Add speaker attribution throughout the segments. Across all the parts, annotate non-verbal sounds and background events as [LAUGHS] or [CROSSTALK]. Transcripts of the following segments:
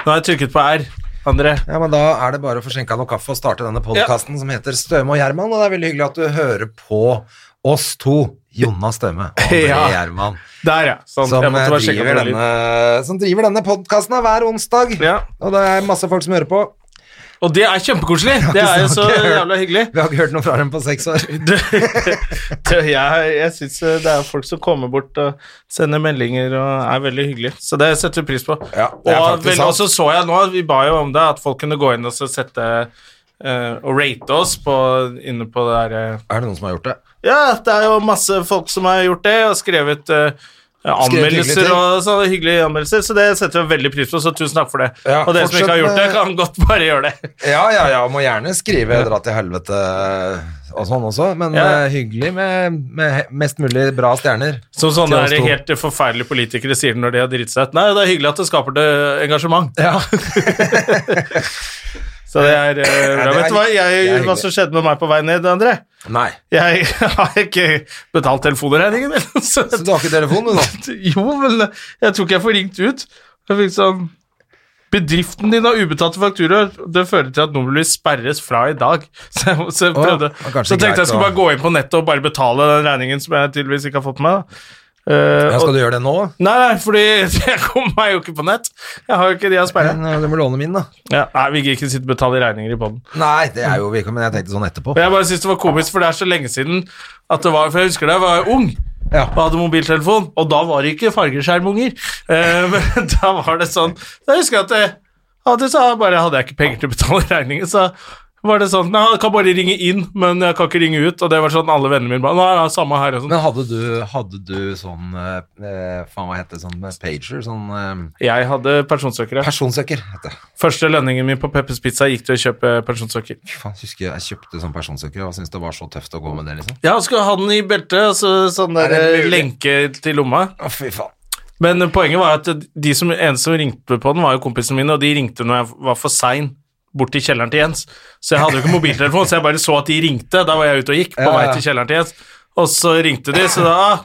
Speaker 1: Nå har jeg trykket på R, André.
Speaker 2: Ja, men Da er det bare å få skjenka noe kaffe og starte denne podkasten som heter Støme og Gjerman. Og det er veldig hyggelig at du hører på oss to, Jonna Støme og André
Speaker 1: [LAUGHS] Ja.
Speaker 2: Gjerman,
Speaker 1: Der, ja. Sånn,
Speaker 2: som,
Speaker 1: jeg måtte
Speaker 2: eh,
Speaker 1: bare sjekke om
Speaker 2: driver
Speaker 1: det var lyd.
Speaker 2: denne, som driver denne podkasten hver onsdag.
Speaker 1: Ja.
Speaker 2: Og det er masse folk som hører på.
Speaker 1: Og det er kjempekoselig! Det er jo så
Speaker 2: ikke hørt.
Speaker 1: jævla [LAUGHS] hyggelig.
Speaker 2: Vi har ikke hørt noe fra dem på seks år.
Speaker 1: [LAUGHS] Du, du, jeg jeg syns eh, det er folk som kommer bort og sender meldinger og er veldig hyggelige, så det setter vi pris på.
Speaker 2: Ja, det er
Speaker 1: og
Speaker 2: faktisk
Speaker 1: vel,
Speaker 2: sant.
Speaker 1: også så jeg nå, vi ba jo om det, at folk kunne gå inn og så sette eh, og rate oss på, inne på det eh, derre
Speaker 2: Er det noen som har gjort det?
Speaker 1: Ja, det er jo masse folk som har gjort det og skrevet eh,
Speaker 2: hyggelige
Speaker 1: Anmeldelser
Speaker 2: ting.
Speaker 1: og sånne hyggelige anmeldelser, så det setter vi veldig pris på. Så tusen takk for det.
Speaker 2: Ja,
Speaker 1: og dere som
Speaker 2: fortsett
Speaker 1: ikke har gjort det,
Speaker 2: med-
Speaker 1: kan godt bare gjøre det.
Speaker 2: Ja, ja, ja. Må gjerne skrive 'dra til helvete' og sånn også, men
Speaker 1: Ja.
Speaker 2: eh, hyggelig med, med he- mest mulig bra stjerner.
Speaker 1: Som sånne
Speaker 2: Til oss
Speaker 1: der
Speaker 2: to.
Speaker 1: helt forferdelige politikere sier når de har driti seg ut. Nei, det er hyggelig at det skaper det engasjement.
Speaker 2: Ja.
Speaker 1: Så det er, eh, bra.
Speaker 2: det er-
Speaker 1: Vet du hva, jeg,
Speaker 2: det er
Speaker 1: hva
Speaker 2: hyggelig.
Speaker 1: som skjedde med meg på vei ned, André?
Speaker 2: Nei.
Speaker 1: Jeg [LAUGHS] har ikke betalt telefonregningen. min, [LAUGHS] Så
Speaker 2: Så du har ikke telefon,
Speaker 1: [LAUGHS]
Speaker 2: du, nå?
Speaker 1: jo, men eh, jeg tror ikke jeg får ringt ut. Jeg fikk sånn Bedriften din har ubetalte fakturaer. Det fører til at nummeret vil sperres fra i dag. [LAUGHS] Så jeg, så jeg
Speaker 2: Å,
Speaker 1: prøvde
Speaker 2: det var kanskje
Speaker 1: Så tenkte
Speaker 2: greit
Speaker 1: jeg skulle
Speaker 2: å-
Speaker 1: bare gå inn på nettet og bare betale den regningen som jeg tydeligvis ikke har fått med meg. da. Eh,
Speaker 2: Ja,
Speaker 1: og-
Speaker 2: skal du gjøre det nå?
Speaker 1: Nei, nei, fordi [LAUGHS] jeg kommer meg jo ikke på nett. Jeg har jo ikke de jeg sperrer.
Speaker 2: Men, eh, Du må låne min, da.
Speaker 1: Ja, nei, vi gidder ikke sitte og betale regninger i poden.
Speaker 2: Nei, det er jo vi ikke, men jeg tenkte sånn etterpå.
Speaker 1: Men jeg bare synes det var komisk, for det er så lenge siden at det var For jeg husker da jeg var ung
Speaker 2: Ja.
Speaker 1: og hadde mobiltelefon, og da var det ikke fargeskjermunger. Eh, men [LAUGHS] da var det sånn Da husker jeg at jeg, at jeg sa bare hadde jeg ikke penger til å betale regningen, så var det sånn Nei, jeg kan bare ringe inn, men jeg kan ikke ringe ut. Og det var sånn alle vennene mine bare Nei, nei, samme her og sånn.
Speaker 2: Men hadde du, hadde du sånn eh, eh, Faen, hva heter det? Sånn eh, pager? Sånn eh,
Speaker 1: Jeg hadde personsøkere.
Speaker 2: personsøker, heter det.
Speaker 1: Første lønningen min på Peppers Pizza gikk til å kjøpe personsøker.
Speaker 2: Fy faen, jeg husker jeg kjøpte sånn personsøker og syntes det var så tøft å gå med det, liksom.
Speaker 1: Ja, han skulle ha den i beltet, og så sånn
Speaker 2: Er
Speaker 1: der
Speaker 2: det mulig?
Speaker 1: lenke til lomma.
Speaker 2: Å, fy faen.
Speaker 1: Men poenget var at de som, eneste som ringte på den, var jo kompisene mine, og de ringte når jeg var for sein bort til kjelleren til Jens. Så jeg hadde jo ikke mobiltelefon, så jeg bare så at de ringte. Da var jeg ute og gikk på
Speaker 2: Ja,
Speaker 1: vei
Speaker 2: ja.
Speaker 1: til kjelleren til Jens, og så ringte de, så da ah,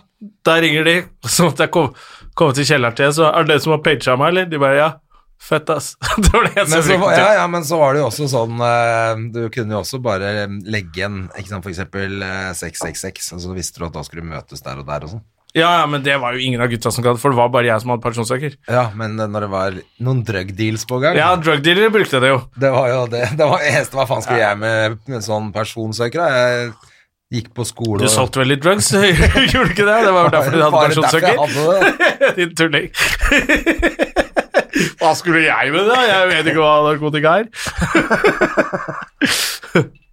Speaker 1: Der ringer de, og så måtte jeg komme, komme til kjelleren til Jens, og er det dere som har paga meg, eller? De bare ja. Fett, ass. [LAUGHS] Det var det jeg
Speaker 2: Men
Speaker 1: som
Speaker 2: så, var-
Speaker 1: ringte.
Speaker 2: ja, ja, men så var det jo også sånn eh, Du kunne jo også bare eh, legge igjen ikke sant, for eksempel eh, 666, og så visste du at da skulle du møtes der og der og sånn.
Speaker 1: Ja, ja, men det var jo ingen av gutta som gadd, for det var bare jeg som hadde pensjonssøker.
Speaker 2: Ja, men eh, når det var noen drug deals på gang
Speaker 1: Ja, drugdealere brukte det jo.
Speaker 2: Det var jo det. Det var det eneste hva faen skulle jeg med, med sånn personsøker? da? Jeg gikk på skole
Speaker 1: Du solgte vel litt drugs? [LAUGHS] Gjorde du ikke det? Det var jo derfor du hadde
Speaker 2: Bare derfor
Speaker 1: pensjonssøker.
Speaker 2: jeg hadde det.
Speaker 1: Din tulling. [LAUGHS] Hva skulle jeg med det? da? Jeg vet ikke hva narkotika er.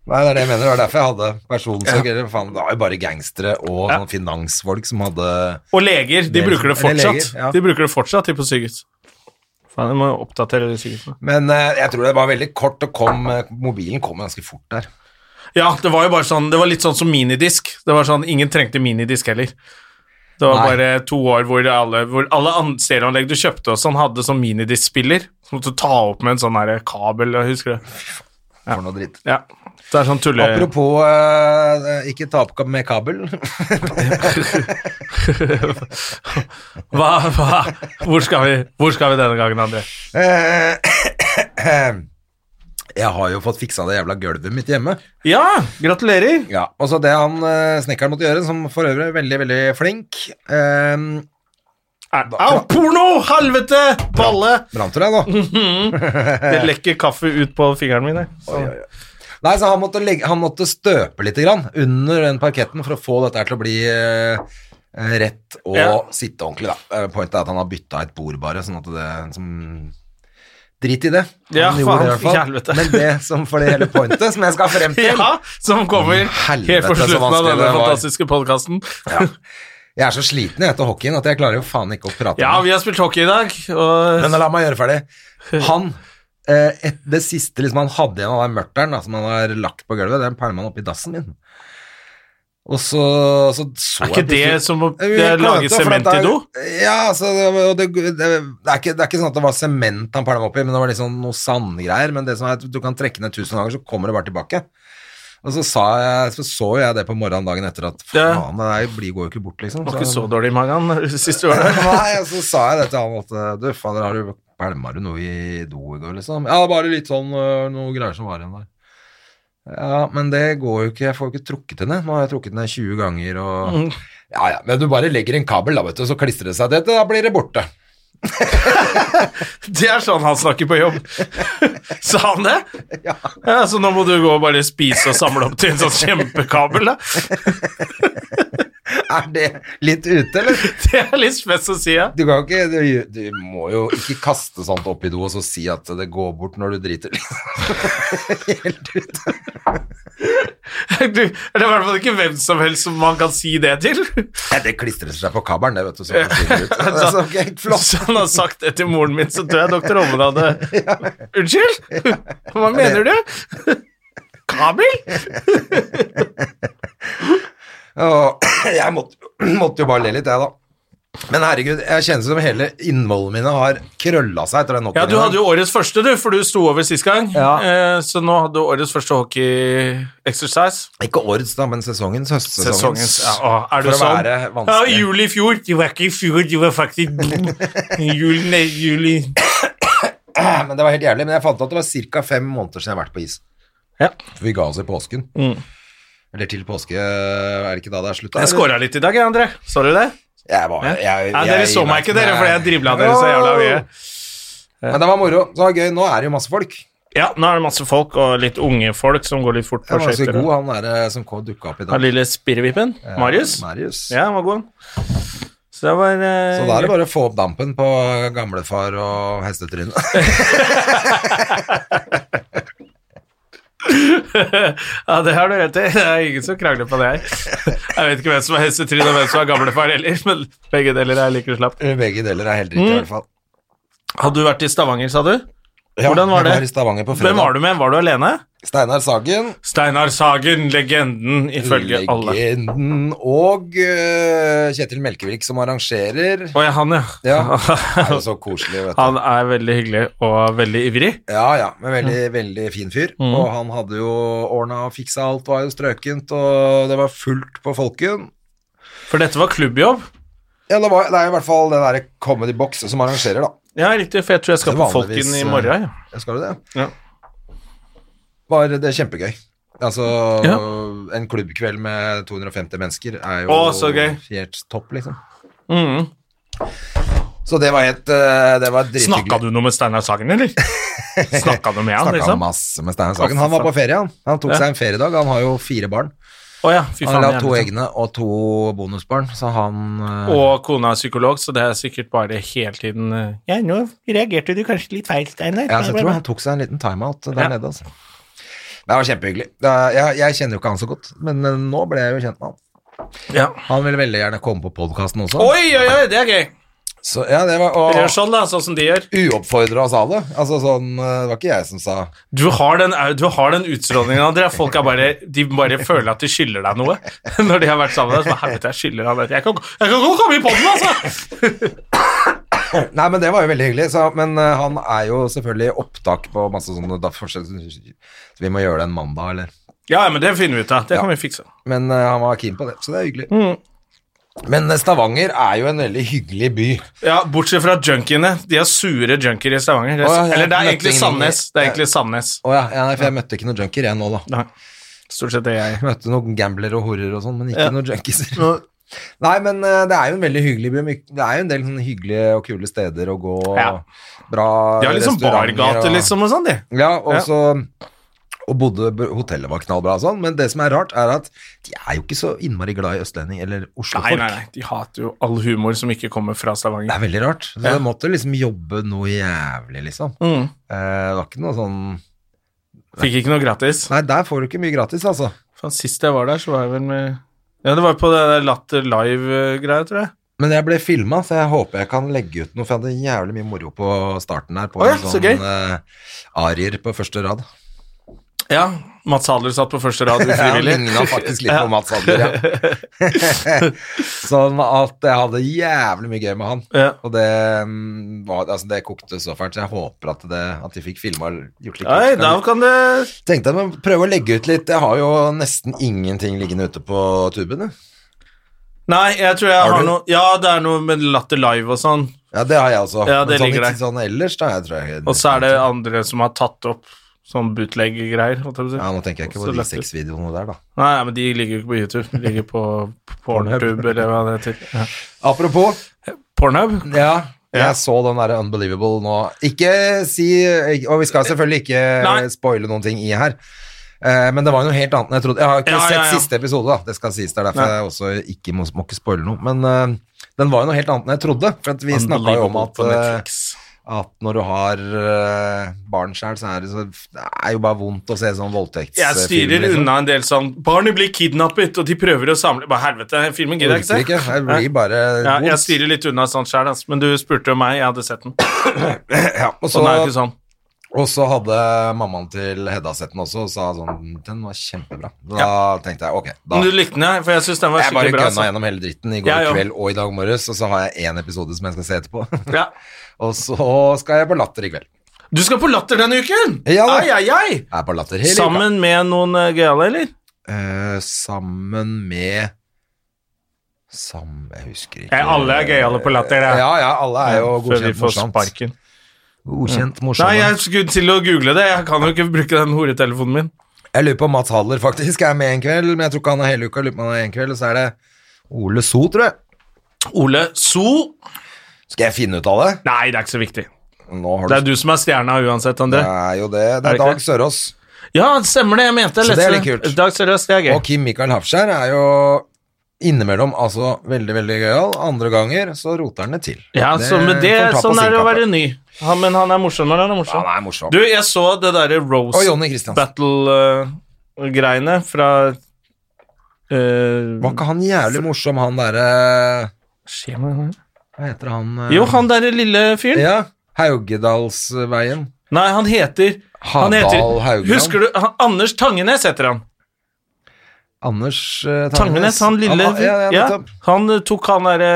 Speaker 2: Nei, det er det jeg mener. Det var derfor jeg hadde personsøker. Faen, det var jo bare gangstere og sånne finansfolk som hadde
Speaker 1: Og leger. De
Speaker 2: Leger.
Speaker 1: bruker det
Speaker 2: Eller leger,
Speaker 1: fortsatt.
Speaker 2: ja.
Speaker 1: De bruker det fortsatt, de på sykehus. Faen, jeg må jo oppdatere de sykehusene.
Speaker 2: Men eh, jeg tror det var veldig kort, og kom, eh, mobilen kom ganske fort der.
Speaker 1: Ja, det var jo bare sånn Det var litt sånn som minidisk. Det var sånn, Ingen trengte minidisk heller. Det var
Speaker 2: Nei.
Speaker 1: bare to år hvor alle, hvor alle an- stereoanlegg du kjøpte og sånn, hadde sånn minidisk-spiller. Så måtte du ta opp med en sånn her kabel, jeg husker det.
Speaker 2: For noe dritt.
Speaker 1: Ja. Det er sånn tulle...
Speaker 2: Apropos eh, ikke ta opp med kabel. [LAUGHS]
Speaker 1: Hva, hva? Hvor, skal vi, hvor skal vi denne gangen, André?
Speaker 2: Eh, [COUGHS] jeg har jo fått fiksa det jævla gulvet mitt hjemme.
Speaker 1: Ja, gratulerer.
Speaker 2: Ja, og så det han eh, snekkeren måtte gjøre, som for øvrig er veldig, veldig flink ehm,
Speaker 1: Au, porno! Helvete! Balle!
Speaker 2: Brant du deg
Speaker 1: [LAUGHS]
Speaker 2: nå?
Speaker 1: Det lekker kaffe ut på fingeren min. jeg. Så-
Speaker 2: Nei, så han måtte, legge, han måtte støpe litt grann under den parketten for å få dette her til å bli eh, eh, rett og
Speaker 1: Ja.
Speaker 2: sitte ordentlig, da. Eh, Pointet er at han har bytta et bord, bare, sånn at det som Drit i det. Han
Speaker 1: Ja,
Speaker 2: gjorde
Speaker 1: faen,
Speaker 2: det i hvert fall.
Speaker 1: helvete.
Speaker 2: Men det som for det hele pointet, som jeg skal frem
Speaker 1: [LAUGHS]
Speaker 2: til
Speaker 1: Ja, som kommer
Speaker 2: Mm, Helvete,
Speaker 1: helt på
Speaker 2: så
Speaker 1: slutten av
Speaker 2: vanskelig
Speaker 1: denne
Speaker 2: det var.
Speaker 1: fantastiske podkasten.
Speaker 2: Ja. Jeg er så sliten jeg, etter hockeyen at jeg klarer jo faen ikke å prate.
Speaker 1: Ja,
Speaker 2: om det.
Speaker 1: vi har spilt hockey i dag, og
Speaker 2: Men la meg gjøre ferdig. Han eh, et, Det siste liksom, han hadde igjen av den mørteren da, som han har lagt på gulvet, den pælma han oppi dassen min. Og så så, så
Speaker 1: er ikke
Speaker 2: jeg
Speaker 1: det
Speaker 2: plutselig-
Speaker 1: som å
Speaker 2: Vi klarte
Speaker 1: lage
Speaker 2: for at
Speaker 1: sement
Speaker 2: det
Speaker 1: i
Speaker 2: er-
Speaker 1: do?
Speaker 2: Ja, altså, det, og det, det, det, er ikke, det er ikke sånn at det var sement han pælma oppi, men det var liksom noe sandgreier. Men det som er at du kan trekke ned tusen ganger, så kommer det bare tilbake. Og så, sa jeg, så så jeg det på morgenen dagen etter at
Speaker 1: Ja.
Speaker 2: faen, det der blir- går jo ikke bort, liksom.
Speaker 1: Det var ikke så dårlig i magen [LAUGHS] sist du var der.
Speaker 2: Nei, og så sa jeg det til han at Du, fader, har du pælma du noe i do i går, liksom? Ja, bare litt sånn øh, noe greier som var igjen der. Ja, men det går jo ikke, jeg får jo ikke trukket henne. Nå har jeg trukket henne 20 ganger og Ja ja, men du bare legger en kabel, da, vet du, så klistrer det seg til, da blir det borte. [LAUGHS]
Speaker 1: Det er sånn han snakker på
Speaker 2: [LAUGHS]
Speaker 1: jobb. Sa han det?
Speaker 2: Ja.
Speaker 1: Ja, Så nå må du gå og bare spise og samle opp til en sånn kjempekabel, da.
Speaker 2: Er det litt ute, eller?
Speaker 1: Det er litt spes å si, ja.
Speaker 2: Du kan jo ikke du, du må jo ikke kaste sånt opp i do og så si at det går bort når du driter. [LAUGHS] Helt ute.
Speaker 1: Du, det er i hvert fall ikke hvem som helst som man kan si det til.
Speaker 2: Ja, det klistrer seg på kabelen, det, vet du. Så forsvinner
Speaker 1: [LAUGHS]
Speaker 2: det ut. Det er så helt flott.
Speaker 1: Hvis [LAUGHS] han har sagt det til moren min, så tror jeg doktor Ommen
Speaker 2: [LAUGHS]
Speaker 1: hadde Unnskyld? Hva mener du? [LAUGHS] Kabel?
Speaker 2: Og [CLEARS THROAT] jeg måtte, måtte jo bare le litt, jeg da. Men herregud, jeg kjenner som hele innvollene mine har krølla seg etter den
Speaker 1: Ja, du
Speaker 2: opptreningen.
Speaker 1: hadde jo årets første, du, for du sto over sist gang.
Speaker 2: Ja.
Speaker 1: Eh, Så nå hadde du årets første hockey-exercise.
Speaker 2: Ikke årets, da, men sesongens. Høstsesongens.
Speaker 1: Sesongens. Ja, å, er du
Speaker 2: For å
Speaker 1: sånn?
Speaker 2: være
Speaker 1: Ja,
Speaker 2: vanskelig.
Speaker 1: juli i fjor. Det var ikke i fjor, det var faktisk
Speaker 2: [LAUGHS]
Speaker 1: juli, nei, juli.
Speaker 2: Men det var helt jævlig. Men jeg fant ut at det var ca. fem måneder siden jeg har vært på is.
Speaker 1: Ja.
Speaker 2: For vi ga oss i påsken.
Speaker 1: Mm.
Speaker 2: Eller til påske, er det ikke da det er slutt? da,
Speaker 1: Jeg
Speaker 2: eller?
Speaker 1: scora litt i dag, jeg, André. Så du det?
Speaker 2: Jeg var, jeg, jeg,
Speaker 1: Ja, dere så meg ikke, dere, fordi jeg dribla dere så jævla mye.
Speaker 2: Men det var moro. Så det var gøy. Nå er det jo masse folk.
Speaker 1: Ja, nå er det masse folk, og litt unge folk som går litt fort på
Speaker 2: Jeg var så
Speaker 1: skøyter.
Speaker 2: god,
Speaker 1: og-
Speaker 2: han der eh, som dukka opp i
Speaker 1: Han
Speaker 2: dag.
Speaker 1: lille spirrevippen, Marius.
Speaker 2: Marius.
Speaker 1: Ja, han var god, han. Så det var eh,
Speaker 2: Så da er det bare å få opp dampen på gamlefar og hestetrynet.
Speaker 1: [LAUGHS]
Speaker 2: [LAUGHS]
Speaker 1: Ja, det har du rett i. Det er ingen som krangler på det her. Jeg vet ikke hvem som er hessetrinn og hvem som er gamlefar heller, men begge deler er like slapt.
Speaker 2: Begge deler er helt riktig,
Speaker 1: Mm.
Speaker 2: i hvert fall.
Speaker 1: Hadde du vært i Stavanger, sa du?
Speaker 2: Ja,
Speaker 1: Hvordan var det?
Speaker 2: Jeg var i Stavanger på fredag.
Speaker 1: Hvem var du med? Var du alene?
Speaker 2: Steinar Sagen,
Speaker 1: Steinar Sagen, legenden ifølge alle.
Speaker 2: legenden, og øh, Kjetil Melkevik som arrangerer.
Speaker 1: Å ja, han, ja. [LAUGHS]
Speaker 2: Ja, det er jo så koselig, vet du.
Speaker 1: Han er veldig hyggelig og veldig ivrig.
Speaker 2: Ja, ja, men veldig,
Speaker 1: Mm.
Speaker 2: veldig fin fyr. Og han hadde jo ordna og fiksa alt, var jo strøkent, og det var fullt på Folken.
Speaker 1: For dette var klubbjobb.
Speaker 2: Ja, det, var, det er i hvert fall den derre Comedy Box som arrangerer, da.
Speaker 1: Ja, riktig, for jeg tror jeg skal på
Speaker 2: Det er vanligvis, eh,
Speaker 1: Folken i morgen. Ja.
Speaker 2: Ja, Skal du det?
Speaker 1: Ja.
Speaker 2: Var det kjempegøy. Altså,
Speaker 1: Ja.
Speaker 2: en klubbkveld med 250 mennesker er jo
Speaker 1: Å, så gøy.
Speaker 2: helt topp, liksom.
Speaker 1: Mhm.
Speaker 2: Så det var helt eh, Det var drithyggelig.
Speaker 1: Snakka du noe med Steinar Sagen,
Speaker 2: [LAUGHS]
Speaker 1: eller? Snakka du med han,
Speaker 2: Snakka
Speaker 1: liksom?
Speaker 2: masse med Steinar Sagen.
Speaker 1: Å, for
Speaker 2: Han var på
Speaker 1: faen.
Speaker 2: ferie, han. Han tok
Speaker 1: Ja.
Speaker 2: seg en feriedag. Han har jo fire barn.
Speaker 1: Å ja, liksom. fy
Speaker 2: Han
Speaker 1: faen.
Speaker 2: la
Speaker 1: jeg er
Speaker 2: to
Speaker 1: litt-
Speaker 2: egne og to bonusbarn, så han eh,
Speaker 1: Og kona er psykolog, så det er sikkert bare hele tiden eh, Ja, nå reagerte du kanskje litt feil, Steinar.
Speaker 2: Ja, så jeg tror han tok seg en liten timeout der
Speaker 1: Ja.
Speaker 2: nede, altså. Det var kjempehyggelig. Det er- Jeg, jeg kjenner jo ikke han så godt, men eh, nå ble jeg jo kjent med han.
Speaker 1: Ja.
Speaker 2: Han ville veldig gjerne komme på podkasten også.
Speaker 1: Oi, oi, oi, det er gøy.
Speaker 2: Så, ja, det var, og,
Speaker 1: Gjør sånn, da, sånn som de gjør.
Speaker 2: uoppfordra sa det. Altså sånn, eh, det var ikke jeg som sa
Speaker 1: Du har den, au- du har den utstrålingen, André. Folk er bare, de bare føler at de skylder deg noe [LAUGHS] når de har vært sammen med deg. Så bare, helvete, jeg skylder han dette. Jeg kan, jeg kan godt komme i podden, altså!
Speaker 2: Nei, men det var jo veldig hyggelig. Så, men eh, han er jo selvfølgelig i opptak på masse sånne da, forskjell- Så vi må gjøre det en mandag, eller
Speaker 1: Ja, men det finner vi ut av. Det kan vi fikse.
Speaker 2: Men eh, han var keen på det, så det er hyggelig.
Speaker 1: Mm.
Speaker 2: Men eh, Stavanger er jo en veldig hyggelig by.
Speaker 1: Ja, bortsett fra junkiene. De er sure junkier i Stavanger. Det er-
Speaker 2: Å, ja, jeg
Speaker 1: Eller det er
Speaker 2: møtte
Speaker 1: egentlig
Speaker 2: ingen-
Speaker 1: Sandnes. Det er egentlig Sandnes.
Speaker 2: Å ja, ja, nei, for jeg møtte ikke noen junkier jeg nå, da.
Speaker 1: Nei. Stort sett det jeg
Speaker 2: Jeg møtte noen gamblere og horer og sånn, men ikke
Speaker 1: Ja.
Speaker 2: noen junkiser. [LAUGHS] Nei, men eh, det er jo en veldig hyggelig by. my- Det er jo en del sånne hyggelige og kule steder å gå.
Speaker 1: Ja.
Speaker 2: Bra
Speaker 1: De har liksom
Speaker 2: restauranter
Speaker 1: bargate,
Speaker 2: og-
Speaker 1: liksom, og sånn, de.
Speaker 2: Ja, og
Speaker 1: Ja.
Speaker 2: så Og bodde Hotellet var knallbra og sånn, men det som er rart, er at de er jo ikke så innmari glad i østlending eller
Speaker 1: Nei,
Speaker 2: oslofolk.
Speaker 1: nei, nei. De hater jo all humor som ikke kommer fra
Speaker 2: Det
Speaker 1: Stavanger.
Speaker 2: er veldig rart. Så
Speaker 1: Ja.
Speaker 2: jeg måtte liksom jobbe noe jævlig, liksom.
Speaker 1: Mm.
Speaker 2: Eh, det var ikke noe sånn
Speaker 1: Fikk ikke noe gratis.
Speaker 2: Nei, der får du ikke mye gratis, altså.
Speaker 1: Faen, sist jeg var der, så var jeg vel med Ja, det var på det der Latter Live-greia, tror jeg.
Speaker 2: Men jeg ble filma, så jeg håper jeg kan legge ut noe, for jeg hadde jævlig mye moro på starten her. På
Speaker 1: Å ja,
Speaker 2: en
Speaker 1: så gøy.
Speaker 2: eh, arier på første
Speaker 1: [LAUGHS]
Speaker 2: rad.
Speaker 1: Ja, Mats Hadler satt på første [LAUGHS] rad
Speaker 2: Jeg
Speaker 1: ufrivillig.
Speaker 2: ligna faktisk litt på Mats Adler, ja.
Speaker 1: [LAUGHS]
Speaker 2: sånn at jeg hadde jævlig mye gøy med han.
Speaker 1: Ja.
Speaker 2: Og det, mm, var, altså det kokte så fælt, så jeg håper at, det, at de fikk filma gjort litt
Speaker 1: Nei, da kan det
Speaker 2: Tenkte jeg må prøve å legge ut litt. Jeg har jo nesten ingenting liggende ute på tuben. jeg.
Speaker 1: Nei, jeg tror jeg har,
Speaker 2: Har du?
Speaker 1: noe Ja, det er noe med Latter Live og sånn.
Speaker 2: Ja, det har jeg også.
Speaker 1: Ja, det
Speaker 2: Men sånn,
Speaker 1: ligger
Speaker 2: ikke sånn ellers, da. Jeg tror jeg
Speaker 1: Og så er det andre som har tatt opp sånn bootleg-greier. holdt jeg på å si.
Speaker 2: Ja, nå tenker jeg ikke
Speaker 1: Så
Speaker 2: på de
Speaker 1: lagt ut.
Speaker 2: seks videoene der, da.
Speaker 1: Nei, men de ligger jo ikke på YouTube. De ligger på på [LAUGHS] Pornhub, eller hva det heter. Ja.
Speaker 2: Apropos,
Speaker 1: Pornhub?
Speaker 2: ja.
Speaker 1: Ja.
Speaker 2: Jeg så den derre Unbelievable nå. Ikke si Og vi skal selvfølgelig ikke
Speaker 1: Nei.
Speaker 2: spoile noen ting i her. Eh, Men det var jo noe helt annet enn jeg trodde. Jeg har ikke
Speaker 1: Ja,
Speaker 2: sett
Speaker 1: ja, ja.
Speaker 2: siste episode, da. Det skal sies. Det er derfor
Speaker 1: Nei.
Speaker 2: jeg også ikke må, må ikke spoile noe. Men eh, den var jo noe helt annet enn jeg trodde. For at vi snakka jo om
Speaker 1: Unbelievable
Speaker 2: at
Speaker 1: på
Speaker 2: eh,
Speaker 1: Netflix.
Speaker 2: at når du har eh, barn sjøl, så er det, så, det er jo bare vondt å se sånn voldtektsfilm.
Speaker 1: Jeg styrer
Speaker 2: liksom.
Speaker 1: unna en del sånn Barnet blir kidnappet, og de prøver å samle Bare helvete, filmen gidder jeg
Speaker 2: Orker
Speaker 1: ikke
Speaker 2: ikke.
Speaker 1: se.
Speaker 2: Jeg blir bare
Speaker 1: Ja, jeg
Speaker 2: vondt.
Speaker 1: styrer litt unna sånt sjæl, men du spurte jo meg, jeg hadde sett den.
Speaker 2: Ja, og, så,
Speaker 1: Sånn er jo ikke sånn.
Speaker 2: og så hadde mammaen til Hedda sett den også og sa sånn Den var kjempebra. Da tenkte jeg ok, da
Speaker 1: Men du likte den, ja, for jeg syns den var
Speaker 2: jeg bare
Speaker 1: skikkelig bra.
Speaker 2: gønna
Speaker 1: altså.
Speaker 2: gjennom hele dritten i går
Speaker 1: Jeg òg.
Speaker 2: kveld og i dag morges, og så har jeg én episode som jeg skal se etterpå. [LAUGHS]
Speaker 1: Ja.
Speaker 2: og så skal jeg på Latter i kveld.
Speaker 1: Du skal på Latter denne uken!
Speaker 2: Ja da.
Speaker 1: ai, ai, ai.
Speaker 2: Jeg er på Latter hele uka.
Speaker 1: Sammen med noen eh, gøyale, eller?
Speaker 2: Eh, sammen med Sammen Jeg husker ikke.
Speaker 1: Ja, alle er gøyale på Latter.
Speaker 2: Ja, ja, alle er jo godkjent
Speaker 1: Før vi får
Speaker 2: morsomt.
Speaker 1: sparken. Mm.
Speaker 2: Godkjent
Speaker 1: Nei,
Speaker 2: morsomt.
Speaker 1: jeg skulle til å google det. Jeg kan jo ikke bruke den horetelefonen min.
Speaker 2: Jeg lurer på om Mats Haller faktisk er med en kveld, men jeg tror ikke han er hele uka. Jeg lurer på om han er en kveld, og så er det Ole So, tror jeg.
Speaker 1: Ole So
Speaker 2: Skal jeg finne ut av det?
Speaker 1: Nei, det er ikke så viktig.
Speaker 2: Nå har
Speaker 1: Det er
Speaker 2: du
Speaker 1: du som er stjerna uansett,
Speaker 2: det
Speaker 1: André.
Speaker 2: er jo det.
Speaker 1: Er det
Speaker 2: Det er
Speaker 1: ikke
Speaker 2: Dag
Speaker 1: det?
Speaker 2: Sørås.
Speaker 1: Ja, stemmer det. Jeg mente
Speaker 2: Så det er
Speaker 1: leste
Speaker 2: litt kult.
Speaker 1: Dag Seriøst, det er gøy.
Speaker 2: Og Kim Mikael Hafskjær er jo innimellom altså veldig, veldig gøyal. Andre ganger så roter han det til.
Speaker 1: Ja, så med det,
Speaker 2: får han ta på
Speaker 1: Sånn er det å
Speaker 2: sin
Speaker 1: være
Speaker 2: kappe.
Speaker 1: ny. Han, men han er morsom når han er morsom.
Speaker 2: Han er morsom.
Speaker 1: Du, jeg så det derre Rose
Speaker 2: Og Jonny Kristiansen.
Speaker 1: Battle-greiene fra eh,
Speaker 2: Var ikke han jævlig morsom, han derre
Speaker 1: skjer med han?
Speaker 2: Hva heter han? eh,
Speaker 1: Jo, han derre lille fyren.
Speaker 2: Ja. Haugedalsveien.
Speaker 1: Nei, han heter han
Speaker 2: Havdal
Speaker 1: heter,
Speaker 2: Haugland.
Speaker 1: Husker du han, Anders Tangenes heter han.
Speaker 2: Anders eh,
Speaker 1: Tangenes, han lille
Speaker 2: Han, ja, ja,
Speaker 1: ja,
Speaker 2: nettopp.
Speaker 1: Han eh, tok han derre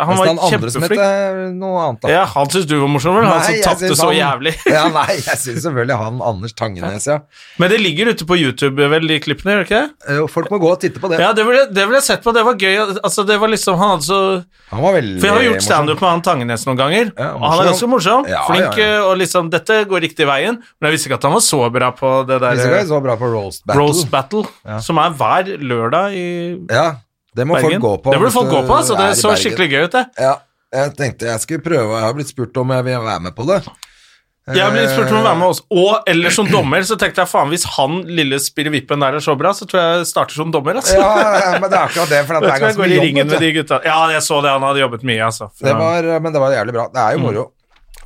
Speaker 1: Han
Speaker 2: Mens
Speaker 1: var
Speaker 2: den andre som
Speaker 1: kjempeflink.
Speaker 2: heter noe annet, da.
Speaker 1: Ja, han syns du var morsom, vel? Han
Speaker 2: Nei,
Speaker 1: som
Speaker 2: jeg
Speaker 1: tapte
Speaker 2: synes
Speaker 1: så
Speaker 2: han-
Speaker 1: jævlig.
Speaker 2: [LAUGHS] ja, nei, jeg syns selvfølgelig han Anders Tangenes, ja.
Speaker 1: Men det ligger ute på YouTube, vel, de klippene, gjør det ikke det?
Speaker 2: Eh, og Folk må gå og titte på det.
Speaker 1: Ja, det ville det ville jeg sett på. Det var gøy. Altså, det var liksom Han hadde så
Speaker 2: Han var veldig
Speaker 1: For jeg har gjort
Speaker 2: morsom.
Speaker 1: standup med han Tangenes noen ganger,
Speaker 2: Ja,
Speaker 1: og han er ganske morsom.
Speaker 2: Ja,
Speaker 1: flink,
Speaker 2: ja,
Speaker 1: og liksom Dette går riktig veien, men jeg visste ikke at han var så bra på det
Speaker 2: Jeg
Speaker 1: der
Speaker 2: synes ikke det er så bra på roast battle.
Speaker 1: Rose Battle, som er hver lørdag i
Speaker 2: Ja, det må
Speaker 1: Bergen.
Speaker 2: folk gå på.
Speaker 1: det burde
Speaker 2: hvis
Speaker 1: folk
Speaker 2: du
Speaker 1: gå på, altså. Det
Speaker 2: er i
Speaker 1: så
Speaker 2: Bergen.
Speaker 1: skikkelig gøy ut, det.
Speaker 2: Ja, jeg tenkte jeg skulle prøve, og jeg har blitt spurt om jeg vil være med på det. Eh,
Speaker 1: Jeg ble spurt om å være med også. Og eller som dommer, så tenkte jeg faen, hvis han lille spirrevippen der er så bra, så tror jeg jeg starter som dommer, altså.
Speaker 2: Ja, ja, men det er akkurat det, for
Speaker 1: [LAUGHS]
Speaker 2: det
Speaker 1: Jeg
Speaker 2: er
Speaker 1: tror jeg
Speaker 2: ganske
Speaker 1: går i
Speaker 2: mye
Speaker 1: ringen med
Speaker 2: jobb. vet
Speaker 1: de
Speaker 2: du.
Speaker 1: gutta. Ja, jeg så det, han hadde jobbet mye, altså.
Speaker 2: Det var, eh, men det var jævlig bra. Det
Speaker 1: Mm.
Speaker 2: er jo moro.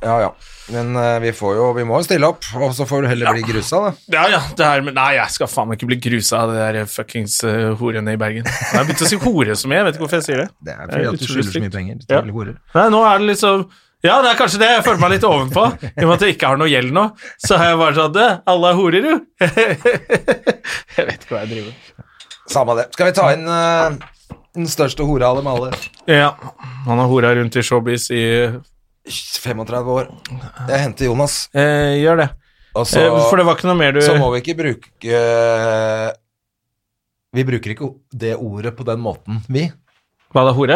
Speaker 2: Ja, ja. Men eh, vi, får jo, vi må jo stille opp, og så får du heller bli grusa, da.
Speaker 1: Ja, ja, det her, med- nei, jeg skal faen meg ikke bli grusa av det der fuckings eh, horene i Bergen. Jeg har begynt å si hore så mye, jeg vet ikke hvorfor jeg sier det.
Speaker 2: Det er
Speaker 1: Det
Speaker 2: fordi
Speaker 1: er
Speaker 2: at du
Speaker 1: utrolig
Speaker 2: skylder så
Speaker 1: stygt.
Speaker 2: mye penger.
Speaker 1: Ja.
Speaker 2: til horer.
Speaker 1: Nei, nå er det liksom Ja, det er kanskje det jeg føler meg litt ovenpå. I og med at jeg ikke har noe gjeld nå, så har jeg bare sånn «Det, Alle er horer,
Speaker 2: [LAUGHS]
Speaker 1: jo. Jeg vet ikke hva jeg driver med.
Speaker 2: Samme det. Skal vi ta inn eh, den største hora av dem alle?
Speaker 1: Ja, han har hora rundt i showbiz i
Speaker 2: 35 år. Jeg henter Jonas.
Speaker 1: eh, Gjør det.
Speaker 2: Og så,
Speaker 1: eh, for det var ikke noe mer du
Speaker 2: så må vi ikke bruke eh, Vi bruker ikke det ordet på den måten, vi.
Speaker 1: Hva da, hore?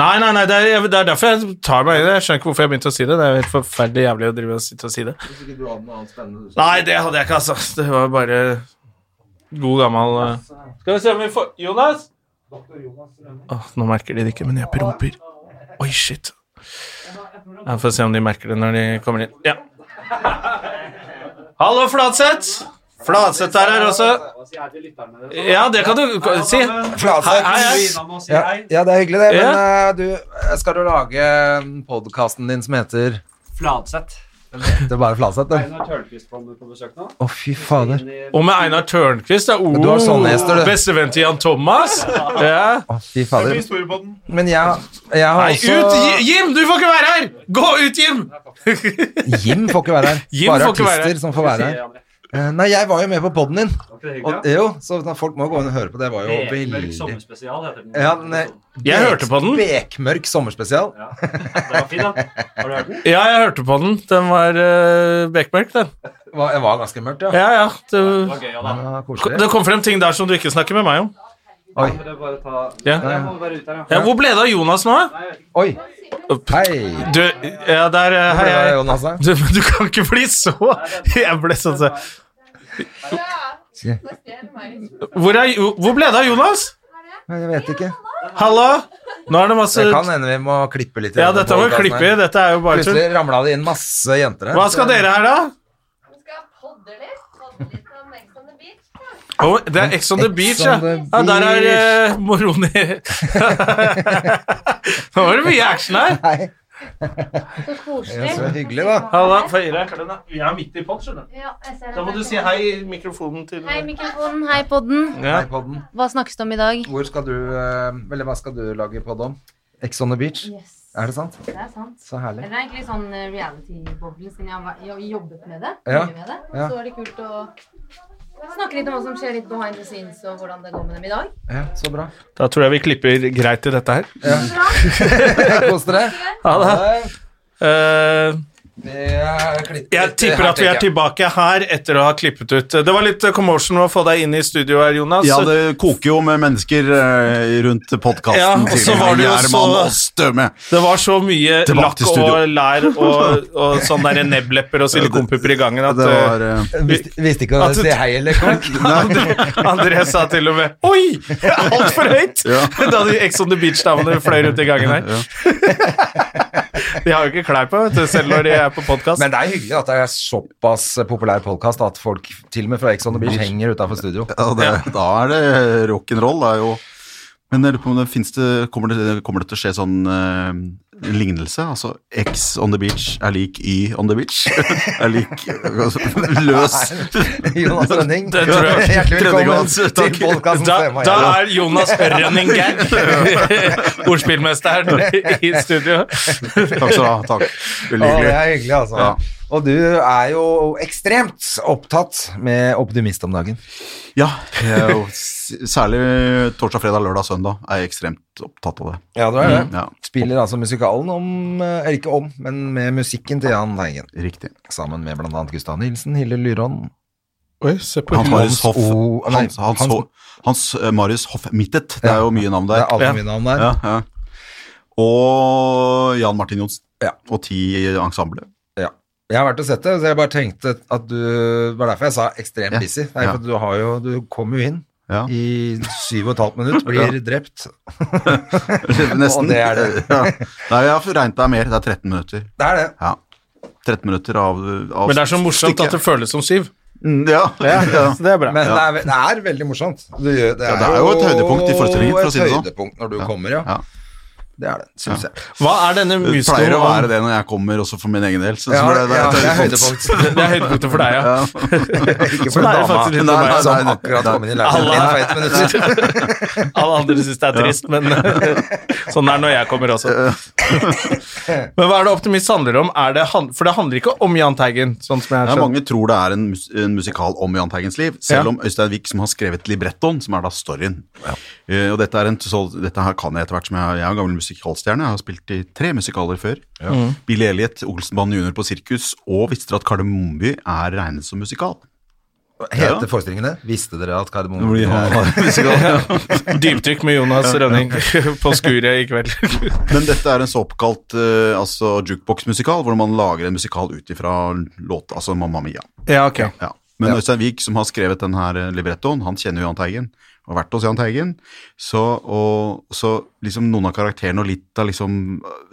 Speaker 1: Nei, nei, nei, det er, det er derfor jeg tar meg i det. Jeg skjønner ikke hvorfor jeg begynte å si det. Det er jo helt forferdelig jævlig å drive og sitte og si det. Nei, det hadde jeg ikke, altså. Det var bare god gammel eh. Skal vi se om vi får Jonas? Åh, nå merker de det ikke, men jeg promper. Oi, shit. Jeg får se om de merker det når de kommer inn. Ja. Hallo, Flatseth. Flatseth er her også. Ja, det kan du si. Hei,
Speaker 2: Flatseth.
Speaker 1: hei, hei.
Speaker 2: Ja, ja, det er hyggelig, det. Men
Speaker 1: Ja.
Speaker 2: eh, du, eh, skal du lage podkasten din mm, som heter
Speaker 3: Fladseth.
Speaker 2: Det er bare Fladseth, det.
Speaker 3: Einar Tørnquist kommer på besøk nå.
Speaker 2: Å, fy fader.
Speaker 3: Inn i-
Speaker 1: Og med Einar Tørnquist. Ja.
Speaker 2: du har sånne hester,
Speaker 1: Oh,
Speaker 2: du.
Speaker 1: Bestevenn til Jan Thomas. Ja.
Speaker 2: Å, fy fader. Men jeg, jeg har
Speaker 1: Nei, ut! Ji-
Speaker 2: også
Speaker 1: Jim, du får ikke være her! Gå ut, Jim!
Speaker 2: Jim får ikke være her.
Speaker 1: Jim
Speaker 2: Bare
Speaker 1: får ikke være her.
Speaker 2: artister som får være her.
Speaker 3: Ja, men-
Speaker 2: Eh, Nei, jeg var jo med på poden din.
Speaker 3: Var ikke det hyggelig?
Speaker 2: Og,
Speaker 3: da?
Speaker 2: jo, så sånn folk må gå inn og høre på det. Det var jo
Speaker 3: Bekmørk
Speaker 2: veldig
Speaker 3: sommerspesial heter den.
Speaker 2: Ja, den er-
Speaker 1: Jeg hørte på den.
Speaker 2: Bekmørk sommerspesial.
Speaker 3: Ja. Den var fin, da. Har du hørt den?
Speaker 1: Ja, jeg hørte på den. Den var uh, bekmørk, den.
Speaker 2: Var- Det var ganske mørkt, ja.
Speaker 1: Ja, ja.
Speaker 3: Det var
Speaker 1: Det,
Speaker 3: gøy, ja, da.
Speaker 2: ja
Speaker 1: det
Speaker 2: koselig.
Speaker 1: kom frem ting der som du ikke snakker med meg om.
Speaker 2: Oi.
Speaker 3: Kan dere bare ta...
Speaker 1: Ja.
Speaker 3: Nei, Jeg må bare ut her, ja.
Speaker 1: Ja, hvor ble det av Jonas nå? da?
Speaker 3: Nei, jeg vet ikke.
Speaker 2: Oi. Hei.
Speaker 1: Du, ja, der eh,
Speaker 2: Hvor
Speaker 1: Hei,
Speaker 2: ble det av
Speaker 1: hei.
Speaker 2: Jonas, da?
Speaker 1: Du, men du kan ikke bli så Jeg ble sånn så. Hvor, er, hvor ble det av Jonas?
Speaker 2: Nei, Jeg vet ikke.
Speaker 1: Hallo? Nå er det masse
Speaker 2: Det kan hende vi må klippe litt. i
Speaker 1: Ja,
Speaker 2: denne
Speaker 1: dette må vi
Speaker 2: podcasten
Speaker 1: klippe i.
Speaker 2: her.
Speaker 1: Dette er jo bare tull.
Speaker 2: Plutselig ramla det inn masse jenter her.
Speaker 1: Hva skal dere her, da? Oh, det er Ex on the Beach, ja.
Speaker 2: on the
Speaker 1: ja der er eh, Moroni
Speaker 2: [LAUGHS]
Speaker 1: Nå var det mye action her.
Speaker 2: Nei,
Speaker 4: Så
Speaker 2: det
Speaker 4: koselig.
Speaker 2: er så hyggelig, da.
Speaker 1: Halla, få i deg. Vi er midt i pod, skjønner du.
Speaker 4: Ja, jeg ser det.
Speaker 1: Da må du si hei i mikrofonen til
Speaker 4: Hei, mikrofonen. Hei, podden.
Speaker 1: Ja.
Speaker 2: Hei, podden.
Speaker 4: Hva snakkes det om i dag?
Speaker 2: Hvor skal du eh, Eller hva skal du lage podd om? Ex on the beach?
Speaker 4: Yes,
Speaker 2: Er det sant?
Speaker 4: det er sant.
Speaker 2: Så herlig.
Speaker 4: Eller det er egentlig sånn eh, reality-boble, siden jeg har- jeg har jobbet med det.
Speaker 2: Ja,
Speaker 4: mye Med det.
Speaker 2: ja.
Speaker 4: Så er det kult å snakke litt om hva som skjer litt behind the scenes, og hvordan det går med dem i dag.
Speaker 2: Ja, så bra. [LAUGHS]
Speaker 1: Da tror jeg vi klipper greit i dette her.
Speaker 2: Kos dere.
Speaker 1: Ha det.
Speaker 2: det.
Speaker 1: Eh,
Speaker 2: Jeg, klipper
Speaker 1: jeg
Speaker 2: litt
Speaker 1: tipper
Speaker 2: her,
Speaker 1: at vi er
Speaker 2: tenker jeg.
Speaker 1: tilbake her etter å ha klippet ut. Det var litt eh, commotion med å få deg inn i studio her, Jonas.
Speaker 5: Ja, det koker jo med mennesker eh, rundt podkasten
Speaker 1: Ja, og så
Speaker 5: til
Speaker 1: var det jo
Speaker 5: Gjerman
Speaker 1: så-
Speaker 5: og Støme.
Speaker 1: Det var så mye
Speaker 5: Tilbake
Speaker 1: lakk
Speaker 5: til
Speaker 1: og
Speaker 5: studio.
Speaker 1: lær og, og sånn
Speaker 5: [LAUGHS]
Speaker 1: der nebblepper og silikonpupper i gangen at
Speaker 5: Det var eh,
Speaker 2: Visste, visste ikke å
Speaker 1: At du-
Speaker 2: si hei eller kakk.
Speaker 1: eh, André sa til og med Oi! Altfor høyt!
Speaker 5: Ja.
Speaker 1: [LAUGHS] Da de Ex on the Beach-damene fløy rundt i gangen her. De har jo ikke klær på, vet du, selv når de er på podkast.
Speaker 2: Men det er hyggelig at det er såpass populær podkast at folk til og med fra Ex on the beach henger utafor studio.
Speaker 5: ja, det, Da er det rock'n'roll. det er jo- Men jeg lurer på om det finnes det Kommer det, kommer det til å skje sånn eh, lignelse? Altså X on the beach er lik Y on the beach? [LAUGHS] er lik altså, løs
Speaker 2: Jonas Rønning,
Speaker 1: Det tror jeg.
Speaker 2: hjertelig velkommen
Speaker 5: Tredjegrads, takk.
Speaker 2: til podkasten
Speaker 1: Da,
Speaker 2: Støme og
Speaker 1: da
Speaker 2: Gjerman.
Speaker 1: er Jonas Rønning [LAUGHS] Gag ordspillmesteren i studio.
Speaker 5: Takk skal du ha. Takk.
Speaker 2: Å,
Speaker 5: Veldig
Speaker 2: det
Speaker 5: hyggelig.
Speaker 2: er hyggelig, altså.
Speaker 5: Ja.
Speaker 2: Og du er jo ekstremt opptatt med optimist om dagen.
Speaker 5: Ja, jeg er jo s- særlig torsdag, fredag, lørdag, søndag er jeg ekstremt opptatt av det. Mm,
Speaker 2: Ja, du er det.
Speaker 5: Ja,
Speaker 2: Spiller altså musikalen om eh, Ikke om, men med musikken til Jan Teigen.
Speaker 5: riktig.
Speaker 2: Sammen med bl.a. Gustav Nilsen, Hilde Lyrån
Speaker 1: Oi, se på
Speaker 5: Hans Marius Hoff.
Speaker 2: O- nei,
Speaker 5: Hans, Hans,
Speaker 2: Hans-
Speaker 5: Ho- Hans eh, Marius Hoff Mittet. Det
Speaker 2: Ja.
Speaker 5: er jo mye navn
Speaker 2: Det
Speaker 5: der.
Speaker 2: er alle
Speaker 1: Ja.
Speaker 2: mine navn der.
Speaker 5: Ja, ja. Og Jan Martin Johnsen.
Speaker 2: Ja.
Speaker 5: Og ti i ensemblet.
Speaker 2: Ja. Jeg har vært og sett det, så jeg bare tenkte at du Det var derfor jeg sa ekstremt
Speaker 5: Ja.
Speaker 2: busy. Det er
Speaker 5: Ja.
Speaker 2: for at du har jo Du kom jo inn
Speaker 5: Ja.
Speaker 2: i syv og et halvt minutt, blir drept.
Speaker 5: [LAUGHS] Nesten.
Speaker 2: Og det er det.
Speaker 5: [LAUGHS] ja. Nei, jeg har regnet deg mer. Det er 13 minutter.
Speaker 2: Det er det.
Speaker 5: Ja. 13 minutter av, av
Speaker 1: Men det er så morsomt
Speaker 5: stykket.
Speaker 1: at det føles som syv.
Speaker 5: Mm, Ja. [LAUGHS] ja,
Speaker 1: Så det er bra.
Speaker 2: Men det, er, ve- det er veldig morsomt. Du gjør- det,
Speaker 5: Ja, det er jo et høydepunkt i forestillingen, for å si det sånn.
Speaker 2: Et høydepunkt når du kommer, ja.
Speaker 5: ja.
Speaker 2: Det er det, syns jeg.
Speaker 1: Hva er denne
Speaker 5: Det pleier
Speaker 1: musicalen
Speaker 5: å
Speaker 1: om?
Speaker 5: være det når jeg kommer, også for min egen del. Så,
Speaker 2: Ja,
Speaker 5: så det, det,
Speaker 2: ja,
Speaker 5: det,
Speaker 2: det er
Speaker 5: det,
Speaker 2: høydepunkt.
Speaker 1: Det er høydepunktet for deg, ja.
Speaker 2: Ikke
Speaker 1: Så
Speaker 2: for
Speaker 1: det er
Speaker 2: dama
Speaker 1: faktisk litt
Speaker 5: Nei, nei,
Speaker 2: som
Speaker 5: nei, nei.
Speaker 2: akkurat kom inn i leiligheten din for
Speaker 1: Alle,
Speaker 2: ett
Speaker 5: [LAUGHS]
Speaker 2: minutt.
Speaker 1: alle andre syns det er trist, men [LAUGHS] sånn er det når jeg kommer også. [LAUGHS] Men hva er det optimist handler om? Er det han, for det handler ikke om Jahn Teigen, sånn som jeg
Speaker 5: Ja,
Speaker 1: har skjønt.
Speaker 5: mange tror det er en, mus en musikal om Jahn Teigens liv,
Speaker 1: Ja.
Speaker 5: selv om Øystein Wiik, som har skrevet librettoen, som er da storyen Eh, Og dette, er en, så, dette her kan jeg etter hvert som jeg, har- jeg er en gammel musikalstjerne. Jeg har spilt i tre musikaler før. Billy Elliot, Olsenbanen junior på sirkus, og visste dere at Kardemommeby er regnet som musikal?
Speaker 2: Heter forestillingen det? Visste dere at Kardemomme
Speaker 5: Fordi-
Speaker 1: Dypdykk med Jonas Rønning [LAUGHS] på skuret i kveld.
Speaker 5: [LAUGHS] Men dette er en såkalt uh, altså jukebox-musikal, hvor man lager en musikal ut ifra låt, altså Mamma Mia.
Speaker 1: Ja, ok.
Speaker 5: Ja. Men Øystein Wiik, som har skrevet den her eh, librettoen, han kjenner jo Jahn Teigen og har vært hos Jahn Teigen. Så, og, så liksom noen av karakterene og litt av liksom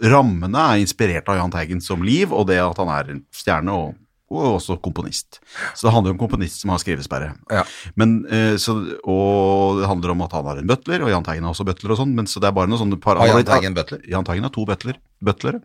Speaker 5: rammene er inspirert av Jahn Teigen som liv, og det at han er en stjerne og, og også komponist. Så det handler om komponist som har skrivesperre.
Speaker 2: Ja.
Speaker 5: Men, eh, så, og det handler om at han har en butler, og Jahn Teigen har også butler og sånn, men så det er bare noe sånn par
Speaker 2: Har Jahn Teigen butler?
Speaker 5: Jahn Teigen har to butler, butlere.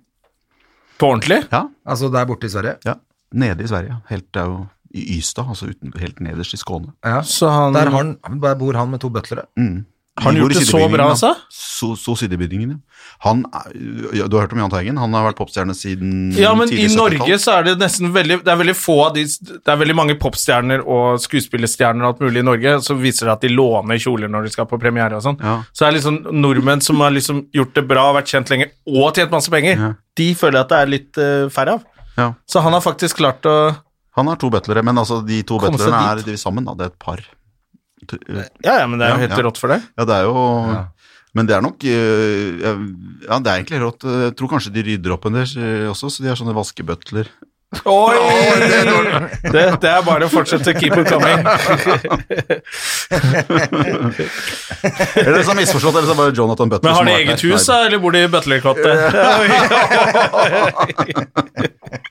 Speaker 1: På ordentlig?
Speaker 5: Ja,
Speaker 2: Altså der borte i Sverige.
Speaker 5: ja. Nede i Sverige. Helt der jo i Ystad, altså uten, helt nederst i Skåne.
Speaker 2: Ja.
Speaker 1: Så han,
Speaker 2: Der, har han, der bor han med to butlere.
Speaker 5: Mm.
Speaker 1: Har han
Speaker 5: Vi
Speaker 1: gjort
Speaker 5: bor i
Speaker 1: det så
Speaker 5: sidebygningen,
Speaker 1: bra,
Speaker 5: da.
Speaker 1: altså?
Speaker 5: Så, så sidebygningen, ja. Han er, ja, du har hørt om Jahn Teigen? Han har vært popstjerne siden
Speaker 1: Ja, men i
Speaker 5: tidlig 70-tall.
Speaker 1: Norge så er det nesten veldig Det er veldig få av de Det er veldig mange popstjerner og skuespillerstjerner og alt mulig i Norge, så viser det at de låner kjoler når de skal på premiere og sånn.
Speaker 5: Ja.
Speaker 1: Så det er liksom nordmenn som har liksom gjort det bra, vært kjent lenge og tjent masse penger,
Speaker 5: Ja.
Speaker 1: de føler jeg at det er litt eh, færre av.
Speaker 5: Ja.
Speaker 1: Så han har faktisk klart å
Speaker 5: Han har to butlere, men altså de to
Speaker 1: Komme seg
Speaker 5: butlerne er
Speaker 1: dit.
Speaker 5: de er sammen, da. Det er et par.
Speaker 1: Ja, ja, men det er jo
Speaker 5: Ja,
Speaker 1: helt
Speaker 5: ja.
Speaker 1: rått for det.
Speaker 5: Ja, det er jo
Speaker 2: Ja.
Speaker 5: Men det er nok øh, Ja, det er egentlig rått. Eh, Jeg tror kanskje de rydder opp en del øh, også, så de er sånne vaskebutler.
Speaker 1: Oi! Det, det er bare å fortsette keep it coming.
Speaker 5: Eller så har jeg misforstått, eller så er det bare Jonathan Butler
Speaker 1: Men har
Speaker 5: som
Speaker 1: de
Speaker 5: vært
Speaker 1: eget
Speaker 5: der.
Speaker 1: hus,
Speaker 5: Nei,
Speaker 1: da, eller bor de i butlerkottet?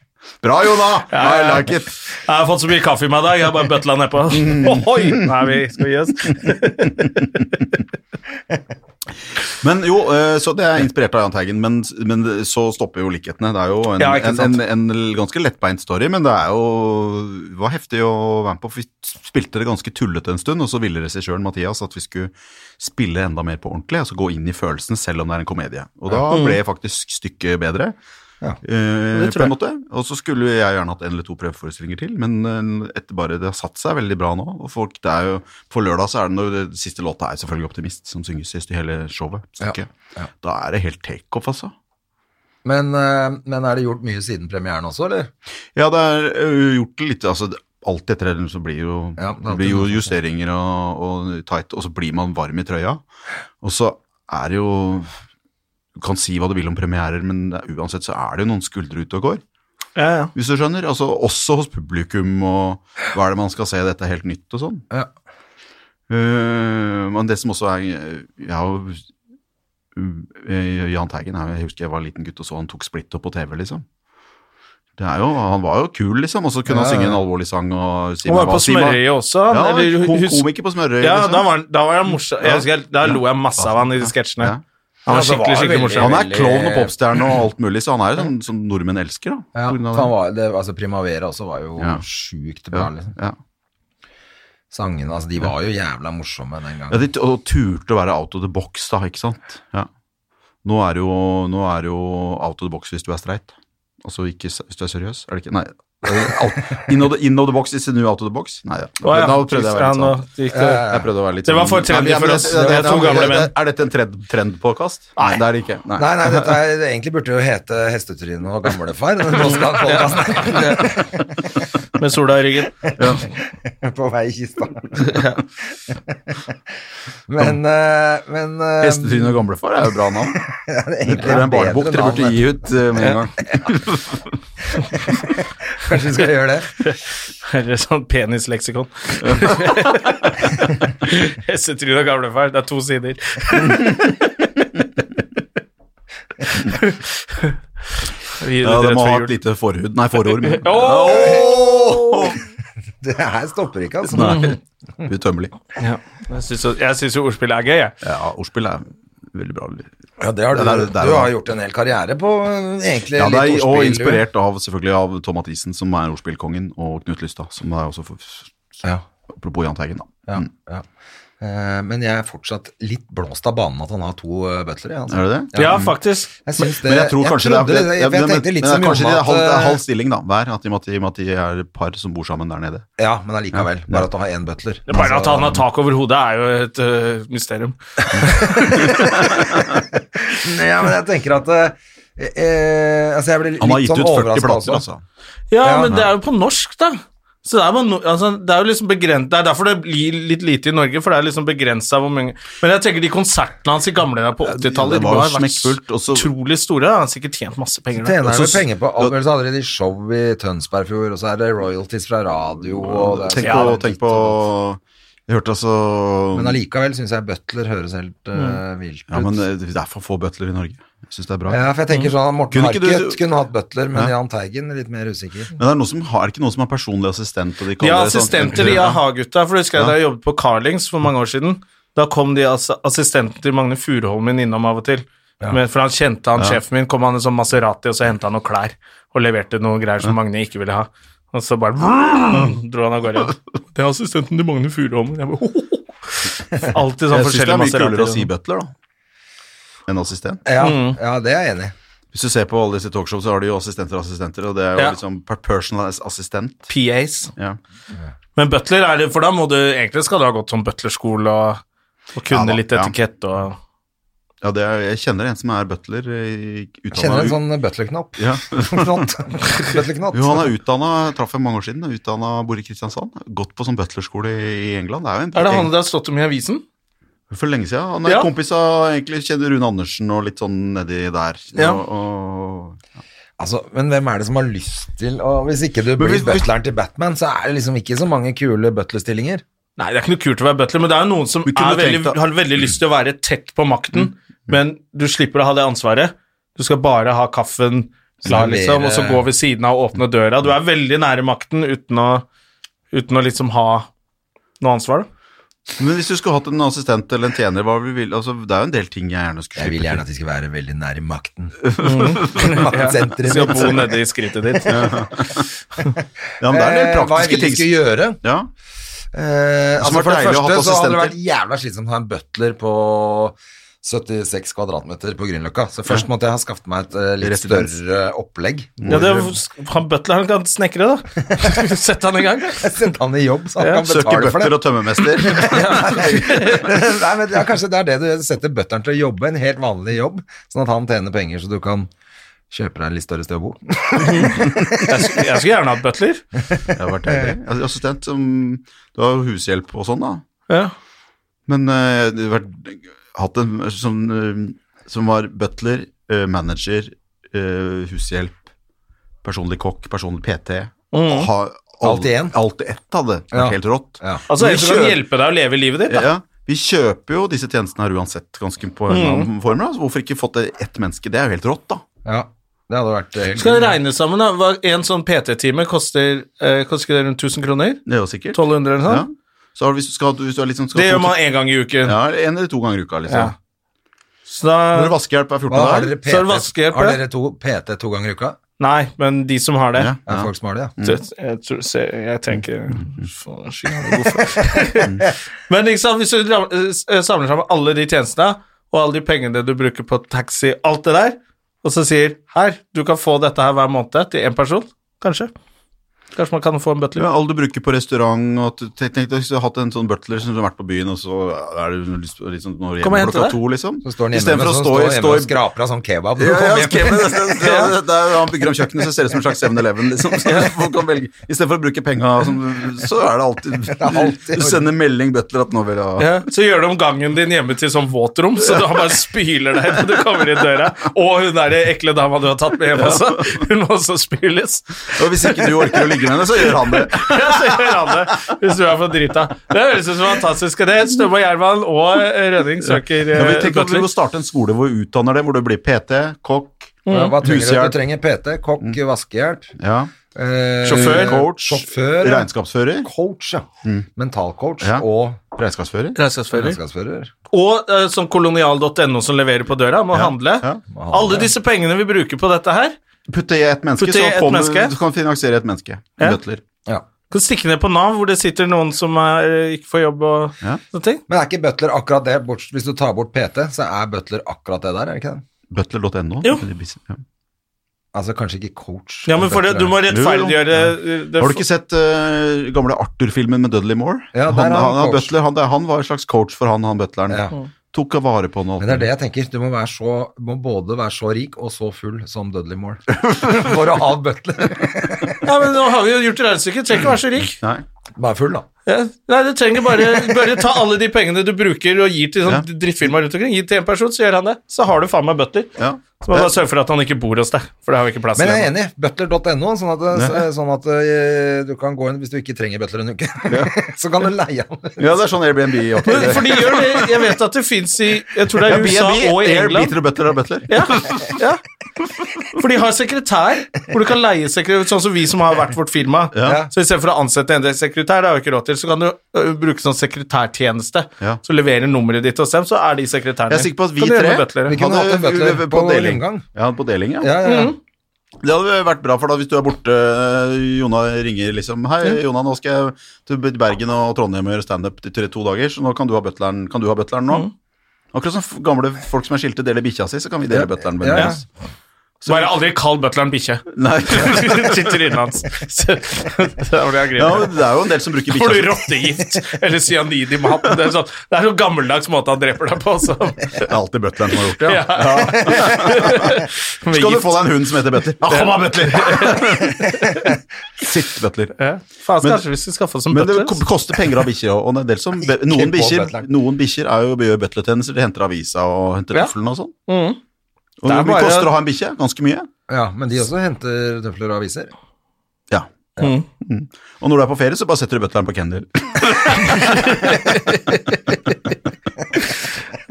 Speaker 5: Bra, Jona! I like it!
Speaker 1: [LAUGHS] Jeg har fått så mye kaffe i meg i dag, jeg har bare bøtla
Speaker 5: [LAUGHS]
Speaker 1: nedpå.
Speaker 5: Mm.
Speaker 1: Oi! Nei, vi skal gi oss.
Speaker 5: Men jo, øh, så det er inspirert av Jahn Teigen, men, men så stopper jo likhetene. Det er jo en,
Speaker 1: Ja, ikke
Speaker 5: en,
Speaker 1: sant.
Speaker 5: en, en ganske lettbeint story, men det er jo det var heftig å være med på. for Vi spilte det ganske tullete en stund, og så ville regissøren Mathias at vi skulle spille enda mer på ordentlig, altså gå inn i følelsen selv om det er en komedie. Og da ble faktisk stykket bedre.
Speaker 2: Ja.
Speaker 5: eh,
Speaker 1: Det tror
Speaker 5: på en
Speaker 1: jeg.
Speaker 5: måte. Og så skulle jeg gjerne hatt en eller to prøveforestillinger til, men eh, etter bare det har satt seg veldig bra nå. Og folk, det er jo, På lørdag så er det når det siste låta er selvfølgelig 'Optimist', som synges sist i hele showet. stykket.
Speaker 2: Ja, ja.
Speaker 5: Da er det helt takeoff, altså.
Speaker 2: Men, eh, men er det gjort mye siden premieren også, eller?
Speaker 5: Ja, det er ø, gjort litt altså, det- Alt etter det så blir jo,
Speaker 2: Ja, det er
Speaker 5: det blir jo
Speaker 2: alltid noe
Speaker 5: justeringer og, og tight, og så blir man varm i trøya. Og så er det jo Du kan si hva du vil om premierer, men det er- uansett så er det jo noen skuldre ute og går.
Speaker 1: Ja, ja.
Speaker 5: Hvis du skjønner? Altså, også hos publikum, og hva er det man skal se, dette er helt nytt og sånn.
Speaker 2: Ja.
Speaker 5: Eh, men det som også er Jeg har jo eh, Jahn Teigen er jo- Jeg husker jeg var liten gutt og så han tok splitt opp på TV, liksom. Det er jo, han var jo kul, liksom, og så kunne
Speaker 2: Ja,
Speaker 5: han
Speaker 2: ja.
Speaker 5: synge en alvorlig sang. Og si
Speaker 1: Han var
Speaker 5: meg
Speaker 1: jo
Speaker 5: hva-
Speaker 1: på
Speaker 5: si meg-
Speaker 1: Smørøyet også.
Speaker 5: Ja,
Speaker 1: Han, eller,
Speaker 5: kom-
Speaker 1: husk-
Speaker 5: komiker på Smørøyet.
Speaker 1: ja
Speaker 5: liksom.
Speaker 1: da var, han- da var han morsom. Jeg husker, jeg- da
Speaker 5: Ja.
Speaker 1: lo jeg masse av han i de sketsjene.
Speaker 5: Ja.
Speaker 1: Han var
Speaker 2: Ja, det var
Speaker 1: skikkelig, skikkelig
Speaker 2: veldig-
Speaker 1: morsom.
Speaker 5: Han er
Speaker 2: veldig-
Speaker 5: klovn og popstjerne og alt mulig, så han er jo sånn som nordmenn elsker, da.
Speaker 2: Ja,
Speaker 5: på grunn av
Speaker 2: for han var, det, altså Primavera også var jo
Speaker 5: Ja.
Speaker 2: sjukt bra.
Speaker 5: det.
Speaker 2: Liksom.
Speaker 5: Ja, ja.
Speaker 2: Sangene altså, de var jo jævla morsomme den gangen.
Speaker 5: Ja, de t- og turte å være out of the box, da, ikke sant? Ja. Nå er det jo, nå er det jo out of the box hvis du er streit. Altså ikke s- hvis du er seriøs, er det ikke? Nei. [LAUGHS] Eh, out- In of the, in of the box is the new out of the box? Nei, ja.
Speaker 1: Å, ja.
Speaker 5: Da prøvde jeg å være
Speaker 1: Han
Speaker 5: litt sånn.
Speaker 1: og- det gikk det-
Speaker 5: Jeg prøvde å være litt
Speaker 1: Det var
Speaker 5: sånn-
Speaker 1: for trendy
Speaker 5: Nei, men-
Speaker 1: for
Speaker 5: men-
Speaker 1: oss. Det var to gamle menn.
Speaker 5: Er dette en trend, trendpåkast? Nei. Det er det ikke. Nei.
Speaker 2: Nei, nei, dette er, det egentlig burde jo hete Hestetryne og gamlefar. Den podkasten
Speaker 1: Med sola i ryggen.
Speaker 2: [LAUGHS] på vei i kista. men eh, men eh,
Speaker 5: Hestetryne og gamlefar er jo bra navn.
Speaker 2: [LAUGHS] ja, det er
Speaker 5: Det
Speaker 2: egentlig
Speaker 5: er en
Speaker 2: bedre
Speaker 5: barnebok dere
Speaker 2: navn,
Speaker 5: burde gi ut eh, med
Speaker 2: [LAUGHS]
Speaker 5: en gang.
Speaker 2: Kanskje vi skal gjøre det.
Speaker 1: Eller sånn penisleksikon. [LAUGHS] Hessetryn og gamlefar. Det er to sider. [LAUGHS] Vi gir
Speaker 5: Ja,
Speaker 1: det
Speaker 5: det
Speaker 1: rett
Speaker 5: må
Speaker 1: før
Speaker 5: ha
Speaker 1: jul.
Speaker 5: et lite forhud. Nei, forord.
Speaker 2: [LAUGHS]
Speaker 5: men-
Speaker 1: Åh!
Speaker 2: Det her stopper ikke, altså.
Speaker 5: Nei. Utømmelig.
Speaker 1: Ja, jeg syns jo- jeg syns jo ordspillet er gøy, jeg.
Speaker 5: Ja, ordspill er veldig bra.
Speaker 2: Ja, det har du,
Speaker 5: Det der- det der
Speaker 2: du
Speaker 5: var-
Speaker 2: har gjort en hel karriere på eh, egentlig
Speaker 5: Ja, det er,
Speaker 2: litt
Speaker 5: og
Speaker 2: ordspill. du.
Speaker 5: inspirert av, selvfølgelig av Tom Mathisen, som er ordspillkongen, og Knut Lystad, som er også for,
Speaker 2: Ja,
Speaker 5: Apropos Jahn Teigen, da. Mm.
Speaker 2: ja, ja. Eh, Men jeg er fortsatt litt blåst av banen at han har to eh, butlere. jeg, Altså.
Speaker 5: Er det det?
Speaker 1: Ja, faktisk.
Speaker 2: Jeg syns det
Speaker 5: Men jeg tror kanskje
Speaker 2: trodde
Speaker 5: det er
Speaker 2: jeg, jeg tenkte litt
Speaker 5: men
Speaker 2: som
Speaker 5: Kanskje
Speaker 2: Jonna
Speaker 5: det er halv, det er
Speaker 2: at, eh,
Speaker 5: halv stilling, da, hver. At de, at de, at de er et par som bor sammen der nede.
Speaker 2: Ja, men allikevel. Bare at du har én butler.
Speaker 1: Det er bare at
Speaker 2: Altså,
Speaker 1: han har tak over hodet, er jo et øh, mysterium.
Speaker 2: Altså, Ja, men jeg tenker at eh, eh, Altså, jeg blir litt
Speaker 5: Han har gitt
Speaker 2: sånn
Speaker 5: ut 40
Speaker 2: overrasket
Speaker 5: plater,
Speaker 2: også.
Speaker 5: altså.
Speaker 1: Ja,
Speaker 2: Ja.
Speaker 1: men det er jo på norsk, da. Så det er, jo no, altså, det er jo liksom begrenset, det er derfor det blir litt lite i Norge, for det er liksom begrensa hvor mange Men jeg tenker de konsertene hans i gamle dager på 80-tallet
Speaker 5: det
Speaker 1: de må
Speaker 5: var jo
Speaker 1: ha vært
Speaker 5: smekkfullt, og så-
Speaker 1: utrolig store. da. Han har sikkert tjent masse penger. da.
Speaker 2: Tjener
Speaker 5: Og så-
Speaker 2: vel penger på alt mulig, så hadde de show i Tønsbergfjord, og så er det royalties fra radio og det, er-
Speaker 5: Tenk
Speaker 2: så er
Speaker 5: på,
Speaker 2: det
Speaker 5: tenk
Speaker 2: litt
Speaker 5: på
Speaker 2: sånn.
Speaker 5: Jeg hørte altså
Speaker 2: Men allikevel syns jeg butler høres helt eh, vilt ut.
Speaker 5: Ja, men eh, det er for få butler i Norge. Jeg syns det er bra.
Speaker 2: Ja, for jeg tenker sånn Morten
Speaker 5: Kunne ikke du-
Speaker 2: Harket kunne hatt butler, men
Speaker 5: Ja.
Speaker 2: Jahn Teigen er litt mer usikker.
Speaker 5: Men det er, noen som har, er det ikke noen som er personlig assistent? Og
Speaker 1: De
Speaker 5: de kaller
Speaker 1: har
Speaker 5: det sånn-
Speaker 1: assistenter, de AHA-gutta. For husker jeg da jeg jobbet på Carlings for mange år siden. Da kom de ass assistenten til Magne Furuholmen innom av og til. Men, for han kjente han sjefen min, kom han i sånn Maserati, og så henta han noen klær og leverte noen greier som Magne ikke ville ha. Og så bare dro han av gårde. Det er assistenten til Magne Furuholmen. Jeg bare, Alltid sånn
Speaker 5: Jeg syns det
Speaker 1: forskjellige
Speaker 5: Eh, er mye kulere å
Speaker 1: Maserati.
Speaker 5: si butler, da, enn assistent.
Speaker 2: Ja, ja, det er jeg enig i.
Speaker 5: Hvis du ser på alle disse talkshow, så har de jo assistenter og assistenter, og det er jo
Speaker 1: Ja.
Speaker 5: liksom per personal assistent.
Speaker 1: PAs.
Speaker 5: Ja.
Speaker 1: sånn. Men butler er det, for da må du egentlig skal du ha gått sånn butlerskole og, og kunne
Speaker 5: Ja da,
Speaker 1: litt
Speaker 5: ja.
Speaker 1: etikett og
Speaker 5: ja, det er, jeg kjenner en som er butler. eh,
Speaker 2: Jeg kjenner en
Speaker 5: utdannet-
Speaker 2: sånn butlerknopp. [LAUGHS]
Speaker 5: Ja.
Speaker 2: Knott. Butlerknott.
Speaker 5: Jo, han er utdanna, traff jeg mange år siden, utdanna, bor i Kristiansand. Gått på sånn butlerskole i England. Det er jo en,
Speaker 1: Er det han det har stått om i avisen?
Speaker 5: For lenge siden. Han er
Speaker 1: Ja.
Speaker 5: kompis av egentlig kjenner Rune Andersen og litt sånn nedi der.
Speaker 1: Ja.
Speaker 5: Og, og,
Speaker 2: Altså, men hvem er det som har lyst til å Hvis ikke du blir
Speaker 5: hvis- hvis-
Speaker 2: butleren til Batman, så er det liksom ikke så mange kule butlerstillinger.
Speaker 1: Nei, det er ikke noe kult å være butler, men det er jo noen som
Speaker 5: Vi kunne
Speaker 1: er veldig,
Speaker 5: tenkt Mm. det.
Speaker 1: har veldig lyst til å være tett på makten, men du slipper å ha det ansvaret. Du skal bare ha kaffen klar,
Speaker 2: Servere-
Speaker 1: liksom, og så gå ved siden av og åpne døra. Du er veldig nære makten uten å, uten å liksom ha noe ansvar, da.
Speaker 5: men hvis du skulle hatt en assistent eller en tjener, hva vi vil, altså, det er jo en del ting jeg gjerne skulle
Speaker 2: Jeg vil
Speaker 5: slippe
Speaker 2: gjerne at de skal være veldig nære makten. [LAUGHS] Maktsenteret
Speaker 1: Skal bo
Speaker 2: mitt.
Speaker 1: nede i skrittet ditt.
Speaker 5: til. Ja, men det er en del
Speaker 2: Eh, Hva jeg
Speaker 5: praktiske
Speaker 2: vil de
Speaker 5: ting.
Speaker 2: skal gjøre?
Speaker 5: Ja.
Speaker 2: Eh, altså
Speaker 5: vært
Speaker 2: for det
Speaker 5: deilig å ha
Speaker 2: første
Speaker 5: hatt
Speaker 2: så hadde det vært
Speaker 5: assistenter.
Speaker 2: jævla slitsomt å ha en butler på 76 kvadratmeter på Grünerløkka. Så først måtte jeg ha skaffet meg et eh, litt
Speaker 5: Residens.
Speaker 2: større opplegg.
Speaker 1: Ja, det er, han butler, han kan snekre, da. [LAUGHS] Sett han i gang.
Speaker 2: [LAUGHS] Jeg sendte han i jobb, så han kan
Speaker 5: Søker
Speaker 2: betale for det.
Speaker 5: bøtter og tømmermester.
Speaker 2: [LAUGHS] Nei, men ja, Kanskje det er det du setter bøtteren til å jobbe, en helt vanlig jobb, sånn at han tjener penger så du kan kjøpe deg en litt større sted å bo.
Speaker 1: Jeg skulle, jeg skulle gjerne hatt butler.
Speaker 5: Det har vært deilig. Altså, Assistent som Du har jo hushjelp og sånn, da.
Speaker 1: Ja.
Speaker 5: Men eh, det har vært, hatt en som, eh, som var butler, eh, manager, eh, hushjelp, personlig kokk, personlig PT.
Speaker 1: Mm.
Speaker 5: Ha,
Speaker 2: Alt i en.
Speaker 5: Alt i ett hadde vært
Speaker 2: Ja.
Speaker 5: helt rått.
Speaker 2: Ja.
Speaker 1: Altså,
Speaker 5: Vi
Speaker 1: en som kan
Speaker 5: kjører-
Speaker 1: hjelpe deg å leve livet ditt, da.
Speaker 5: Ja, vi kjøper jo disse tjenestene her uansett, ganske på en eller annen form. Da. Så hvorfor ikke fått det ett menneske? Det er jo helt rått, da.
Speaker 2: ja. Det hadde vært eh,
Speaker 1: Skal jeg regne sammen, da? Hva- En sånn PT-time koster, eh, koster det rundt 1000 kroner?
Speaker 5: Det er jo sikkert.
Speaker 1: 1200 eller noe
Speaker 5: Ja.
Speaker 1: sånt?
Speaker 5: Så har du- hvis du skal, hvis du er liksom, skal
Speaker 1: det
Speaker 5: ha
Speaker 1: gjør
Speaker 5: to-
Speaker 1: man én gang i uken.
Speaker 5: ja, en eller to ganger i uka, liksom.
Speaker 1: Ja. Så
Speaker 5: Når
Speaker 1: da,
Speaker 5: vaskehjelp er 14
Speaker 2: Hva har
Speaker 5: dager.
Speaker 2: dere PT?
Speaker 1: Så er det vaskehjelp,
Speaker 2: Har
Speaker 1: ja.
Speaker 2: dere to PT to ganger i uka?
Speaker 1: nei, men de som har det
Speaker 5: Ja, Mm,
Speaker 2: Er
Speaker 5: ja.
Speaker 2: folk som har det, ja?
Speaker 1: Så Jeg, jeg, tror, så jeg, jeg tenker faen, sky, han er god for- [LAUGHS] Men ikke sant, hvis du ram- eh, s- eh, samler sammen alle de tjenestene og alle de pengene du bruker på taxi, alt det der, og så sier her, du kan få dette her hver måned til én person, kanskje. Kanskje man kan få en butler.
Speaker 5: Ja, alle du bruker på restaurant og at- tenk, tenk, deg Hvis du har hatt en sånn butler som har vært på byen, og så er det lyst på liksom, når
Speaker 1: Kom og
Speaker 5: hjemme
Speaker 1: hente
Speaker 5: klokka
Speaker 1: deg.
Speaker 5: to, liksom.
Speaker 2: Så står han hjemme,
Speaker 5: Istedenfor
Speaker 2: med-
Speaker 5: å
Speaker 2: så
Speaker 5: stå
Speaker 2: står
Speaker 5: i
Speaker 2: han hjemme
Speaker 5: stå
Speaker 2: og
Speaker 5: i
Speaker 2: skraper av sånn kebab. når du
Speaker 5: ja,
Speaker 2: kommer
Speaker 5: ja,
Speaker 2: hjem.
Speaker 5: skrevet, det, det, [LAUGHS] det, det er, han bygger om kjøkkenet, så ser det ut som en slags 7-Eleven. Liksom. Istedenfor å bruke penga, som- så er [LAUGHS] det
Speaker 2: alltid-
Speaker 5: alltid Du sender melding butler at nå vil jeg ha
Speaker 1: Ja, så gjør de om gangen din hjemme til sånn våtrom, så du har bare spyler deg når du kommer inn døra. Og hun der ekle dama du har tatt med hjem også, hun må også spyles.
Speaker 5: Og hvis ikke du orker å ligge med henne, så gjør han det.
Speaker 1: Ja, så gjør han det, hvis du er for drita. Det høres ut som fantastisk. Det er Stømme og Gjerman og Rønning søker
Speaker 5: Ja,
Speaker 1: eh,
Speaker 5: men tenk at Vi
Speaker 1: butler.
Speaker 5: må starte en skole hvor vi utdanner dem, hvor du blir PT, kokk,
Speaker 2: Ja, Hva trenger du?
Speaker 5: Hushjelp. Mm.
Speaker 2: Du trenger PT, kokk, vaskehjelp
Speaker 5: ja,
Speaker 2: eh,
Speaker 1: Sjåfør.
Speaker 5: coach,
Speaker 2: Sjåfør, ja.
Speaker 5: regnskapsfører.
Speaker 2: coach, ja. Mentalcoach
Speaker 5: Mm. Ja.
Speaker 2: og
Speaker 5: Regnskapsfører.
Speaker 1: Regnskapsfører.
Speaker 2: regnskapsfører.
Speaker 1: Og eh, som kolonial.no som leverer på døra, må handle.
Speaker 5: ja.
Speaker 1: Alle disse pengene vi bruker på dette her,
Speaker 5: Putte i ett menneske,
Speaker 1: Putte i
Speaker 5: så
Speaker 1: ett
Speaker 5: kommer,
Speaker 1: menneske.
Speaker 5: du kan finansiere et menneske. En
Speaker 1: Ja.
Speaker 5: Butler.
Speaker 2: Ja.
Speaker 1: kan stikke ned på Nav, hvor det sitter noen som er, eh, ikke får jobb og
Speaker 5: Ja.
Speaker 1: sånne ting.
Speaker 2: Men er ikke butler akkurat det? Bort, hvis du tar bort PT, så er butler akkurat det der, er det ikke det?
Speaker 5: Butler.no.
Speaker 1: Jo.
Speaker 5: Ja.
Speaker 2: Altså kanskje ikke coach.
Speaker 1: Ja, men for det,
Speaker 2: Butler,
Speaker 1: du må
Speaker 2: ja.
Speaker 1: rettferdiggjøre eh, det.
Speaker 5: Har du ikke sett eh, gamle Arthur-filmen med Dudley Moore?
Speaker 2: Ja, der
Speaker 5: han,
Speaker 2: er han
Speaker 5: han, han,
Speaker 2: coach.
Speaker 5: butler, han, der- han var en slags coach for han, han butleren.
Speaker 2: Ja.
Speaker 5: Tok vare på han. og alt
Speaker 2: Men det er det
Speaker 5: mulig.
Speaker 2: jeg tenker. Du må, være så, må både være så rik og så full som Dudley Moore [LAUGHS] for å ha butler.
Speaker 1: Ja, men nå har vi jo gjort regnestykket. Trenger ikke være så rik.
Speaker 5: Nei.
Speaker 2: Bare full, da.
Speaker 1: Ja. Nei, du trenger bare, bare ta alle de pengene du bruker og gir til sånn drittfirmaer rundt omkring. Gi til en person, så gjør han det. Så har du faen meg butler.
Speaker 5: Ja.
Speaker 1: Så må du bare sørge for at han ikke bor hos deg, for det har vi ikke plass
Speaker 2: Men
Speaker 1: til.
Speaker 2: jeg er
Speaker 1: ennå.
Speaker 2: enig. Butler.no, sånn at,
Speaker 5: Ja.
Speaker 2: sånn at eh, du kan gå inn hvis du ikke trenger butler en uke. [LAUGHS] Så kan du leie han.
Speaker 5: [LAUGHS] ja, det er sånn Airbnb.
Speaker 1: Men,
Speaker 5: opplegg.
Speaker 1: for de gjør det. Jeg vet at det fins i Jeg tror det
Speaker 5: Ja,
Speaker 1: er i USA
Speaker 5: B&B,
Speaker 1: og i
Speaker 5: Air,
Speaker 1: England.
Speaker 5: Beater og Butler og Butler.
Speaker 1: Ja, ja. For de har sekretær, hvor du kan leie sekretær, sånn som vi som har hvert vårt firma.
Speaker 5: Ja.
Speaker 1: Så istedenfor å ansette en sekretær, det har vi ikke råd til, så kan du ø, bruke sånn sekretærtjeneste.
Speaker 5: Ja.
Speaker 1: Så leverer nummeret ditt hos dem, så er de sekretærene.
Speaker 5: Jeg er sikker på at vi
Speaker 1: Kan du gjøre
Speaker 5: tre
Speaker 1: med butlere?
Speaker 2: Vi kunne hatt en butler
Speaker 5: vi- vi-
Speaker 2: på
Speaker 5: deling.
Speaker 2: rundgang.
Speaker 5: Ja, på deling, ja.
Speaker 2: Ja, ja, ja.
Speaker 5: Det hadde vært bra, for da hvis du er borte, eh, Jonna ringer liksom Hei, Jonna, nå skal jeg til Bergen og Trondheim og gjøre standup i tre- to dager, så nå kan du ha butleren, kan du ha butleren nå? Akkurat som f- gamle folk som er skilte, deler bikkja si, så kan vi dele butleren.
Speaker 2: ja.
Speaker 5: mellom oss.
Speaker 1: Bare aldri kall butleren bikkje.
Speaker 5: Nei.
Speaker 1: Til [LAUGHS] trynet hans. Så- Det var det jeg grep.
Speaker 5: Ja, men det er jo en del som bruker
Speaker 1: Får du
Speaker 5: bikkja si.
Speaker 1: rottegift eller cyanid i maten? Det er sånn, det er sånn gammeldags måte han dreper deg på. Så.
Speaker 5: Det er alltid butleren som har gjort det,
Speaker 1: Ja.
Speaker 5: ja. Skal du få deg en hund som heter Butler? Ja, kom da, Butler! Sitt, Butler.
Speaker 1: ja. Faen,
Speaker 5: Men-
Speaker 1: kanskje vi skal skaffe oss en
Speaker 5: Men det
Speaker 1: butler?
Speaker 5: ko- koster penger å ha bikkjer òg. Og det er en del som- be-
Speaker 2: Ikke
Speaker 5: noen
Speaker 2: på
Speaker 5: bikkjer-
Speaker 2: butleren.
Speaker 5: noen bikkjer er jo gjør butlertjenester. De henter avisa og henter
Speaker 1: Ja.
Speaker 5: tøflene og sånn.
Speaker 1: Mm.
Speaker 5: Og
Speaker 1: Det er
Speaker 5: hvor mye
Speaker 1: bare-
Speaker 5: koster det å ha en bikkje? Ganske mye.
Speaker 2: ja, men de også henter tøfler og aviser.
Speaker 5: Ja.
Speaker 1: Mm.
Speaker 5: Mm. Og når du er på ferie, så bare setter du butleren på kennel.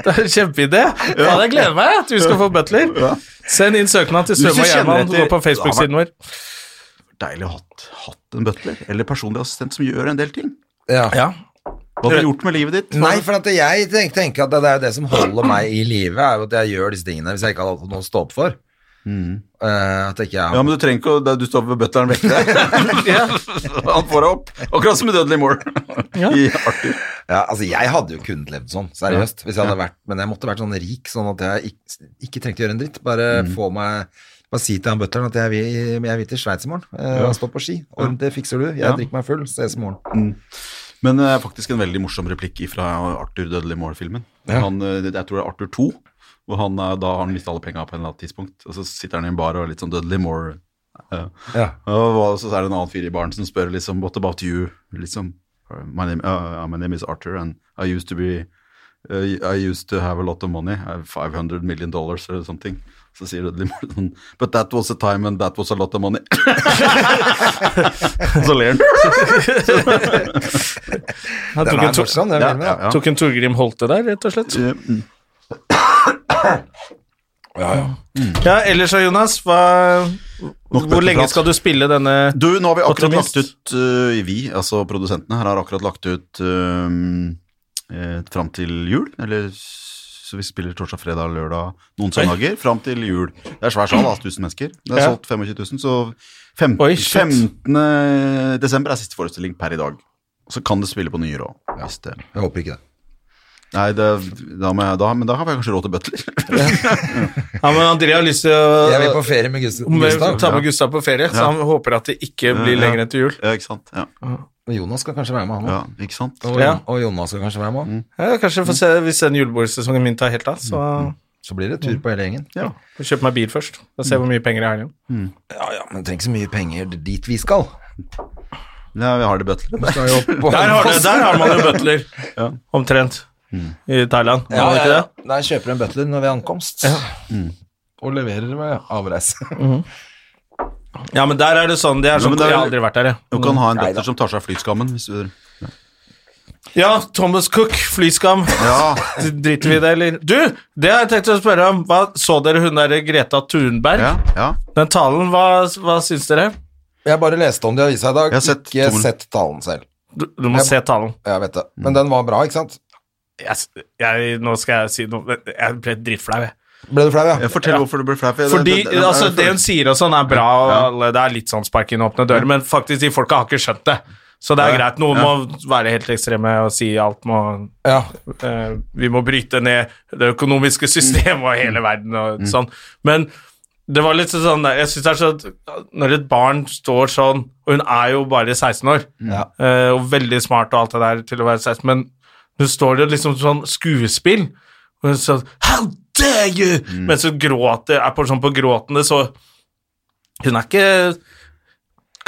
Speaker 1: Det er en kjempeidé. Ja, jeg gleder meg jeg, at du skal få butler.
Speaker 5: [LAUGHS] Ja.
Speaker 1: Send inn søknad til
Speaker 5: Hvis du
Speaker 1: Strøm og
Speaker 5: kjenner
Speaker 1: Gjerman gå
Speaker 5: etter-
Speaker 1: på Facebook-siden vår.
Speaker 5: Deilig å ha hatt- hatt en butler, eller personlig assistent som gjør en del ting.
Speaker 2: Ja.
Speaker 1: Ja.
Speaker 5: Hva har du gjort med livet ditt?
Speaker 2: Nei, for at jeg tenk- tenker at det det er jo det som holder meg i live, er jo at jeg gjør disse tingene hvis jeg ikke hadde hatt noe å stå opp for. Eh, at ikke jeg
Speaker 5: Mm. Ja, men du trenger ikke å Du står ved butleren vekk der.
Speaker 2: [LAUGHS]
Speaker 5: [LAUGHS] Han får deg opp. Akkurat som i Dudley Moore [LAUGHS] i Arthur.
Speaker 2: Ja, altså Jeg hadde jo kunnet levd sånn, seriøst. Hvis jeg hadde vært, men jeg måtte vært sånn rik, sånn at jeg ikke, ikke trengte å gjøre en dritt. Bare
Speaker 5: Mhm.
Speaker 2: få meg bare si til han butleren at jeg vil, jeg vil til Sveits i morgen. eh, og Stå på ski. Og det fikser du. Jeg
Speaker 5: Ja.
Speaker 2: drikker meg full. Ses i morgen.
Speaker 5: Men eh, faktisk en veldig morsom replikk fra Arthur Dudley Moore-filmen.
Speaker 2: Ja.
Speaker 5: Han, eh, Jeg tror det er Arthur 2, hvor han, eh, da har han mista alle penga på en eller annet tidspunkt. Og så sitter han i en bar og er litt sånn Dudley Moore. eh,
Speaker 2: Ja.
Speaker 5: Og hva- så er det en annen fyr i baren som spør liksom What about you? Liksom My name, uh, my name is Arthur, and I used to be uh, I used to have a lot of money. I have 500 million dollars or something. Så sier Dudley Moore sånn But that was a time and that was a lot of money. så ler han.
Speaker 1: [LAUGHS] Han
Speaker 2: Den
Speaker 1: tok
Speaker 2: er
Speaker 1: en, Tor-
Speaker 2: morsom, den
Speaker 5: Ja,
Speaker 2: filmen.
Speaker 5: ja, ja.
Speaker 1: tok en Torgrim Holte der, rett og slett.
Speaker 5: Eh, mm.
Speaker 1: Ja, ellers da, Jonas, hva,
Speaker 5: Nok
Speaker 1: hvor lenge
Speaker 5: bøtleprat.
Speaker 1: skal du spille denne
Speaker 5: Du, nå har vi akkurat
Speaker 1: Optimist.
Speaker 5: lagt ut øh, Vi, altså produsentene her har akkurat lagt ut øhm, eh, fram til jul. Eller s- så vi spiller torsdag, fredag, lørdag, noen søndager. Fram til jul. Det er svær sal, da, 1000 mennesker. Det er
Speaker 1: Ja.
Speaker 5: solgt 25 000, så 15,
Speaker 1: Oi, shit.
Speaker 5: 15. desember er siste forestilling per i dag. Og så kan det spille på nyere òg.
Speaker 2: Jeg håper ikke det.
Speaker 5: Nei, det, da må jeg, da, men da har jeg kanskje råd til butler.
Speaker 1: Ja, men André har lyst til å
Speaker 2: Jeg vil på ferie med Gust-
Speaker 1: Om vi
Speaker 2: Gustav.
Speaker 1: tar med Gustav på ferie, så
Speaker 5: Ja.
Speaker 1: han håper at det ikke blir
Speaker 5: Ja, ja.
Speaker 1: lenger enn til jul.
Speaker 5: [LAUGHS] ja, ikke sant? Ja,
Speaker 2: Og Jonas skal kanskje være med, han
Speaker 5: ja
Speaker 2: òg.
Speaker 5: ikke sant?
Speaker 2: Og,
Speaker 1: Ja.
Speaker 2: og Jonas skal kanskje være med òg.
Speaker 1: Ja, kanskje få se, hvis den julebordsesongen min tar helt av, så
Speaker 2: Så blir det tur på hele gjengen.
Speaker 5: Ja.
Speaker 1: får jeg kjøpe meg bil først. Da ser jeg hvor mye penger jeg har igjen.
Speaker 2: Ja, ja, men det trenger ikke så mye penger dit vi skal.
Speaker 5: Nei, vi har det butler.
Speaker 2: Vi
Speaker 1: [LAUGHS]
Speaker 2: skal jo opp på
Speaker 1: Der har, det, der har man jo butler,
Speaker 5: Ja.
Speaker 1: omtrent, i Thailand.
Speaker 2: Ja,
Speaker 1: Har man
Speaker 2: ja,
Speaker 1: ikke
Speaker 2: ja.
Speaker 1: det?
Speaker 2: Der kjøper du en butler når vi er ankomst. Og leverer ved avreise. [LAUGHS]
Speaker 1: Ja, men der er det sånn, det er
Speaker 5: Ja,
Speaker 1: sånn,
Speaker 5: men der-
Speaker 1: jeg har aldri vært der,
Speaker 5: Du
Speaker 1: jeg.
Speaker 5: kan ha en butler som tar seg av flyskammen. Hvis du,
Speaker 1: Ja, Thomas Cook, flyskam,
Speaker 5: ja,
Speaker 1: driter vi i det, eller? Du, det har jeg tenkt å spørre om, hva, så dere hun der Greta Thunberg?
Speaker 5: Ja, ja.
Speaker 1: Den talen, hva, hva syns dere?
Speaker 2: Jeg bare leste om det i avisa i dag.
Speaker 5: Jeg har sett
Speaker 2: ikke
Speaker 5: tommelen.
Speaker 2: sett talen selv.
Speaker 1: Du, du må
Speaker 2: Jeg-
Speaker 1: se talen.
Speaker 2: Jeg vet det. Men den var bra, ikke sant?
Speaker 1: Jeg, jeg, nå skal jeg si noe, jeg ble drittflau, jeg.
Speaker 2: Ble du flau, ja?
Speaker 5: Jeg forteller hvorfor du blir flau. for jeg-
Speaker 1: Fordi,
Speaker 5: det- det- det-
Speaker 1: altså,
Speaker 5: jeg
Speaker 1: det hun
Speaker 5: føler-
Speaker 1: sier og sånn er bra, og
Speaker 5: Ja.
Speaker 1: alle, det er litt sånn spark inn åpne dører, men faktisk, de folka har ikke skjønt det. Så det er
Speaker 5: Ja.
Speaker 1: greit, noen
Speaker 5: Ja.
Speaker 1: må være helt ekstreme og si alt må
Speaker 2: ja.
Speaker 1: eh, Vi må bryte ned det økonomiske systemet og hele verden og
Speaker 2: Mm.
Speaker 1: sånn. Men det var litt sånn der, Jeg syns det er så Når et barn står sånn, og hun er jo bare 16 år,
Speaker 2: Mm. Ja.
Speaker 1: eh, og veldig smart og alt det der til å være 16, men hun står jo liksom sånn skuespill, og hun sånn How dare you!
Speaker 2: Mm.
Speaker 1: Mens hun gråter, er på, sånn på gråtende, så Hun er ikke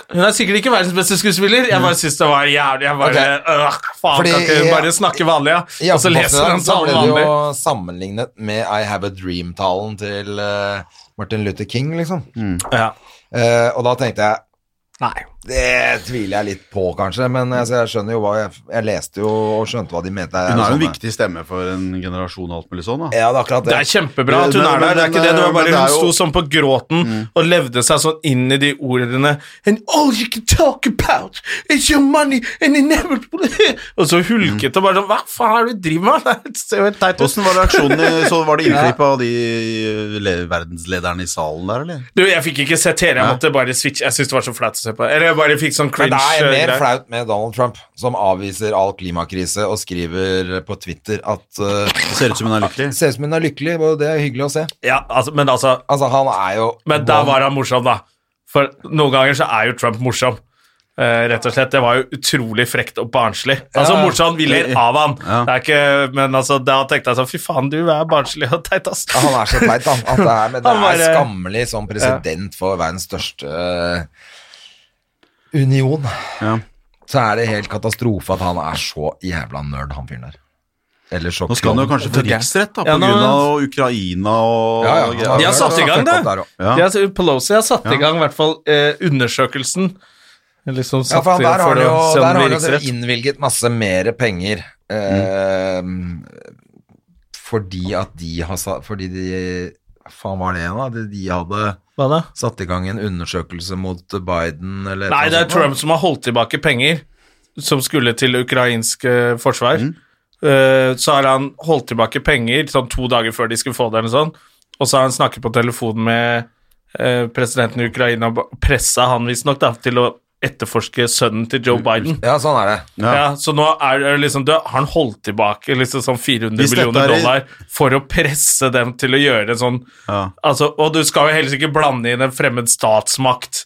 Speaker 1: hun er sikkert ikke verdens beste skuespiller. Jeg bare syns det var jævlig Jeg bare, øh, faen,
Speaker 2: Mm. Fordi
Speaker 1: Kan ikke hun
Speaker 2: i-
Speaker 1: bare snakke vanlig, ja?
Speaker 2: I
Speaker 1: Og så leser
Speaker 2: Aftenposten
Speaker 1: hun
Speaker 2: i dag så
Speaker 1: talen
Speaker 2: ble det
Speaker 1: vanlig.
Speaker 2: jo sammenlignet med I Have A Dream-talen til eh, Martin Luther King, liksom.
Speaker 1: Ja.
Speaker 2: Eh, og da tenkte jeg
Speaker 1: Nei.
Speaker 2: Det tviler jeg litt på, kanskje, men jeg, jeg skjønner jo hva jeg, jeg leste jo og skjønte hva de mente.
Speaker 5: Hun er jo en
Speaker 2: Sånn,
Speaker 5: viktig stemme for en generasjon og alt mulig sånn, da.
Speaker 2: Ja, det er akkurat
Speaker 1: Det
Speaker 2: det. eh,
Speaker 1: er kjempebra at hun
Speaker 5: Men-
Speaker 1: er der. Det er
Speaker 5: men-
Speaker 1: ikke det, det var
Speaker 5: men
Speaker 1: bare
Speaker 5: det er
Speaker 1: Hun
Speaker 5: jo-
Speaker 1: sto sånn på gråten
Speaker 2: Mm.
Speaker 1: og levde seg sånn inn i de ordene And all you can talk about is your money and inevitable Og så hulket og bare sånn Hva faen er det du driver med? [LAUGHS] Det ser jo helt teit ut.
Speaker 5: Åssen var reaksjonen? i- Så var det innklipp av de le- verdenslederne i salen der, eller?
Speaker 1: Du, jeg fikk ikke sett hele, jeg måtte bare switche. Jeg syntes det var så flaut å se på. Eller jeg bare fikk sånn cringe.
Speaker 2: Men det er mer
Speaker 1: eh, greier.
Speaker 2: flaut med Donald Trump, som avviser all klimakrise og skriver på Twitter at eh,
Speaker 5: Det ser ut som hun er
Speaker 2: det
Speaker 5: lykkelig.
Speaker 2: ser ut som hun er lykkelig, og det er hyggelig å se.
Speaker 1: Ja, altså, men altså
Speaker 2: Altså, han er jo
Speaker 1: Men der var han morsom, da. For noen ganger så er jo Trump morsom. Eh, rett og slett, Det var jo utrolig frekt og barnslig. Altså
Speaker 2: Ja.
Speaker 1: Morsom, vi ler av han.
Speaker 5: Ja.
Speaker 1: Det er ikke, men altså, da tenkte jeg sånn Fy faen, du er barnslig og teit, ass.
Speaker 2: Han er så teit, han. At det er,
Speaker 5: [LAUGHS]
Speaker 2: men det
Speaker 1: Han
Speaker 2: er
Speaker 1: bare-
Speaker 2: skammelig som president for verdens største eh, union.
Speaker 5: Ja.
Speaker 2: Så er det helt katastrofe at han er så jævla nerd, han fyren der. Eller så
Speaker 5: Nå skal han jo kanskje få riksrett, da,
Speaker 1: Ja,
Speaker 5: på
Speaker 1: nå-
Speaker 5: grunn av Ukraina og
Speaker 2: Ja, ja.
Speaker 5: greier.
Speaker 1: De har satt i gang, det.
Speaker 2: Der også.
Speaker 5: Ja.
Speaker 1: De har- Pelosi har satt
Speaker 5: Ja.
Speaker 1: i gang i hvert fall eh, undersøkelsen. Liksom
Speaker 2: Ja,
Speaker 1: satt
Speaker 2: for han,
Speaker 1: i gang
Speaker 2: der har
Speaker 1: for å
Speaker 2: han jo
Speaker 1: se
Speaker 2: der
Speaker 1: om
Speaker 2: har
Speaker 1: det
Speaker 2: han
Speaker 1: blir
Speaker 2: jo
Speaker 1: riksrett.
Speaker 2: innvilget masse mer penger. eh, fordi at de har sa- Fordi de hva Faen, var det igjen, da? De, de hadde
Speaker 1: Hva da?
Speaker 2: satt i gang en undersøkelse mot Biden eller et
Speaker 1: Nei,
Speaker 2: eller
Speaker 1: det er
Speaker 2: annet sånt.
Speaker 1: Trump som har holdt tilbake penger som skulle til ukrainsk eh, forsvar.
Speaker 5: Mhm.
Speaker 1: Eh, så har han holdt tilbake penger sånn to dager før de skulle få det, eller sånn. Og så har han snakket på telefonen med eh, presidenten i Ukraina og pressa han visstnok da, til å etterforske sønnen til
Speaker 5: Mm,
Speaker 1: Joe Biden.
Speaker 2: Ja, sånn er det.
Speaker 1: Ja. Så nå er det liksom død. Har han holdt tilbake liksom sånn 400
Speaker 5: Hvis dette
Speaker 1: millioner
Speaker 5: er i-
Speaker 1: dollar for å presse dem til å gjøre en sånn
Speaker 5: Ja.
Speaker 1: Altså, og du skal jo helst ikke blande inn en fremmed statsmakt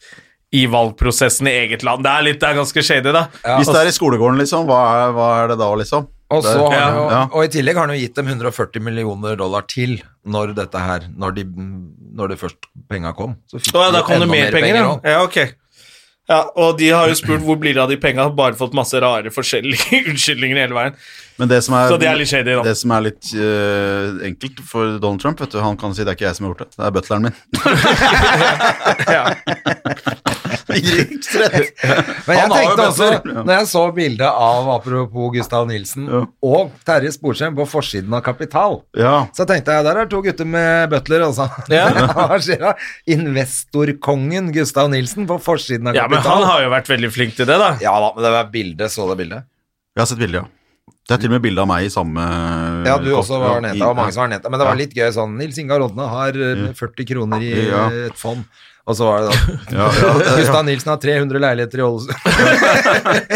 Speaker 1: i valgprosessen i eget land. Det er litt, det er ganske shady, da.
Speaker 5: Hvis det er i skolegården, liksom, hva er, hva er det da, liksom?
Speaker 2: Og, så har
Speaker 1: Ja,
Speaker 2: han jo,
Speaker 5: ja.
Speaker 2: og i tillegg har han jo gitt dem 140 millioner dollar til når dette her Når, de, når det først penga kom. Så fikk
Speaker 1: Å ja, da
Speaker 2: de jo
Speaker 1: kom det
Speaker 2: altså, enda
Speaker 1: mer penger, ja.
Speaker 2: også.
Speaker 1: ja. ok. Ja, og de har jo spurt hvor blir det av de penga, har bare fått masse rare forskjellige [LAUGHS] unnskyldninger hele veien.
Speaker 5: Men det som er,
Speaker 1: Så det er litt shady, da.
Speaker 5: Det som er litt eh, enkelt for Donald Trump, vet du, han kan si det er ikke jeg som har gjort det, det er
Speaker 2: [LAUGHS]
Speaker 5: butleren min.
Speaker 1: Ja.
Speaker 5: Riksrett.
Speaker 2: Men jeg
Speaker 5: Han har jo
Speaker 2: tenkte også,
Speaker 5: bøtter. Ja.
Speaker 2: når jeg så bildet av apropos Gustav Nilsen
Speaker 5: Ja.
Speaker 2: og Terje Sporsem på forsiden av Kapital,
Speaker 5: Ja.
Speaker 2: så tenkte jeg der er to gutter med butler, altså.
Speaker 1: Ja.
Speaker 2: [LAUGHS] Hva skjer da? Investorkongen Gustav Nilsen på forsiden av
Speaker 1: ja, men
Speaker 2: Kapital.
Speaker 1: han har jo vært veldig flink til det, da.
Speaker 2: Ja da, men det var bildet. Så det bildet?
Speaker 5: Jeg har sett bilde, ja. Det er til og med bilde av meg i samme
Speaker 2: Ja, du også var
Speaker 5: Mm, Ja, i-
Speaker 2: neta, og mange som
Speaker 5: ja.
Speaker 2: var neta. Men det var
Speaker 5: Ja. Mm.
Speaker 2: litt gøy sånn Nils Ingar Odne har eh, 40 kroner i
Speaker 5: Ja.
Speaker 2: eh, et fond, og så var det da
Speaker 5: [LAUGHS] Ja, ja,
Speaker 2: [LAUGHS]
Speaker 5: det- ja.
Speaker 2: Gustav Nilsen har 300 leiligheter i Ålesund.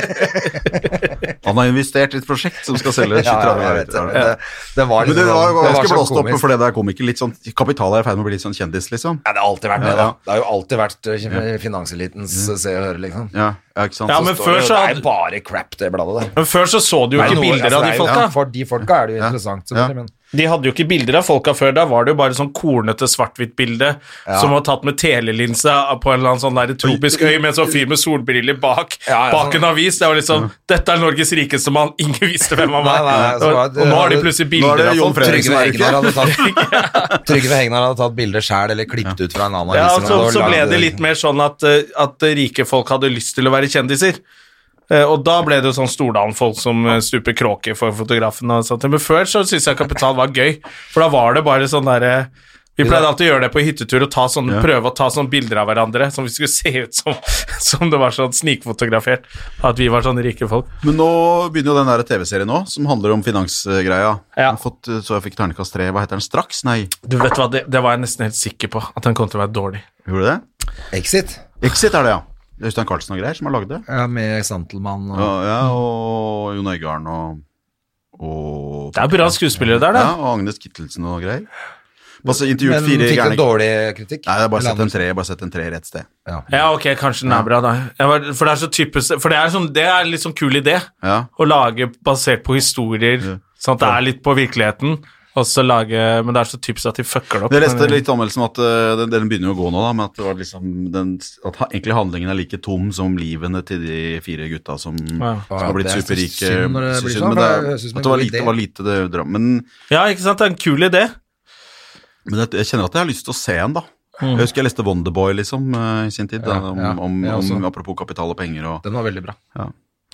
Speaker 5: Han har investert i et prosjekt som skal selge
Speaker 2: [LAUGHS] Ja, ja, jeg
Speaker 5: 30
Speaker 2: vet det. Men det, det var
Speaker 5: Men
Speaker 2: liksom
Speaker 5: det var
Speaker 2: sånn- det var
Speaker 5: ganske
Speaker 2: så
Speaker 5: blåst opp
Speaker 2: komisk.
Speaker 5: for det der komiker. Litt sånn, kapital er i ferd med å bli litt sånn kjendis, liksom.
Speaker 2: Ja, det har alltid vært det,
Speaker 5: Ja,
Speaker 2: da.
Speaker 5: ja. Mm.
Speaker 2: Det har jo alltid vært eh, finanselitens eh, Se og Høre, liksom.
Speaker 5: Ja, ja ikke sant?
Speaker 1: Ja,
Speaker 5: Så
Speaker 1: men
Speaker 5: står-
Speaker 1: før så,
Speaker 2: Det er
Speaker 1: hadde,
Speaker 2: bare crap, det bladet der.
Speaker 1: men før så så du jo
Speaker 2: Det er
Speaker 1: ikke
Speaker 2: noe-
Speaker 1: bilder
Speaker 2: altså,
Speaker 1: av
Speaker 2: det
Speaker 1: de
Speaker 2: er jo-
Speaker 1: folka.
Speaker 2: For de folka er det jo interessant,
Speaker 5: Ja.
Speaker 2: selvfølgelig, men
Speaker 1: De hadde jo ikke bilder av folka før. Da var det jo bare sånn kornete svart-hvitt-bilde som var tatt med telelinse på en eller annen sånn der tropisk øy med en sånn fyr med solbriller bak,
Speaker 2: Ja, ja,
Speaker 1: bak
Speaker 2: sånn.
Speaker 1: en avis. Det var liksom 'Dette er Norges rikeste mann'. Ingen visste hvem han
Speaker 2: Nei,
Speaker 1: var.
Speaker 2: nei, nei, så var
Speaker 1: og,
Speaker 2: det-
Speaker 1: og nå har de
Speaker 2: hadde-
Speaker 1: plutselig
Speaker 5: nå er
Speaker 1: bilder
Speaker 5: det
Speaker 1: av
Speaker 5: Jon
Speaker 1: folk.
Speaker 5: Fredriksen
Speaker 2: Trygve
Speaker 5: er ikke.
Speaker 2: Hegnar hadde
Speaker 1: [LAUGHS]
Speaker 2: tatt, Trygve Hegnar hadde tatt bilder sjæl, eller klippet ut fra en annen
Speaker 1: Ja,
Speaker 2: avis.
Speaker 1: og
Speaker 2: eller
Speaker 1: så,
Speaker 2: noe, og
Speaker 1: så ble
Speaker 2: lagde-
Speaker 1: det litt mer sånn at, eh, at rike folk hadde lyst til å være kjendiser. Eh, Og da ble det jo sånn Stordalen-folk som eh, stuper kråke for fotografen. og sånt. Men før så syntes jeg Kapital var gøy, for da var det bare sånn derre vi pleide alltid å gjøre det på hyttetur og ta sånne, prøve å ta sånne bilder av hverandre som vi skulle se ut som, [LAUGHS] som det var sånn snikfotografert. At vi var sånne rike folk.
Speaker 5: Men nå begynner jo den der TV-serien nå, som handler om finansgreia.
Speaker 1: Ja.
Speaker 5: Jeg har Fått, eh, så jeg fikk ternekast tre. Hva heter den? Straks? Nei,
Speaker 1: Du vet hva, Det, det var jeg nesten helt sikker på, at den kom til å være dårlig.
Speaker 5: gjorde du det?
Speaker 2: Exit.
Speaker 5: Exit er det, ja. Det er Øystein Carlsen og greier som har lagd det.
Speaker 2: Ja, med Santelmann og
Speaker 5: Ja, ja, og Jon Øigarden og, og
Speaker 1: Det er bra skuespillere der, da.
Speaker 5: Ja, og Agnes Kittelsen og greier. Bare så intervjuet
Speaker 2: Men
Speaker 5: fire
Speaker 2: fikk du
Speaker 5: gærne
Speaker 2: dårlig kritikk?
Speaker 5: Nei, jeg har bare
Speaker 2: Eller
Speaker 5: sett en tre, jeg har bare sett en tre rett sted.
Speaker 1: Ja, ok, kanskje den er bra, da. Jeg var, for det er så typisk For det er, sånn, det er litt sånn kul idé.
Speaker 5: Ja.
Speaker 1: Å lage basert på historier, sånn at det er litt på virkeligheten. Og så lage, Men det er så typisk at de fucker det opp.
Speaker 5: Jeg leste litt anmeldelsen at eh, den, den begynner jo å gå nå, da, men at, det var liksom den, at ha- egentlig handlingen er like tom som livene til de fire gutta som,
Speaker 1: Ja.
Speaker 5: som har blitt
Speaker 2: Det er så
Speaker 5: superrike.
Speaker 2: synd når det
Speaker 5: Så
Speaker 2: blir
Speaker 5: synd,
Speaker 2: sånn,
Speaker 5: men
Speaker 2: for det
Speaker 5: det, er-
Speaker 2: høres ut som
Speaker 5: at
Speaker 2: en
Speaker 5: det
Speaker 2: god
Speaker 5: var lite,
Speaker 2: idé.
Speaker 5: det var lite det, drøm. Men,
Speaker 1: Ja, ikke sant? Det er en kul idé.
Speaker 5: men jeg, jeg kjenner at jeg har lyst til å se en, da. Jeg husker jeg leste Wonderboy liksom, eh, i sin tid,
Speaker 2: Ja,
Speaker 5: da, om,
Speaker 2: ja,
Speaker 5: om,
Speaker 2: jeg også.
Speaker 5: om, apropos kapital og penger. Og,
Speaker 2: Den var veldig bra.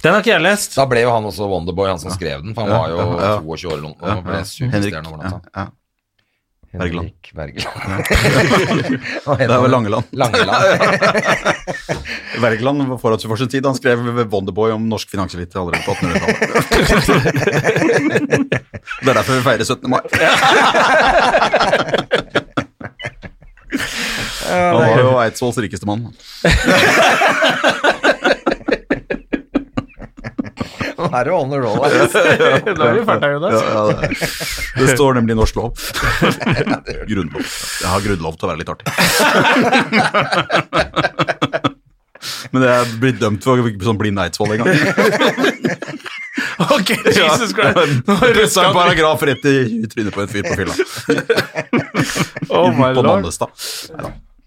Speaker 1: Den har ikke jeg lest.
Speaker 2: Da ble jo han også Wonderboy, han som skrev den. For han
Speaker 5: Ja,
Speaker 2: var jo
Speaker 5: ja, ja.
Speaker 2: 22 år eller noe.
Speaker 5: Ja,
Speaker 2: Og ble
Speaker 5: ja.
Speaker 2: superstjerne over
Speaker 5: ja,
Speaker 2: natta. [LAUGHS]
Speaker 5: ja. Bergland.
Speaker 2: Henrik [LAUGHS] Bergland. Hva
Speaker 5: Det
Speaker 2: heter
Speaker 5: er vel
Speaker 2: han?
Speaker 5: Langeland.
Speaker 2: [LAUGHS] Langeland.
Speaker 5: Wergeland var forut for sin tid. Han skrev Wonderboy om norsk finanselite allerede på
Speaker 2: [LAUGHS]
Speaker 5: 1800-tallet. det er derfor vi feirer 17. mai. Han var jo Eidsvolls rikeste mann.
Speaker 2: Nå er du on the roll. ass.
Speaker 1: Da er vi ferdige, Jonas.
Speaker 5: Ja, ja, det, det står nemlig i norsk lov. Grunnlov. Jeg har grunnlov til å være litt artig. Men jeg er blitt dømt for sånn blind Eidsvoll en gang.
Speaker 1: [LAUGHS] Ok, Jesus Christ. Nå
Speaker 5: Pussa
Speaker 1: russa
Speaker 5: en
Speaker 1: han
Speaker 5: paragraf rett i trynet på en fyr på fylla.
Speaker 1: Oh my
Speaker 5: på
Speaker 1: lord.
Speaker 5: Nannestad.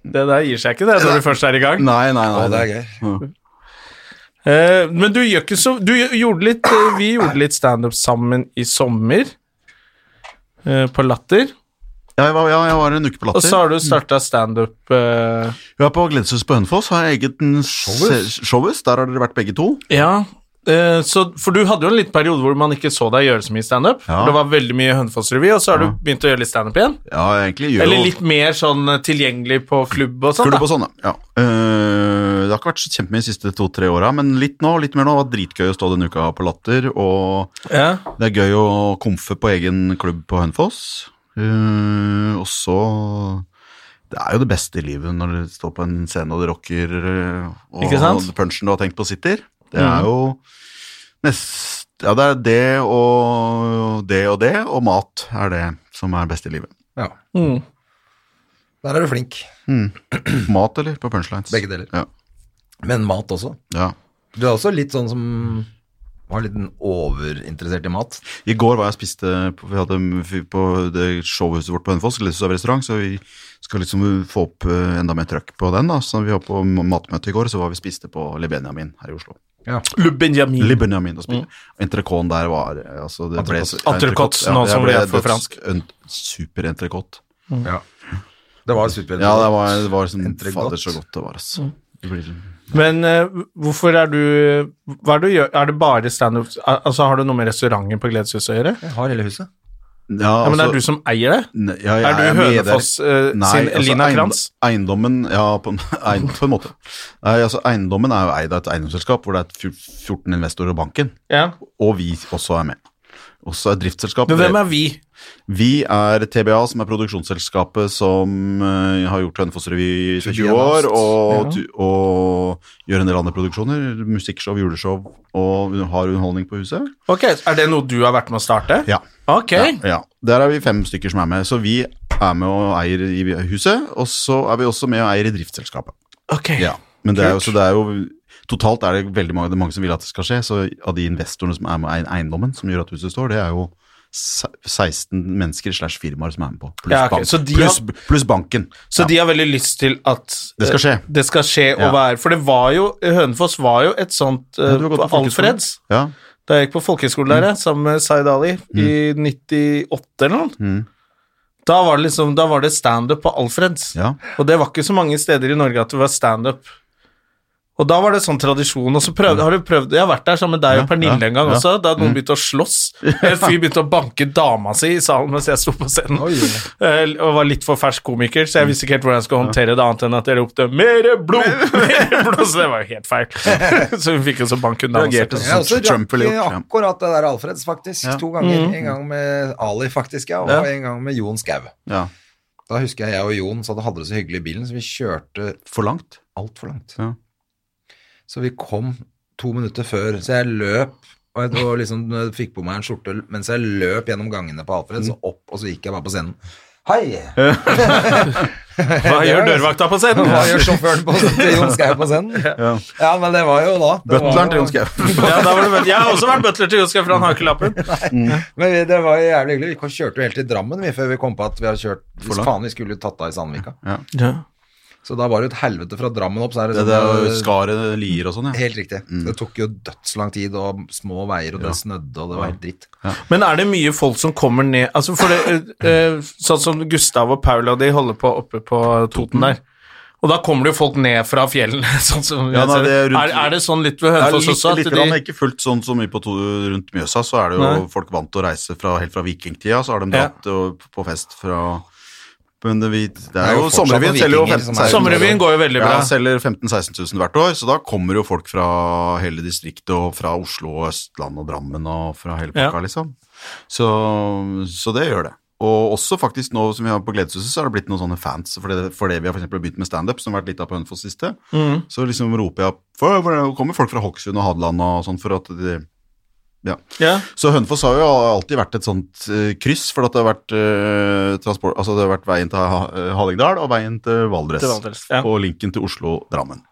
Speaker 1: Det der gir seg ikke, det, når du først er i gang.
Speaker 5: Nei, nei, nei.
Speaker 2: Å, det er gøy.
Speaker 1: Eh, men du gjør ikke så Du gjorde litt eh, Vi gjorde litt standup sammen i sommer. eh, på Latter.
Speaker 5: Ja, jeg var, ja, jeg var en uke på
Speaker 1: Og
Speaker 5: Latter.
Speaker 1: så har du starta standup eh,
Speaker 5: Ja, på Gledeshuset på Hønefoss har jeg eget en se- showhus. Der har dere vært begge to.
Speaker 1: Ja, eh, så, for du hadde jo en liten periode hvor man ikke så deg gjøre så mye standup.
Speaker 5: Ja.
Speaker 1: For Det var veldig mye Hønefoss-revy, og så har
Speaker 5: Ja.
Speaker 1: du begynt å gjøre litt standup igjen.
Speaker 5: Ja, jeg egentlig gjør
Speaker 1: Eller
Speaker 5: jo
Speaker 1: litt mer sånn eh, tilgjengelig på klubb og sånn.
Speaker 5: klubb
Speaker 1: da.
Speaker 5: og sånn, ja. ja. Eh, det har ikke vært så kjempemye de siste to-tre åra, men litt nå. Litt mer nå. Det var dritgøy å stå denne uka på Latter, og
Speaker 1: Ja.
Speaker 5: det er gøy å komfe på egen klubb på Hønefoss. Eh, og så Det er jo det beste i livet når du står på en scene og du rocker, eh, og
Speaker 1: Ikke sant? Mm.
Speaker 5: punchen du har tenkt på, sitter. Det er jo nest, Ja, det er det og det og det, og mat er det som er best i livet.
Speaker 2: Ja.
Speaker 1: Mm.
Speaker 2: Der er du flink.
Speaker 5: Mat eller på punchlines?
Speaker 2: Begge deler.
Speaker 5: Ja.
Speaker 2: Men mat også.
Speaker 5: ja.
Speaker 2: Du er også litt sånn som var litt en overinteressert i mat.
Speaker 5: I går var jeg og spiste på- Vi hadde vi- på det showhuset vårt på Hønefoss, Gledeshus av restaurant, så vi skal liksom få opp eh, enda mer trøkk på den. da Så vi var på matmøte i går, så var vi og spiste på Le Benjamin her i Oslo.
Speaker 1: Lubbenjamin.
Speaker 5: Le Benjamin og spiste. Entrecôten der var eh, altså, det ble,
Speaker 2: Entrecôte.
Speaker 1: Mm. Entrecôte,
Speaker 5: Ja,
Speaker 1: nå
Speaker 5: jeg
Speaker 1: som
Speaker 5: ble
Speaker 1: vi er for
Speaker 5: døds-
Speaker 1: fransk.
Speaker 5: en Superentrecôte.
Speaker 2: Ja. Det var supert.
Speaker 5: Ja, det var, det var sånn
Speaker 2: Entrecôte.
Speaker 5: Fader, så godt det var,
Speaker 1: Mm.
Speaker 5: altså. Det blir,
Speaker 1: Men eh, hvorfor er du Hva er det du gjør? Er det bare standup al- Altså, har du noe med restauranten på Gledeshuset å gjøre?
Speaker 2: Jeg har hele huset.
Speaker 5: ja,
Speaker 1: ja, men det
Speaker 5: altså-
Speaker 1: er du som eier det?
Speaker 5: Ne- ja, jeg
Speaker 1: Er du
Speaker 5: med der.
Speaker 1: Hønefoss, eh,
Speaker 5: Nei,
Speaker 1: sin Elina
Speaker 5: eiendom-
Speaker 1: Kranz?
Speaker 5: Eiendommen, ja, på en, [LAUGHS] eiendom, på en måte. Nei, altså, eiendommen er jo eid av et eiendomsselskap hvor det er fj- 14 investorer og banken,
Speaker 1: Ja.
Speaker 5: og vi også er med. Også er driftsselskapet.
Speaker 1: Men hvem er vi?
Speaker 5: Vi er TBA, som er produksjonsselskapet som eh, har gjort Hønefoss Revy i 20 år, og, tu- og gjør en del andre produksjoner. Musikkshow, juleshow, og har underholdning på huset.
Speaker 1: Ok, Er det noe du har vært med å starte?
Speaker 5: Ja.
Speaker 1: Ok.
Speaker 5: Ja, der er vi fem stykker som er med. Så vi er med og eier i huset, og så er vi også med og eier i driftsselskapet.
Speaker 1: Ok.
Speaker 5: Ja, men det er, jo, så det er jo Totalt er det veldig mange, det er mange som vil at det skal skje, så av de investorene som er med i eiendommen, som gjør at huset står, det er jo se- 16 mennesker slash firmaer som er med på, pluss,
Speaker 1: Ja, ok,
Speaker 5: bank,
Speaker 1: så de
Speaker 5: pluss,
Speaker 1: har-
Speaker 5: pluss banken.
Speaker 1: Så
Speaker 5: Ja.
Speaker 1: de har veldig lyst til at
Speaker 5: Det skal skje.
Speaker 1: eh, Det skal skje
Speaker 5: Ja.
Speaker 1: og være For det var jo Hønefoss var jo et sånt eh,
Speaker 5: Ja, du har gått
Speaker 1: på
Speaker 5: på Mm. folkehøyskole.
Speaker 1: Alfreds.
Speaker 5: Ja,
Speaker 1: Da jeg gikk på folkehøyskole der, jeg, sammen med Zaid Ali, i 98 eller noe,
Speaker 5: Mm.
Speaker 1: da var det liksom, da var det standup på Alfreds.
Speaker 5: ja.
Speaker 1: Og det var ikke så mange steder i Norge at det var standup. Og da var det sånn tradisjon, og så prøvde, har du prøvd Jeg har vært der sammen med deg
Speaker 5: Mm. Ja,
Speaker 1: og Pernille
Speaker 5: ja,
Speaker 1: en gang
Speaker 5: ja. Mm.
Speaker 1: også, da noen begynte å slåss.
Speaker 5: [LAUGHS]
Speaker 1: En fyr begynte å banke dama si i salen mens jeg sto på scenen. Eh, Og var litt for fersk komiker, så jeg visste ikke helt hvordan jeg skulle håndtere det, annet enn at jeg ropte 'mere
Speaker 5: [LAUGHS]
Speaker 1: blod', mere blod, så det var jo helt feil. Så hun fikk jo så bank hun dama si.
Speaker 5: Reagerte
Speaker 2: Jeg har også
Speaker 5: som Trump ville
Speaker 2: rakk
Speaker 5: gjort.
Speaker 2: akkurat det der Alfreds, faktisk.
Speaker 5: Ja.
Speaker 2: To ganger. En gang med Ali, faktisk, ja, og
Speaker 5: Ja.
Speaker 2: en gang med Jon Skau.
Speaker 5: Ja. Ja.
Speaker 2: Da husker jeg jeg og Jon satt og hadde det så hyggelig i bilen, så vi kjørte
Speaker 5: For langt.
Speaker 2: altfor langt.
Speaker 5: Ja.
Speaker 2: Så vi kom to minutter før, så jeg løp og jeg og liksom eh, fikk på meg en skjorte mens jeg løp gjennom gangene på Alfred, så opp, og så gikk jeg bare på scenen. Hei!
Speaker 1: Hva gjør
Speaker 2: Det var jo-
Speaker 1: dørvakta på scenen?
Speaker 2: Hva gjør sjåføren på
Speaker 5: [LAUGHS]
Speaker 2: til Jon Skau på scenen? Ja. men det var jo da. Det var
Speaker 5: Butleren
Speaker 2: jo-
Speaker 5: til Jon Skau. [LAUGHS]
Speaker 1: Ja, da var det bøtler. Jeg har også vært butler til Joskar, for han har ikke lappen.
Speaker 2: Men vi- det var jo jævlig hyggelig. Vi kjørte jo helt til Drammen vi, før vi kom på at vi hadde kjørt Hvis faen, vi skulle jo tatt av i Sandvika.
Speaker 1: Ja.
Speaker 2: Så da var det jo et helvete fra Drammen opp. Så er det,
Speaker 5: Det,
Speaker 2: sånn,
Speaker 5: det er
Speaker 2: eh,
Speaker 5: jo skaret lier og sånn, ja.
Speaker 2: Helt riktig. Det tok jo dødslang tid, og små veier, og det snødde, og det var helt dritt.
Speaker 1: Men er det mye folk som kommer ned altså for det, eh, eh, Sånn som Gustav og Paula de holder på oppe på Toten der. Og da kommer det jo folk ned fra fjellene. [LAUGHS] Sånn som,
Speaker 5: Ja, nei, det er
Speaker 1: er,
Speaker 5: rundt-
Speaker 1: er, det sånn litt ved
Speaker 5: Det er
Speaker 1: Hønefoss
Speaker 5: litt,
Speaker 1: også?
Speaker 5: litt
Speaker 1: At
Speaker 5: grann,
Speaker 1: de,
Speaker 5: ikke fullt sånn så mye på to, rundt Mjøsa, så er det jo
Speaker 1: Nei.
Speaker 5: folk vant til å reise fra, helt fra vikingtida, så har de
Speaker 1: Ja.
Speaker 5: dratt og, på fest fra Men det, vi, det
Speaker 2: er
Speaker 5: er
Speaker 2: jo
Speaker 5: jo
Speaker 2: fortsatt
Speaker 5: Sommerrevyen
Speaker 2: noen
Speaker 5: selger jo
Speaker 2: vikinger som
Speaker 5: 15
Speaker 2: er-
Speaker 5: 16
Speaker 1: sommerrevyen går jo veldig bra.
Speaker 5: Ja, selger 15 000-16 000 hvert år, så da kommer jo folk fra hele distriktet, og fra Oslo og Østland og Drammen og fra hele pakka,
Speaker 1: Ja.
Speaker 5: liksom. Så, så det gjør det. Og også faktisk nå som vi har på Gledeshuset, så har det blitt noen sånne fans. For det, for det vi har for eksempel begynt med standup, som har vært litt av på Hønefoss siste,
Speaker 1: Mm.
Speaker 5: så liksom roper jeg opp for, for det kommer folk fra Hokksund og Hadeland og sånn for at de ja.
Speaker 1: ja.
Speaker 5: Så Hønefoss har jo alltid vært et sånt eh, kryss, for at det har vært eh, transport, altså det har vært veien til Ha- eh, Hallingdal og veien til Valdres,
Speaker 1: Til Valdres, ja.
Speaker 5: og linken til Oslo-Drammen.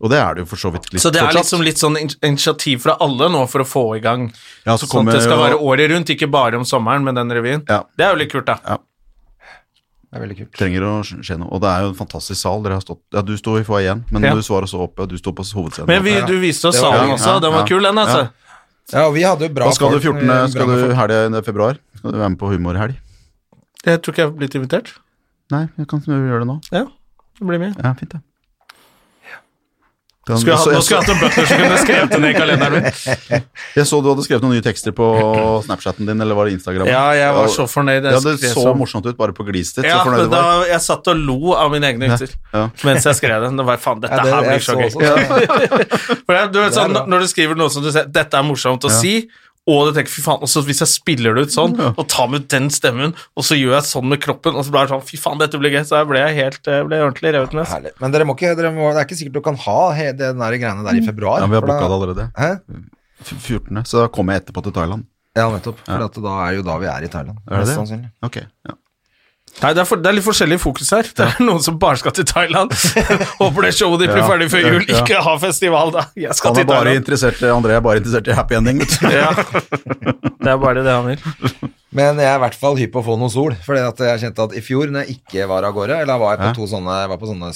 Speaker 5: Og det er det jo for så vidt litt
Speaker 1: Så det er
Speaker 5: fortsatt.
Speaker 1: liksom litt sånn in- initiativ fra alle nå for å få i gang.
Speaker 5: ja, så
Speaker 1: Sånn
Speaker 5: kommer
Speaker 1: at det skal
Speaker 5: jo-
Speaker 1: være året rundt, ikke bare om sommeren med den revyen.
Speaker 5: Ja.
Speaker 1: Det er jo litt kult, da.
Speaker 2: Det er veldig kult.
Speaker 5: trenger å sk- skje noe. Og det er jo en fantastisk sal. Dere har stått, ja, du sto i foajeen, men
Speaker 1: Ja.
Speaker 5: du svarer så opp, ja, du står på hovedscenen.
Speaker 1: Men vi, du viste oss
Speaker 2: Det var
Speaker 1: salen
Speaker 2: gøy.
Speaker 1: også, den
Speaker 5: Ja,
Speaker 1: var kul, den, altså.
Speaker 5: ja.
Speaker 2: Ja, og vi hadde jo bra
Speaker 5: da skal du
Speaker 2: folk,
Speaker 5: 14.
Speaker 2: eh, bra
Speaker 5: Skal
Speaker 2: med
Speaker 5: du
Speaker 2: folk.
Speaker 5: helgen i februar? Skal du være med på humorhelg?
Speaker 1: Jeg tror ikke jeg har blitt invitert.
Speaker 5: Nei, jeg kan gjøre det nå.
Speaker 1: Ja, det blir med.
Speaker 5: Ja, fint, det. Den-
Speaker 1: Skulle jeg, hatt-
Speaker 5: Sånn, så-
Speaker 1: nå skulle jeg hatt en butler som kunne skrevet det ned i kalenderen min.
Speaker 5: Jeg så du hadde skrevet noen nye tekster
Speaker 1: [CLEARS THROAT]
Speaker 5: på Snapchatten din, eller var det Instagram?
Speaker 1: Ja, jeg var så fornøyd.
Speaker 5: Ja,
Speaker 1: Jeg
Speaker 5: det
Speaker 1: skrev
Speaker 5: så
Speaker 1: som-
Speaker 5: morsomt ut, bare på gliset ditt.
Speaker 1: Ja,
Speaker 5: så fornøyd
Speaker 1: men
Speaker 5: du
Speaker 1: da,
Speaker 5: var.
Speaker 1: jeg satt og lo av mine egne vitser
Speaker 5: Ja.
Speaker 1: mens jeg skrev den. Det var faen, dette
Speaker 2: Ja, det-
Speaker 1: her blir
Speaker 2: jeg
Speaker 1: så
Speaker 2: så
Speaker 1: gøy.
Speaker 2: også det.
Speaker 1: For det, er- du, vet sånn,
Speaker 2: bra.
Speaker 1: når du skriver noe som du ser, dette er morsomt å si, og du tenker, fy faen, og så hvis jeg spiller det ut sånn, og tar med den stemmen, og så gjør jeg sånn med kroppen, og så blir det sånn, fy faen, dette blir gøy, så jeg ble jeg helt, eh, ble ordentlig revet med.
Speaker 2: Herlig. Men dere må ikke, dere må, det er ikke sikkert du kan ha he, det der greiene
Speaker 1: Mm.
Speaker 2: der i februar.
Speaker 5: Ja, vi har
Speaker 2: for da-
Speaker 5: booka det allerede.
Speaker 2: Hæ?
Speaker 5: F- 14. Så da kommer jeg etterpå til Thailand.
Speaker 2: Ja, nettopp. For at da er jo da vi er i Thailand.
Speaker 5: Er det
Speaker 2: mest
Speaker 5: det?
Speaker 2: sannsynlig.
Speaker 5: Ok, ja.
Speaker 1: Nei, det er, for, det er litt forskjellig fokus her. Det er noen som bare skal til
Speaker 5: [LAUGHS]
Speaker 1: Thailand, håper det showet de blir
Speaker 5: Ja.
Speaker 1: ferdig før jul,
Speaker 5: Ja.
Speaker 1: ikke ha festival da. Jeg skal
Speaker 5: Han
Speaker 1: til
Speaker 5: er bare
Speaker 1: Thailand.
Speaker 5: interessert, André er bare interessert i happy ending, vet
Speaker 1: [LAUGHS]
Speaker 5: du.
Speaker 1: Ja. Det er bare det han vil.
Speaker 2: Men jeg er i hvert fall hypp på å få noe sol. For jeg kjente at i fjor, når jeg ikke var av gårde, eller var jeg på to sånne, jeg var på sånne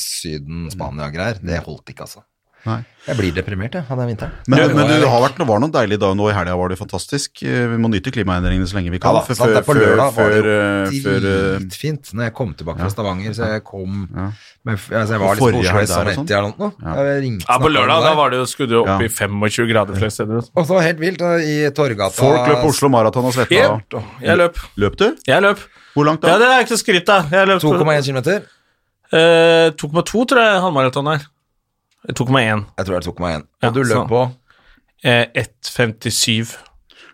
Speaker 2: Syden-Spania-greier, det holdt ikke, altså.
Speaker 5: Nei.
Speaker 2: Jeg blir deprimert, jeg, av den vinteren.
Speaker 5: Men,
Speaker 2: Ja,
Speaker 5: men
Speaker 2: nå er
Speaker 5: du
Speaker 2: jeg-
Speaker 5: har vært, det var noen deilige dager nå i helga, var det fantastisk. Eh, Vi må nyte klimaendringene så lenge vi kan.
Speaker 2: Ja da,
Speaker 5: for-
Speaker 2: sant, det er på lørdag var
Speaker 5: før,
Speaker 2: det jo
Speaker 5: før, eh,
Speaker 2: dritfint når jeg kom tilbake fra Stavanger, så jeg kom
Speaker 5: Ja.
Speaker 2: men, f- altså, Jeg
Speaker 5: Og
Speaker 2: var litt på
Speaker 5: forrige
Speaker 2: Oslo
Speaker 5: helg
Speaker 2: S om
Speaker 5: der og sånn?
Speaker 2: etter eller noe. Jeg ringte,
Speaker 1: Ja, på
Speaker 2: snakket med
Speaker 1: lørdag
Speaker 2: deg.
Speaker 1: da var det jo, skulle du jo opp
Speaker 5: Ja.
Speaker 1: i 25 grader flere steder. og sånn.
Speaker 2: Og så var det helt vilt, da, i Torgata
Speaker 5: folk løp på Oslo Maraton og svetta.
Speaker 1: Jep. Jeg løp.
Speaker 5: Løp du?
Speaker 1: Jeg løp.
Speaker 5: Hvor langt
Speaker 1: Ja,
Speaker 5: da?
Speaker 1: det er ikke skryt, da. Jeg løp
Speaker 2: 2,1 km.
Speaker 1: Eh, 2,2 tror jeg halvmaraton er. Eh, 2,1.
Speaker 2: Jeg tror det er 2,1.
Speaker 1: Ja,
Speaker 2: Og du
Speaker 1: sånn.
Speaker 2: løp på
Speaker 1: Eh, 1,57.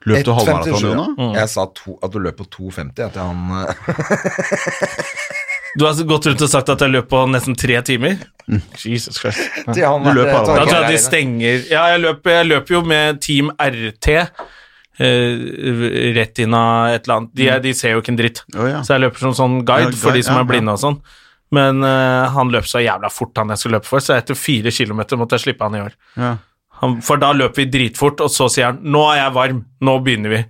Speaker 5: Løp du
Speaker 2: 1,57,
Speaker 5: halvmaraton, Jona?
Speaker 1: Mm.
Speaker 2: ja. Jeg sa to, at du løp på 2,50, jeg, til han [LAUGHS] eh,
Speaker 1: Du har gått rundt og sagt at jeg løp på nesten tre timer?
Speaker 5: Mm.
Speaker 1: Jesus Christ.
Speaker 2: til han
Speaker 5: Du løp
Speaker 2: eh,
Speaker 5: halvmaraton.
Speaker 1: Da tror
Speaker 2: Torgata
Speaker 1: jeg de
Speaker 2: der inne.
Speaker 1: stenger Ja, jeg løper, jeg løper jo med Team RT. eh, Retina et eller annet. De, er- de ser jo ikke en dritt.
Speaker 5: Mm. Å, ja.
Speaker 1: Så jeg løper som sånn
Speaker 5: Ja,
Speaker 1: guide for de
Speaker 5: guide,
Speaker 1: som
Speaker 5: ja,
Speaker 1: er blinde og sånn. Men eh, han løp så jævla fort, han jeg skulle løpe for, så etter fire kilometer måtte jeg slippe han i år.
Speaker 5: Ja.
Speaker 1: Han, for da løper vi dritfort, og så sier han 'nå er jeg varm, nå begynner vi'.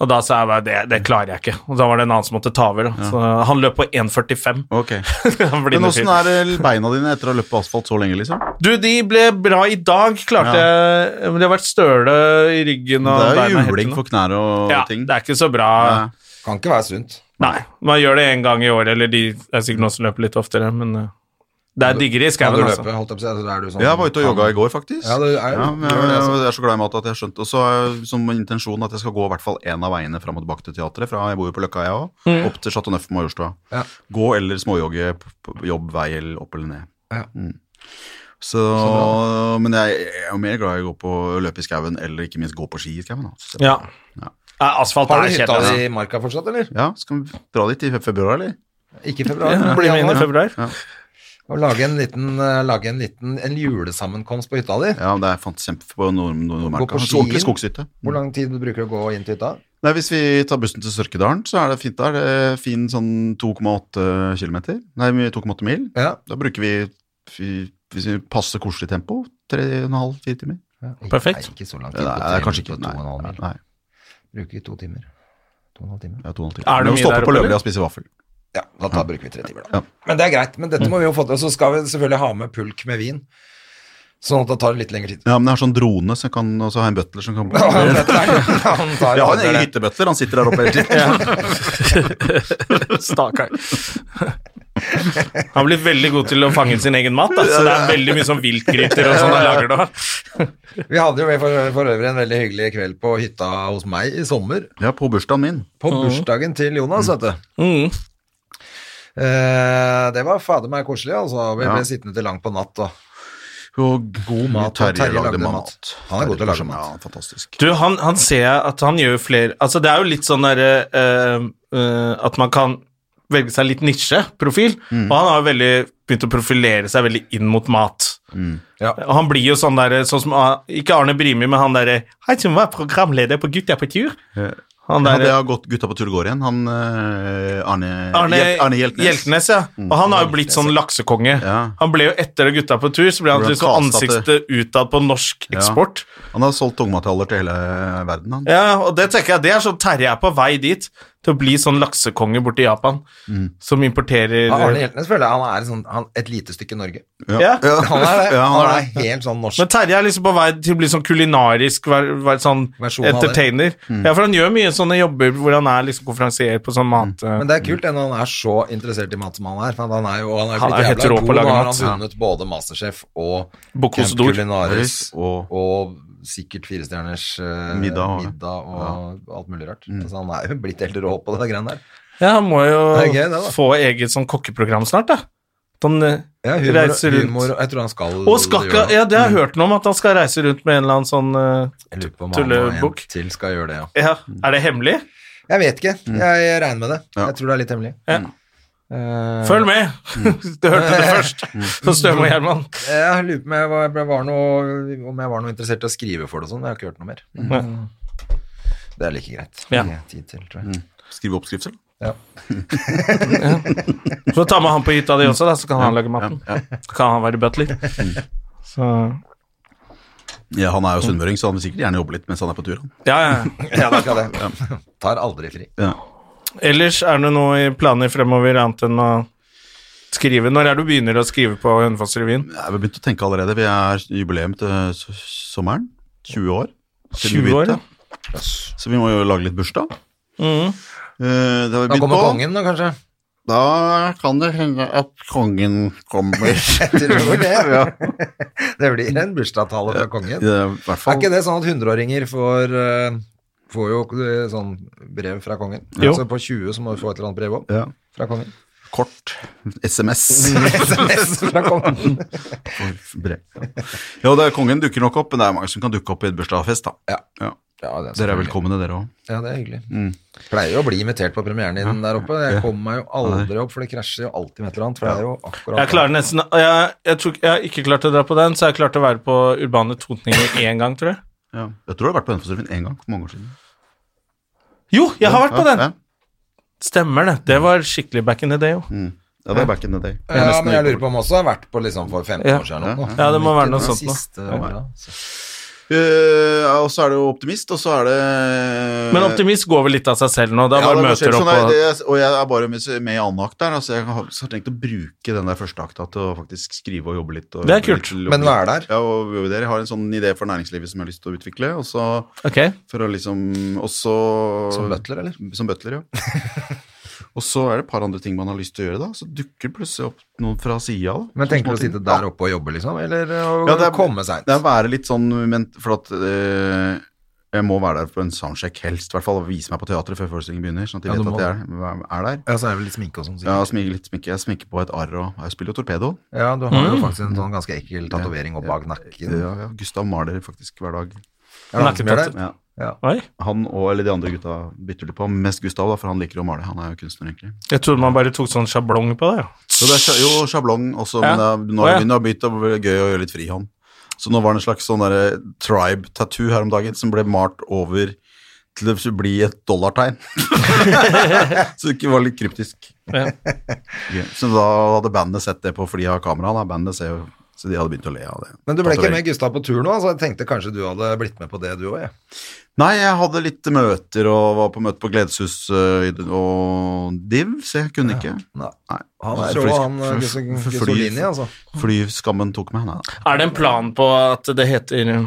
Speaker 1: Og da sa jeg bare det, det klarer jeg ikke. Og da var det en annen som måtte ta over. Da. Så han løp på [LAUGHS] 1,45.
Speaker 5: Ok.
Speaker 1: Han ble
Speaker 5: Men
Speaker 1: innefyr.
Speaker 5: åssen er det beina dine etter å ha løpt på asfalt så lenge, liksom?
Speaker 1: Du, de ble bra i dag, klarte jeg. Men de har vært støle i ryggen og
Speaker 5: det er
Speaker 1: beina
Speaker 5: jo
Speaker 1: helt
Speaker 5: juling
Speaker 1: til nå.
Speaker 5: for knær og
Speaker 1: ja,
Speaker 5: ting.
Speaker 1: Det er ikke så bra.
Speaker 5: Nei.
Speaker 2: Kan ikke være sunt.
Speaker 1: Nei, man gjør det en gang i året, eller de det er sikkert noen som løper litt oftere, men eh, det er diggere i
Speaker 2: Kan
Speaker 1: skauen,
Speaker 2: du
Speaker 1: altså.
Speaker 2: løpe, holdt jeg på å si. altså, da er du sånn-
Speaker 5: Jeg var ute og jogga i går, faktisk.
Speaker 2: Ja, det er-
Speaker 5: men jeg,
Speaker 2: gjør det, altså.
Speaker 5: jeg er så glad i mat at jeg har skjønt Og så har jeg som intensjon at jeg skal gå i hvert fall én av veiene fram og tilbake til teatret. Fra jeg bor jo på Løkka, jeg òg.
Speaker 1: Mm.
Speaker 5: Opp til Chateau Neuf på Majorstua.
Speaker 2: Ja.
Speaker 5: Gå eller småjogge på- på jobb, vei eller opp eller ned.
Speaker 2: Ja.
Speaker 5: Mm. Så, men jeg, jeg er jo mer glad i å gå på å løpe i skauen, eller ikke minst gå på ski i skauen. altså.
Speaker 1: Ja.
Speaker 5: Ja.
Speaker 1: Nei, Asfalt
Speaker 2: Har
Speaker 1: er
Speaker 2: du hytta
Speaker 1: kjedelig. altså.
Speaker 2: di i marka fortsatt, eller?
Speaker 5: ja, skal vi dra dit i fe- februar, eller?
Speaker 2: Ikke i februar.
Speaker 1: altså.
Speaker 2: men
Speaker 1: Ja,
Speaker 2: i
Speaker 1: Blir med inn i
Speaker 2: januar.
Speaker 1: februar.
Speaker 2: Og lage en liten, eh, lage en liten en julesammenkomst på hytta di.
Speaker 5: Ja, men det er fant kjempe på Nord- Nord- Nordmarka.
Speaker 2: på
Speaker 5: Så Ordentlig
Speaker 2: skien.
Speaker 5: skogshytte.
Speaker 2: Hvor lang tid bruker du å gå inn til hytta?
Speaker 5: Nei, Hvis vi tar bussen til Sørkedalen, så er det fint der. Det er Fin sånn 2,8 kilometer. Nei, 2,8 mil.
Speaker 2: Ja.
Speaker 5: Da bruker vi, fy- hvis vi passer koselig tempo, 3,5-4 timer.
Speaker 1: Perfekt.
Speaker 2: Nei, ikke så lang
Speaker 5: Nei,
Speaker 2: tid.
Speaker 5: det er kanskje ikke
Speaker 2: to
Speaker 5: Nei,
Speaker 2: og en halv
Speaker 5: nei,
Speaker 2: mil.
Speaker 5: nei
Speaker 2: Bruker to timer. To og en halv time.
Speaker 5: det er 2,5 timer.
Speaker 1: Er det
Speaker 5: Men vi
Speaker 1: mye
Speaker 5: stopper
Speaker 1: der
Speaker 5: på
Speaker 1: oppe,
Speaker 5: Løvli
Speaker 1: eller?
Speaker 5: og spiser vaffel.
Speaker 2: Ja, da tar, bruker vi tre timer, da.
Speaker 5: Ja.
Speaker 2: Men det er greit. Men dette må vi jo få til. Og så skal vi selvfølgelig ha med pulk med vin, sånn at det tar litt lengre tid. [LAUGHS]
Speaker 5: Ja, men jeg har sånn drone, så jeg kan også ha en butler som kan
Speaker 2: Han [LAUGHS]
Speaker 5: Jeg
Speaker 2: tar-
Speaker 5: har en egen hyttebutler, han sitter der oppe
Speaker 1: [LAUGHS]
Speaker 5: hele tiden.
Speaker 1: Stakkar. Han blir veldig god til å fange sin egen mat, da. så det er veldig mye sånn viltgryter og sånn han lager nå.
Speaker 2: Vi hadde jo for, for øvrig en veldig hyggelig kveld på hytta hos meg i sommer.
Speaker 5: Ja, på bursdagen min.
Speaker 2: På bursdagen til Jonas, vet du.
Speaker 1: Mm.
Speaker 2: Eh, det var fader meg koselig, altså. Vi
Speaker 5: Ja.
Speaker 2: ble sittende til langt på natt. Og.
Speaker 5: Og
Speaker 2: God mat, og
Speaker 5: Terje lagde mat.
Speaker 2: Han er god til å lage
Speaker 5: Terje,
Speaker 2: mat.
Speaker 5: Ja, fantastisk.
Speaker 1: Du, han, han ser jeg at han gjør flere Altså, det er jo litt sånn derre eh, eh, At man kan velge seg litt nisjeprofil,
Speaker 5: Mm.
Speaker 1: og han har jo veldig begynt å profilere seg veldig inn mot mat.
Speaker 2: Ja.
Speaker 1: Og han blir jo sånn der, sånn som Ikke Arne Brimi, men han derre Han som var programleder på Gutta på tur.
Speaker 5: Ja.
Speaker 1: Han
Speaker 5: Ja, det
Speaker 1: derre
Speaker 5: har gått gutta på tur går igjen. Han eh, Arne,
Speaker 1: Arne,
Speaker 5: Hjel- Arne Hjeltnes. Mm.
Speaker 1: ja. Og han har jo blitt sånn laksekonge.
Speaker 5: Ja.
Speaker 1: Han ble jo etter det gutta på tur, så ble han
Speaker 5: Ble
Speaker 1: til sånn
Speaker 5: kastet
Speaker 1: ansiktet utad på norsk
Speaker 5: Ja.
Speaker 1: eksport.
Speaker 5: Han har solgt tungmetaller til hele verden, han.
Speaker 1: Ja, og det tenker jeg, det er sånn Terje er på vei dit, til å bli sånn laksekonge borte i Japan, som importerer
Speaker 2: Mm. Ja, Arne Hjeltnes føler jeg han er sånn, han, et lite stykke Norge.
Speaker 1: Ja.
Speaker 2: Han er det.
Speaker 5: Ja,
Speaker 2: han
Speaker 5: han
Speaker 2: er
Speaker 5: er det.
Speaker 2: helt sånn norsk.
Speaker 1: Men Terje er liksom på vei til å bli sånn kulinarisk, være, være sånn
Speaker 2: Versjon av det. Mm.
Speaker 1: entertainer. Ja, for han gjør mye sånne jobber hvor han er liksom konferansier på sånn mat...
Speaker 2: Mm. Men det er kult det, når han er så interessert i mat som han er. For han er jo han er jo
Speaker 1: Han er
Speaker 2: blitt
Speaker 1: helt
Speaker 2: jævla
Speaker 1: rå på å
Speaker 2: god. Nå
Speaker 1: lage
Speaker 2: har
Speaker 1: mat.
Speaker 2: han vunnet både Masterchef og
Speaker 1: Bocuse
Speaker 2: Camp
Speaker 1: d'Or.
Speaker 2: Culinaris
Speaker 5: Og-
Speaker 2: og, sikkert firestjerners eh,
Speaker 5: Middag
Speaker 2: middag,
Speaker 5: også.
Speaker 2: og alt mulig rart.
Speaker 5: Mm.
Speaker 2: Altså, han er jo blitt helt rå på det greiene der.
Speaker 1: Ja, han må jo
Speaker 2: Det er gøy, det, da.
Speaker 1: få eget sånn kokkeprogram snart, da. At Han eh,
Speaker 2: Ja, humor,
Speaker 1: reiser rundt.
Speaker 2: humor, jeg tror han Mm. skal
Speaker 1: Og skal ikke,
Speaker 2: gjøre det.
Speaker 1: ja, det har jeg hørt noe om, at han skal reise rundt med en eller annen sånn eh,
Speaker 2: Jeg lurer på om han og en
Speaker 1: tullebukk.
Speaker 2: til skal gjøre det, ja.
Speaker 1: Ja, er det hemmelig?
Speaker 2: Jeg vet ikke. Jeg regner med det.
Speaker 5: Mm. Ja. Mm.
Speaker 2: Jeg tror det er litt hemmelig.
Speaker 1: Ja.
Speaker 2: Eh,
Speaker 1: Følg med! [LAUGHS] du hørte det først, så Støme og Gjerman.
Speaker 2: Jeg lurer på om jeg var, om jeg var noe, om jeg var noe interessert i å skrive for det og sånn. Jeg har ikke hørt noe mer. Det er like greit.
Speaker 1: Ja.
Speaker 2: Det er Tid til, tror
Speaker 5: Mm.
Speaker 2: jeg.
Speaker 5: Skrive oppskrifter.
Speaker 2: Ja.
Speaker 1: Så ta med han på hytta di også, da, så kan han lage maten.
Speaker 5: Ja,
Speaker 1: Så kan han være butler. Så
Speaker 5: ja, han er jo sunnmøring, så han vil sikkert gjerne jobbe litt mens han er på tur. Han.
Speaker 1: Ja, ja.
Speaker 2: ja, det skal det. Tar aldri fri.
Speaker 5: Ja.
Speaker 1: Ellers er det noe i planer fremover annet enn å skrive. Når er det du begynner å skrive på Hønefoss-revyen?
Speaker 5: Jeg har begynt å tenke allerede. Vi er jubileum til s- sommeren. 20 år. siden vi
Speaker 1: 20 år,
Speaker 5: begynte. Så vi må jo lage litt bursdag.
Speaker 1: Mhm.
Speaker 5: Eh, det har vi
Speaker 2: Da
Speaker 5: begynt
Speaker 2: kommer
Speaker 5: på.
Speaker 2: kongen, da, kanskje.
Speaker 5: Da kan det hende at kongen
Speaker 2: [LAUGHS]
Speaker 5: kommer.
Speaker 2: Jeg tror det.
Speaker 5: ja.
Speaker 2: Det blir en bursdagstale fra kongen.
Speaker 5: Det er i hvert
Speaker 2: Er
Speaker 5: fall
Speaker 2: ikke det sånn at hundreåringer får eh, Får jo eh, sånn brev fra kongen.
Speaker 1: Jo.
Speaker 2: Så på 20 så må du få et eller annet brev òg.
Speaker 5: ja.
Speaker 2: Fra kongen.
Speaker 5: kort SMS.
Speaker 2: SMS fra kongen.
Speaker 5: [LAUGHS] Brev. ja, det er, kongen dukker nok opp, men det er mange som kan dukke opp i et bursdagsfest. da.
Speaker 2: Ja.
Speaker 5: Ja.
Speaker 2: Ja, det
Speaker 5: Dere er
Speaker 2: selvfølgelig.
Speaker 5: velkomne, dere òg.
Speaker 2: Ja, det er hyggelig.
Speaker 5: Mm.
Speaker 2: Pleier jo å bli invitert på premieren din der oppe. Jeg kommer meg jo aldri opp, for det krasjer jo alltid med et eller annet. For det er jo akkurat
Speaker 1: Jeg klarer nesten jeg, jeg, tror, jeg har ikke klart å dra på den, så jeg har klart å være på Urbane Totninger én gang, tror jeg.
Speaker 5: Ja. Jeg tror du har vært på Hønefoss-revyen én gang for mange år siden.
Speaker 1: Jo, jeg har vært på den!
Speaker 5: Ja,
Speaker 1: Stemmer det. Det var skikkelig back in the day, jo.
Speaker 5: ja. Mm. ja det er back in the day.
Speaker 2: Ja, men jeg lurer på om også har vært på liksom for 15
Speaker 1: Ja.
Speaker 2: år siden eller noe.
Speaker 1: Ja, det må være noe
Speaker 2: Det
Speaker 1: sånt nå.
Speaker 2: siste året, så-
Speaker 5: Eh, ja, og så er det jo optimist, og så er det
Speaker 1: Men optimist går vel litt av seg selv nå? Da
Speaker 5: Ja,
Speaker 1: bare
Speaker 5: det er
Speaker 1: møter
Speaker 5: forskjell.
Speaker 1: opp
Speaker 5: Sånn er
Speaker 1: og
Speaker 5: det, og jeg er bare med, med i annen akt der, altså jeg har så har jeg tenkt å bruke den der første akta til å faktisk skrive og jobbe litt. Og
Speaker 1: Det er
Speaker 5: jobbe
Speaker 1: kult.
Speaker 5: litt-
Speaker 2: Men hva er der?
Speaker 5: Ja, og jobbe der. Jeg har en sånn idé for næringslivet som jeg har lyst til å utvikle, og så
Speaker 1: Ok.
Speaker 5: for å liksom også
Speaker 2: Som butler, eller?
Speaker 5: Som butler, ja.
Speaker 2: [LAUGHS]
Speaker 5: og så er det et par andre ting man har lyst til å gjøre, da. Så dukker det plutselig opp noen fra sånn sida.
Speaker 2: Men tenker du å sitte der oppe og jobbe, liksom? Eller å
Speaker 5: Ja, det er-
Speaker 2: komme seint?
Speaker 5: Det er å være litt sånn men, For at eh, jeg må være der på en soundcheck, helst. I hvert fall vise meg på teatret før forestillingen begynner, sånn at de
Speaker 2: Ja,
Speaker 5: vet
Speaker 2: du må
Speaker 5: at jeg er, er der.
Speaker 2: Ja, så er det vel litt sminke og sånn,
Speaker 5: Ja,
Speaker 2: sikkert.
Speaker 5: sminke litt sminke. Jeg sminker på et arr og Jeg spiller jo torpedo.
Speaker 2: Ja, du har jo faktisk en sånn ganske ekkel tatovering opp bak nakken.
Speaker 5: Ja, ja. Gustav maler faktisk hver dag.
Speaker 2: Er det han som gjør det?
Speaker 5: Ja.
Speaker 1: Oi.
Speaker 5: Han og eller de andre gutta bytter du på. Mest Gustav, da, for han liker å male. Han er jo kunstner, egentlig.
Speaker 1: Jeg trodde man bare tok sånn sjablong på det, ja.
Speaker 5: Så det er sja- jo sjablong også, men
Speaker 1: Ja.
Speaker 5: det er-
Speaker 1: Å,
Speaker 5: nå har
Speaker 1: ja.
Speaker 5: det begynt- det har begynt å bli gøy å gjøre litt frihånd. Så nå var det en slags sånn derre tribe tattoo her om dagen som ble malt over til det skulle bli et dollartegn. [LAUGHS] så det ikke var litt kryptisk. [LAUGHS]
Speaker 1: Ja.
Speaker 5: Gøy. Så da hadde bandet sett det på fordi jeg har kamera. Da. Bandet ser jo Så de hadde begynt å le av det.
Speaker 2: Men du ble ikke
Speaker 5: Tatovering.
Speaker 2: med Gustav på tur nå, så jeg tenkte kanskje du hadde blitt med på det du òg, jeg.
Speaker 5: Nei, jeg hadde litt møter og var på møte på Gledeshus øh, i- og DIV, så jeg kunne ikke.
Speaker 2: Nei.
Speaker 5: Nei.
Speaker 2: Han
Speaker 5: Nei,
Speaker 2: er så
Speaker 5: fly-
Speaker 2: han eh,
Speaker 5: f-
Speaker 2: Gustav-
Speaker 5: f-
Speaker 2: Gustav
Speaker 5: fly-
Speaker 2: Lini, altså.
Speaker 5: Flyskammen tok meg. Nei, da.
Speaker 1: Er det en plan på at det heter eh,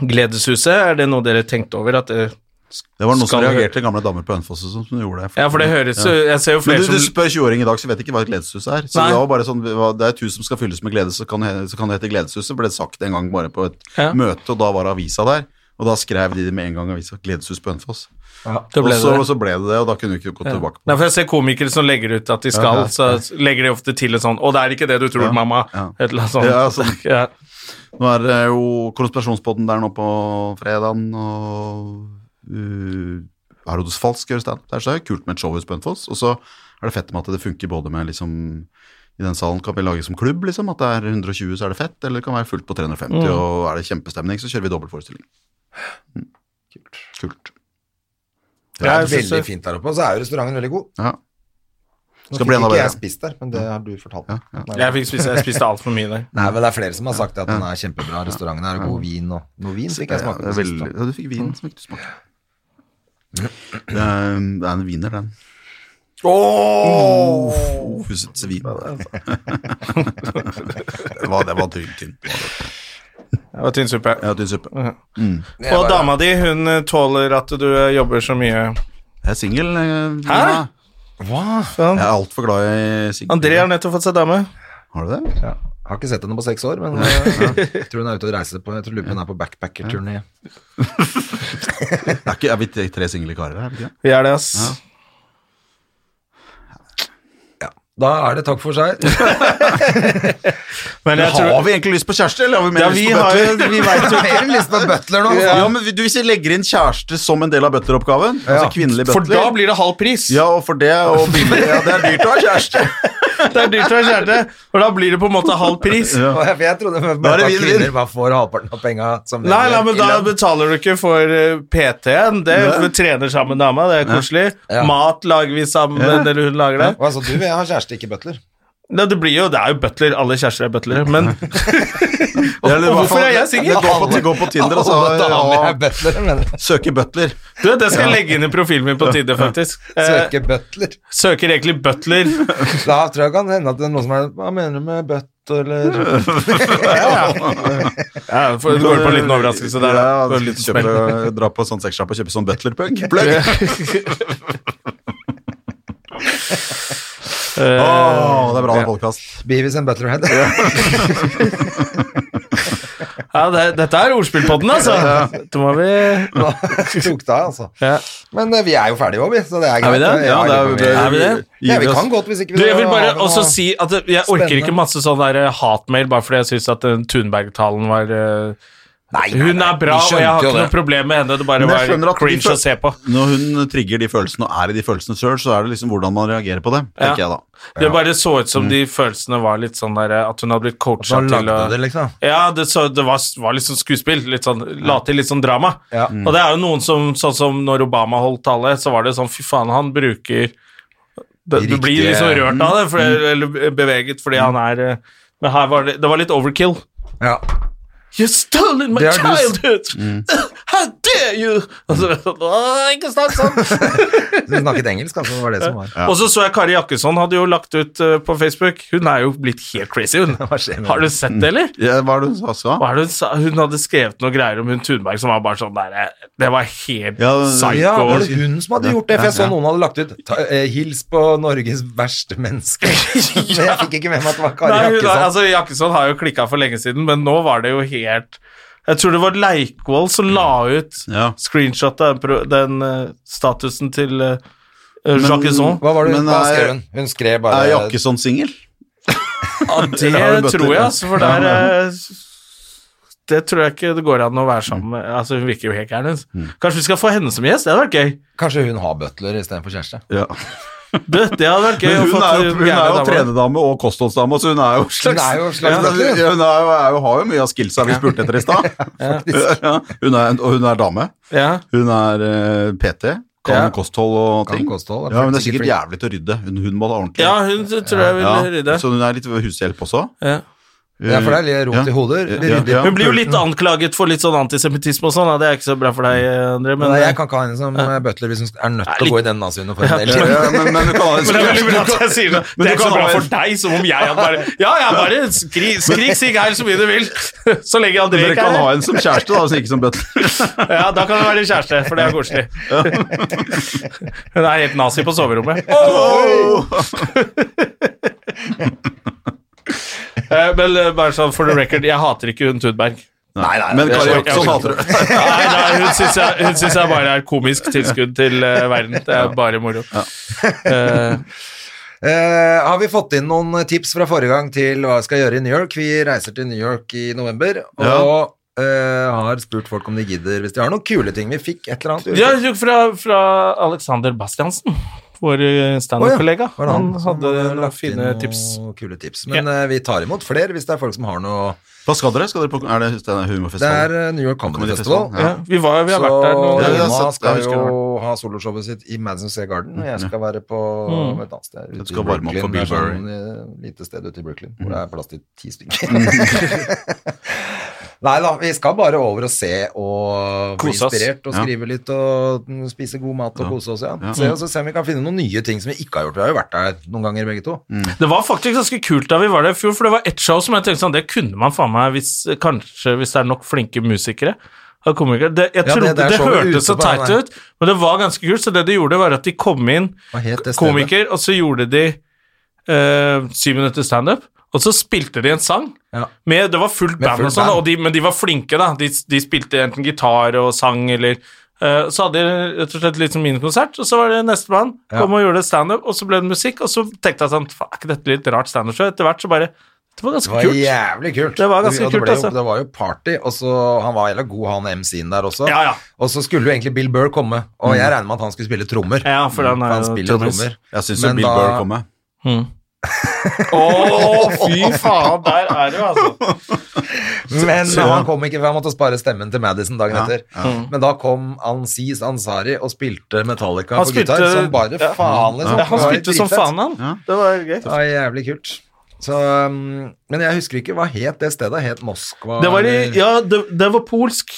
Speaker 1: Gledeshuset? Er det noe dere tenkte over? At eh, det,
Speaker 5: Det var noen som
Speaker 1: Skal vi-
Speaker 5: reagerte, gamle damer på Hønefoss og sånn, som gjorde det.
Speaker 1: ja, for det høres jo Jeg ser jo
Speaker 5: Men
Speaker 1: flere
Speaker 5: du, du
Speaker 1: som
Speaker 5: spør 20-åring i dag, så vet ikke hva et gledeshus er. Så
Speaker 1: Nei.
Speaker 5: Det var bare sånn, det var- det er et hus som skal fylles med glede, så kan, det he- så kan det hete Gledeshuset. Ble det sagt en gang bare på et
Speaker 1: Ja.
Speaker 5: møte, og da var avisa der. Og da skrev de med en gang avisa 'Gledeshus på Hønefoss'.
Speaker 1: det
Speaker 5: Og
Speaker 1: ble
Speaker 5: så,
Speaker 1: det.
Speaker 5: og så ble det det, og da kunne vi ikke gå tilbake på
Speaker 1: Nei,
Speaker 5: det.
Speaker 1: for jeg ser komikere som legger ut at de skal, så legger de ofte til en sånn 'Å, det er ikke det du tror,
Speaker 5: Ja,
Speaker 1: mamma',
Speaker 5: ja.
Speaker 1: et eller annet sånt.
Speaker 5: Ja, sånn.
Speaker 1: Ja.
Speaker 5: Nå er det jo Konspirasjonspodden der nå på fredagen, og uh, Herodes Falsk gjør standup der, så det er kult med et showhus på Hønefoss. Og så er det fett med at det funker både med liksom i den salen kan vi lage som klubb, liksom, at det er 120 så er det fett, eller det kan være fullt på 350,
Speaker 2: Mm.
Speaker 5: og er det kjempestemning, så kjører vi dobbeltforestilling. Mm. Kult.
Speaker 2: Det
Speaker 1: Ja,
Speaker 2: er
Speaker 1: jeg synes
Speaker 2: veldig
Speaker 1: det-
Speaker 2: fint der oppe, og så er jo restauranten veldig god.
Speaker 5: Ja.
Speaker 2: Nå
Speaker 5: Skal
Speaker 2: fikk
Speaker 5: bli enda
Speaker 2: ikke jeg
Speaker 5: bedre.
Speaker 2: spist der, men det har du fortalt.
Speaker 5: Ja, ja.
Speaker 1: Jeg fikk spise, jeg spiste altfor mye der.
Speaker 2: Nei, men det er flere som har sagt at den er kjempebra, restauranten er og god vin og Noe vin fikk jeg smake
Speaker 5: Ja,
Speaker 2: på
Speaker 5: det er
Speaker 2: sist.
Speaker 5: veldig-
Speaker 2: da.
Speaker 5: Ja, du fikk vin som ikke du smakte. Det er, det er en viner, den. Ååå! Oh, Fusete vin. det var, [LAUGHS] det var tynn, tynn.
Speaker 1: Det var tynn suppe.
Speaker 5: Ja, tynn suppe.
Speaker 1: Ja.
Speaker 5: Mm.
Speaker 1: Og dama di, hun eh, tåler at du eh, jobber så mye.
Speaker 5: Jeg er singel. eh,
Speaker 1: Hæ?
Speaker 5: Nina. Jeg er altfor glad i singel.
Speaker 1: André har nettopp fått seg dame.
Speaker 5: Har du det?
Speaker 2: Ja. Har ikke sett henne på seks år, men eh, jeg tror hun er ute og reiser på Jeg tror lurer på om hun er på backpackerturné.
Speaker 5: Er, ikke, er vi tre- tre single karer her? er vi ikke det?
Speaker 1: Vi er det, ass.
Speaker 2: Da er det takk for seg.
Speaker 1: Men jeg
Speaker 5: Har
Speaker 1: tror
Speaker 5: vi egentlig lyst på kjæreste, eller har vi mer
Speaker 1: Ja,
Speaker 5: lyst
Speaker 1: vi
Speaker 5: på
Speaker 1: har
Speaker 5: bøtter?
Speaker 1: jo Vi veit jo
Speaker 2: Mer lyst på butler nå. altså.
Speaker 5: Ja, men du, Hvis vi legger inn kjæreste som en del av butleroppgaven, altså kvinnelig butler
Speaker 1: For da blir det halv pris.
Speaker 5: Ja, og for det og billig. Ja, det er dyrt å ha [LAUGHS] kjæreste.
Speaker 1: Det er dyrt å være kjæreste, for da blir det på en måte halv pris.
Speaker 5: Ja.
Speaker 2: Og jeg, for jeg trodde
Speaker 5: Da er
Speaker 2: bare
Speaker 5: det
Speaker 2: at
Speaker 5: vin,
Speaker 2: kvinner
Speaker 5: vin.
Speaker 2: bare får halvparten av penga som
Speaker 1: Nei,
Speaker 2: menn
Speaker 1: nei,
Speaker 2: gjør
Speaker 1: men
Speaker 2: i
Speaker 1: da
Speaker 2: lønn.
Speaker 1: betaler du ikke for eh, PT-en. Det for trener sammen med dama, det er koselig.
Speaker 2: Ja.
Speaker 1: Mat lager vi sammen, eller hun lager det.
Speaker 2: Og altså, du vil ha kjæreste, ikke butler.
Speaker 1: Nei, det blir jo Det er jo butler. Alle kjærester er butlere, [LAUGHS] men
Speaker 5: Det er-
Speaker 1: Og hvorfor er jeg singel?
Speaker 5: Det går på, det går på Tinder, altså.
Speaker 2: Alle damer
Speaker 5: Ja,
Speaker 2: er butler, [LAUGHS] men
Speaker 5: søker butler.
Speaker 1: Du, det skal jeg legge inn i profilen min på Tinder, faktisk. Eh,
Speaker 2: søker butler.
Speaker 1: søker egentlig butler.
Speaker 2: Da tror jeg det kan hende at det er noen som er Hva mener du med butler?
Speaker 1: Ja, for, det går på en liten overraskelse der. da.
Speaker 5: Ja,
Speaker 1: Det var en liten
Speaker 5: kjøper,
Speaker 1: smell.
Speaker 5: og- dra på sånn sexshop og kjøpe sånn
Speaker 1: [LAUGHS]
Speaker 5: butler-plugg. Plugg.
Speaker 1: Eh,
Speaker 5: Åh, det er bra med podcast.
Speaker 2: Beavis and Butlerhead. [LAUGHS]
Speaker 1: ja, det, dette er ordspillpodden, altså. Da må vi
Speaker 2: Da tok det av, altså.
Speaker 1: ja.
Speaker 2: Men eh, vi er jo ferdige òg, vi. Så det er greit.
Speaker 1: vi det?
Speaker 2: Ja,
Speaker 5: Ja, det er-
Speaker 1: Er vi det?
Speaker 2: Ja, vi kan godt hvis ikke
Speaker 1: Du, jeg vil
Speaker 2: har
Speaker 1: bare
Speaker 2: noe-
Speaker 1: også si at det- jeg orker
Speaker 2: Spennende.
Speaker 1: ikke masse sånn der eh, hatmail bare fordi jeg syns at eh, Thunberg-talen var eh,
Speaker 2: Nei, nei,
Speaker 1: Hun
Speaker 2: nei,
Speaker 1: er bra,
Speaker 2: vi
Speaker 1: og
Speaker 2: skjønte
Speaker 1: jeg har
Speaker 2: jo
Speaker 1: ikke noe
Speaker 2: det.
Speaker 1: problem med henne. Det bare
Speaker 5: Men jeg skjønner
Speaker 1: var
Speaker 5: at de
Speaker 1: cringe
Speaker 5: føl-
Speaker 1: å se på.
Speaker 5: Når hun trigger de følelsene og er i de følelsene sjøl, så er det liksom hvordan man reagerer på det,
Speaker 1: Ja.
Speaker 5: tenker jeg da.
Speaker 1: Det bare så ut som de følelsene var litt sånn der eh, At hun hadde blitt
Speaker 2: Mm. Så
Speaker 1: coacha
Speaker 2: han
Speaker 1: til å
Speaker 2: lagde det, liksom.
Speaker 1: Ja, det, så, det var, var litt sånn skuespill. Litt sånn, la til litt sånn drama.
Speaker 2: Ja.
Speaker 1: Og det er jo noen som Sånn som når Obama holdt tale, så var det sånn Fy faen, han bruker det, Du
Speaker 2: riktige-
Speaker 1: blir liksom rørt av det, for,
Speaker 2: Mm.
Speaker 1: eller beveget, fordi han er eh, Men her var det Det var litt overkill.
Speaker 2: Ja.
Speaker 1: You stole my
Speaker 2: Det er du s- Mm.
Speaker 1: childhood! [LAUGHS] How dare you! Og så, «Åh, ikke snakk sånn!
Speaker 2: [LAUGHS] Du snakket engelsk, kanskje det var det som var
Speaker 1: Og så så jeg Kari Jakkesson hadde jo lagt ut eh, på Facebook. Hun er jo blitt helt crazy, hun.
Speaker 2: Hva skjer med
Speaker 1: Har du sett
Speaker 2: Mm.
Speaker 1: det, eller?
Speaker 5: Ja, hva er det hun sa?
Speaker 1: Hva er det hun sa? Hun hadde skrevet noe greier om hun Thunberg som var bare sånn der Det var helt
Speaker 5: Ja,
Speaker 1: psycho.
Speaker 2: Ja, var det hun som hadde gjort det? For jeg så
Speaker 5: Ja, ja.
Speaker 2: noen hadde lagt ut ta, eh, 'Hils på Norges verste menneske'.
Speaker 5: [LAUGHS]
Speaker 2: Men jeg fikk ikke med meg at det var Kari
Speaker 1: Nei, hun, har-
Speaker 2: Jakkesson.
Speaker 1: altså, Jakkesson har jo klikka for lenge siden, men nå var det jo helt Jeg tror det var Leikvoll som la ut
Speaker 5: Ja.
Speaker 1: screenshot av den pro- den eh, statusen til uh, Jackesson.
Speaker 2: Hva var det hun
Speaker 5: Men
Speaker 2: hva
Speaker 5: er-
Speaker 2: skrev? Hun Hun skrev bare
Speaker 5: Er Jakkesson singel?
Speaker 1: Ja,
Speaker 5: [LAUGHS] har
Speaker 1: det tror
Speaker 5: du
Speaker 1: jeg,
Speaker 5: bøtter,
Speaker 1: altså, for der eh, Det tror jeg ikke det går an å være sammen med Altså, Hun virker jo helt gæren.
Speaker 5: Mm.
Speaker 1: hun. Kanskje vi skal få henne som gjest? Det hadde vært gøy.
Speaker 2: Kanskje hun har butler istedenfor kjæreste?
Speaker 5: Ja.
Speaker 1: Det, det hadde vært gøy
Speaker 5: Men
Speaker 1: å
Speaker 5: hun
Speaker 1: få
Speaker 5: er jo, hun er
Speaker 1: gærne
Speaker 5: jo
Speaker 1: damer.
Speaker 5: trenedame og kostholdsdame, så hun er jo slags,
Speaker 2: Hun er jo slags
Speaker 5: hun, er, hun er jo, er jo, har jo mye av skillsa vi spurte etter i
Speaker 1: [LAUGHS]
Speaker 5: stad. Ja, hun er en- Og hun er dame.
Speaker 1: Ja.
Speaker 5: Hun er eh, PT, kan
Speaker 1: Ja.
Speaker 5: kosthold og
Speaker 2: Kan
Speaker 5: ting.
Speaker 2: kosthold, er
Speaker 5: ja, men det er
Speaker 2: faktisk
Speaker 5: sikkert
Speaker 2: ikke
Speaker 5: jævlig til å rydde. Hun, hun må da ordentlig.
Speaker 1: Ja, hun tror jeg vil
Speaker 5: Ja,
Speaker 1: rydde.
Speaker 5: Så hun er litt hushjelp også.
Speaker 1: Ja.
Speaker 2: Ja, for det er litt rot i hodet.
Speaker 5: Ja,
Speaker 2: Det rydder.
Speaker 5: ja.
Speaker 1: Hun blir jo litt anklaget for litt sånn antisemittisme og sånn, da. det er ikke så bra for deg, André, men
Speaker 2: Nei, jeg kan ikke ha en som eh, butler hvis hun er nødt til å gå i den naziuniformen.
Speaker 5: Ja,
Speaker 2: Eller
Speaker 5: men, men du kan ha en
Speaker 1: Men det er veldig bra at jeg sier det. Det er
Speaker 5: du
Speaker 1: ikke så
Speaker 5: kan
Speaker 1: bra
Speaker 5: ha en-
Speaker 1: for deg, som om jeg hadde bare Ja, ja, bare skrik, skrik sigg her så mye du vil, [LAUGHS] så lenge André
Speaker 5: Dere
Speaker 1: ikke
Speaker 5: kan
Speaker 1: er
Speaker 5: ha
Speaker 1: her.
Speaker 5: en som kjæreste, da, som ikke som butler.
Speaker 1: Ja, da kan det være kjæreste, for det er koselig. Hun er helt nazi på soverommet. Eh, Men eh, bare sånn for the record, jeg hater ikke hun Tudberg.
Speaker 5: [LAUGHS] Nei, nei, men Kari Jakkesson hater du.
Speaker 1: [LAUGHS] Nei, nei, hun syns jeg, hun synes jeg bare er komisk tilskudd til eh, verden. Det er bare moro. Eh,
Speaker 2: Eh, har vi fått inn noen tips fra forrige gang til hva vi skal gjøre i New York? Vi reiser til New York i november, og eh, har spurt folk om de gidder hvis de har noen kule ting. Vi fikk et eller annet.
Speaker 1: Ja, jo, fra, fra Alexander Bastiansen, vår eh, standup-kollega.
Speaker 2: Var det
Speaker 1: han,
Speaker 2: som
Speaker 1: hadde noen
Speaker 2: lagt inn
Speaker 1: fine
Speaker 2: noen
Speaker 1: tips.
Speaker 2: Kule tips. Men eh, vi tar imot flere hvis det er folk som har noe
Speaker 5: Hva skal dere? Skal dere på, er det denne
Speaker 2: Det er
Speaker 5: humorfestivalen?
Speaker 2: eh, New York Comedy Festival.
Speaker 1: Ja, vi, var, vi har vært der
Speaker 2: Så
Speaker 1: noen
Speaker 5: Ja, vi har
Speaker 2: Roma
Speaker 5: sett-
Speaker 2: skal
Speaker 5: jeg husker
Speaker 2: jo
Speaker 5: det
Speaker 2: ha soloshowet sitt i Madison Sea Garden, og jeg skal være på
Speaker 1: Mm.
Speaker 2: et annet sted. ute
Speaker 5: Du
Speaker 2: i
Speaker 5: skal varme opp for
Speaker 2: Brooklyn, det er
Speaker 5: Bill Mm.
Speaker 2: sånn, eh, lite sted ute i Brooklyn, hvor det er plass til ti stykker. [LAUGHS] Nei da, vi skal bare over og se og bli
Speaker 1: Kose oss.
Speaker 2: inspirert og
Speaker 5: Ja.
Speaker 2: skrive litt og mm, spise god mat og
Speaker 5: Ja.
Speaker 2: kose oss, ja.
Speaker 1: Mm.
Speaker 5: Ja.
Speaker 2: Se, og så se om vi kan finne noen nye ting som vi ikke har gjort. Vi har jo vært der noen ganger begge to.
Speaker 5: Mm.
Speaker 1: Det var faktisk ganske kult da vi var der i fjor, for det var ett show som jeg tenkte sånn, det kunne man faen meg hvis, kanskje hvis det er nok flinke musikere. av komikere. Det, jeg
Speaker 2: Ja, det-
Speaker 1: trodde,
Speaker 2: det
Speaker 1: det,
Speaker 2: er showet ute
Speaker 1: hørtes så
Speaker 2: på den
Speaker 1: teit
Speaker 2: der.
Speaker 1: ut, men det var ganske kult. Så det de gjorde, var at de kom inn
Speaker 2: Hva het det stedet?
Speaker 1: komiker, og så gjorde de eh, syv minutter standup, og så spilte de en sang.
Speaker 2: Ja.
Speaker 1: Med, det var fullt
Speaker 2: Med
Speaker 1: band, og
Speaker 2: fullt
Speaker 1: sånn,
Speaker 2: band.
Speaker 1: og de, men de var flinke, da. De, de spilte enten gitar og sang, eller eh, Så hadde de rett og slett litt som minikonsert, og så var det neste band.
Speaker 2: Ja.
Speaker 1: Kom og gjorde standup, og så ble det musikk, og så tenkte jeg sånn "Faen, Er ikke dette litt rart standup-show? Etter hvert så bare Det var
Speaker 2: Det
Speaker 1: ganske
Speaker 2: var
Speaker 1: kult.
Speaker 2: jævlig kult.
Speaker 1: Det var ganske
Speaker 2: Og det
Speaker 1: kult,
Speaker 2: ble
Speaker 1: altså.
Speaker 2: Jo, det var jo party, og så han var jævla god, han MC-en der også.
Speaker 1: Ja, ja.
Speaker 2: Og så skulle jo egentlig Bill Burr komme, og jeg regner med at han skulle spille trommer.
Speaker 1: Mm. Ja, for han er jo
Speaker 2: spiller trommer.
Speaker 5: Jeg syns jo
Speaker 2: Men
Speaker 5: Bill
Speaker 2: da-
Speaker 5: Burr kom med.
Speaker 2: [LAUGHS]
Speaker 1: Å, fy faen, der er du, altså.
Speaker 2: Men han kom ikke, for han måtte spare stemmen til Madison dagen
Speaker 5: Ja,
Speaker 2: etter. Men da kom Aziz Ansari og spilte Metallica
Speaker 1: Han
Speaker 2: på
Speaker 1: spilte-
Speaker 2: gitar som bare
Speaker 1: ja.
Speaker 2: faen, liksom.
Speaker 1: Ja, han
Speaker 2: Det var
Speaker 1: spilte som
Speaker 2: dritfett.
Speaker 1: faen, han.
Speaker 5: Ja.
Speaker 1: Det var gøy.
Speaker 2: Det var jævlig kult. Så, um, men jeg husker ikke, hva het det stedet? Het Moskva?
Speaker 1: Det var i
Speaker 2: eller-
Speaker 1: Ja, det, det var polsk.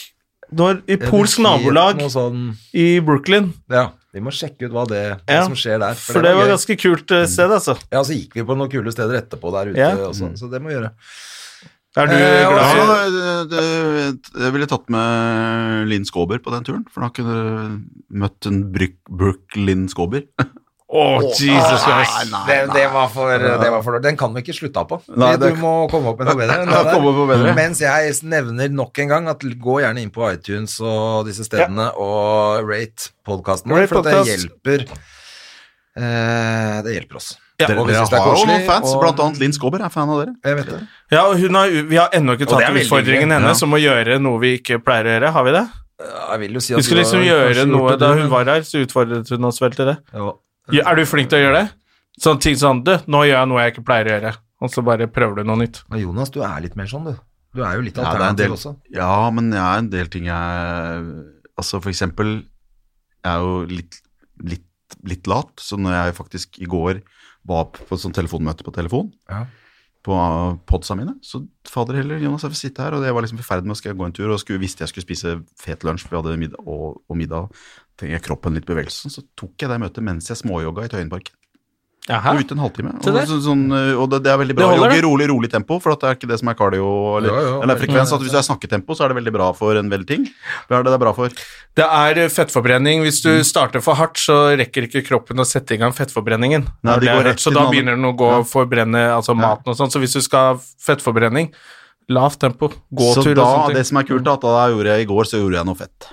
Speaker 1: Det var i
Speaker 2: eller
Speaker 1: polsk
Speaker 2: Kiev,
Speaker 1: nabolag
Speaker 2: Noe sånn.
Speaker 1: i Brooklyn.
Speaker 2: Ja, vi må sjekke ut hva, det, hva
Speaker 1: Ja,
Speaker 2: som skjer der.
Speaker 1: For det var
Speaker 2: gøy.
Speaker 1: ganske kult eh, sted, altså.
Speaker 2: Ja, så gikk vi på noen kule steder etterpå der ute
Speaker 1: Ja.
Speaker 2: også, så det må vi gjøre.
Speaker 1: Er du
Speaker 2: Eh, og
Speaker 1: glad i
Speaker 2: så-
Speaker 5: Ja, det- det- jeg ville tatt med Linn Skåber på den turen, for da kunne du møtt en Bryk- Brooke-Linn Skåber.
Speaker 1: Å, Jesus
Speaker 2: Ah,
Speaker 1: Christ.
Speaker 5: nei,
Speaker 2: det, det, var for, det var for Den kan vi ikke slutte av på.
Speaker 5: Nei,
Speaker 2: du
Speaker 5: det-
Speaker 2: må komme opp med noe bedre. enn
Speaker 5: [LAUGHS]
Speaker 2: det
Speaker 5: Ja,
Speaker 2: der.
Speaker 5: komme opp med bedre.
Speaker 2: Mens jeg nevner nok en gang at gå gjerne inn på iTunes og disse stedene og rate podkasten vår,
Speaker 1: Rate
Speaker 2: for at det
Speaker 1: podcast.
Speaker 2: hjelper eh, Det hjelper oss.
Speaker 5: Dere,
Speaker 2: Og hvis
Speaker 5: dere
Speaker 2: det er
Speaker 5: har jo
Speaker 2: koselig,
Speaker 5: noen fans,
Speaker 2: og-
Speaker 5: blant annet Linn Skåber er fan av dere.
Speaker 2: Jeg vet det.
Speaker 1: Ja, og hun har, vi har ennå ikke
Speaker 2: det er
Speaker 1: tatt
Speaker 2: veldig
Speaker 1: utfordringen
Speaker 2: gøy,
Speaker 5: ja.
Speaker 1: hennes om å gjøre noe vi ikke pleier å gjøre. Har vi det?
Speaker 2: Jeg vil jo si at
Speaker 1: Vi skulle
Speaker 2: du
Speaker 1: liksom
Speaker 2: har
Speaker 1: gjøre
Speaker 2: kanskje gjort
Speaker 1: noe
Speaker 2: det,
Speaker 1: da
Speaker 2: du,
Speaker 1: hun
Speaker 2: men-
Speaker 1: var her, så utfordret hun oss vel til det.
Speaker 2: Ja.
Speaker 1: Ja, Er du flink til å gjøre det? Sånn ting sånn Du, nå gjør jeg noe jeg ikke pleier å gjøre. Og så bare prøver du noe nytt.
Speaker 2: Men Jonas, du er litt mer sånn, du. Du er jo litt
Speaker 5: Ja, det er en
Speaker 2: alternativ
Speaker 5: del,
Speaker 2: også.
Speaker 5: ja, men jeg er en del ting jeg Altså, for eksempel, jeg er jo litt, litt, litt lat, så når jeg faktisk i går var på et sånt telefonmøte på telefon
Speaker 2: Ja.
Speaker 5: på eh, podsa mine, så fader heller, Jonas, jeg får sitte her, og jeg var liksom i ferd med å skal gå en tur, og skulle, visste jeg skulle spise fet lunsj, for vi hadde middag, og, og middag, tenkte jeg kroppen litt bevegelse, så tok jeg det møtet mens jeg småjogga i Tøyenparken.
Speaker 1: Jaha.
Speaker 5: Og ute en halvtime.
Speaker 1: Se
Speaker 5: Og,
Speaker 1: der.
Speaker 5: så, sånn, og det, det er veldig
Speaker 1: Det
Speaker 5: bra å
Speaker 1: holder,
Speaker 5: jogge i
Speaker 1: det.
Speaker 5: rolig, rolig tempo, for at det er ikke det som er cardio eller,
Speaker 2: Ja, ja,
Speaker 5: eller
Speaker 2: veldig.
Speaker 5: frekvens. At hvis det er snakketempo, så er det veldig bra for en del ting. Hva er det det er bra for?
Speaker 1: Det er eh, fettforbrenning. Hvis
Speaker 5: Mm.
Speaker 1: du starter for hardt, så rekker ikke kroppen å sette i gang fettforbrenningen.
Speaker 5: Nei,
Speaker 1: Det er det
Speaker 5: de går
Speaker 1: jeg har
Speaker 5: rett
Speaker 1: hørt, så
Speaker 5: til
Speaker 1: da
Speaker 5: den andre.
Speaker 1: begynner den å gå og forbrenne altså maten og sånn. Så hvis du skal ha fettforbrenning, lavt tempo,
Speaker 5: så
Speaker 1: gåtur og
Speaker 5: da,
Speaker 1: sånne
Speaker 5: det
Speaker 1: ting.
Speaker 5: som er kult, da, at da gjorde jeg i går, så gjorde jeg noe fett.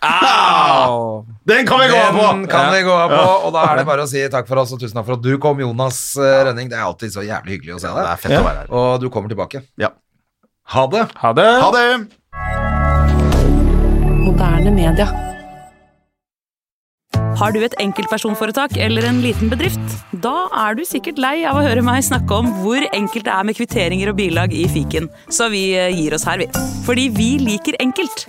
Speaker 1: Au!
Speaker 5: Den kan vi gå av
Speaker 2: Den
Speaker 5: på!
Speaker 2: kan vi gå av på, og da er det bare å si takk for oss, og tusen takk for at du kom, Jonas eh, Rønning. Det er alltid så jævlig hyggelig å se
Speaker 5: Ja, det
Speaker 2: deg.
Speaker 5: er fett å være her.
Speaker 2: Og du kommer tilbake.
Speaker 5: Ja.
Speaker 2: Ha det!
Speaker 1: Ha det!
Speaker 5: Ha det!
Speaker 6: Moderne media.
Speaker 7: Har du et enkeltpersonforetak eller en liten bedrift? Da er du sikkert lei av å høre meg snakke om hvor enkelt det er med kvitteringer og bilag i fiken, så vi eh, gir oss her, vi. Fordi vi liker enkelt.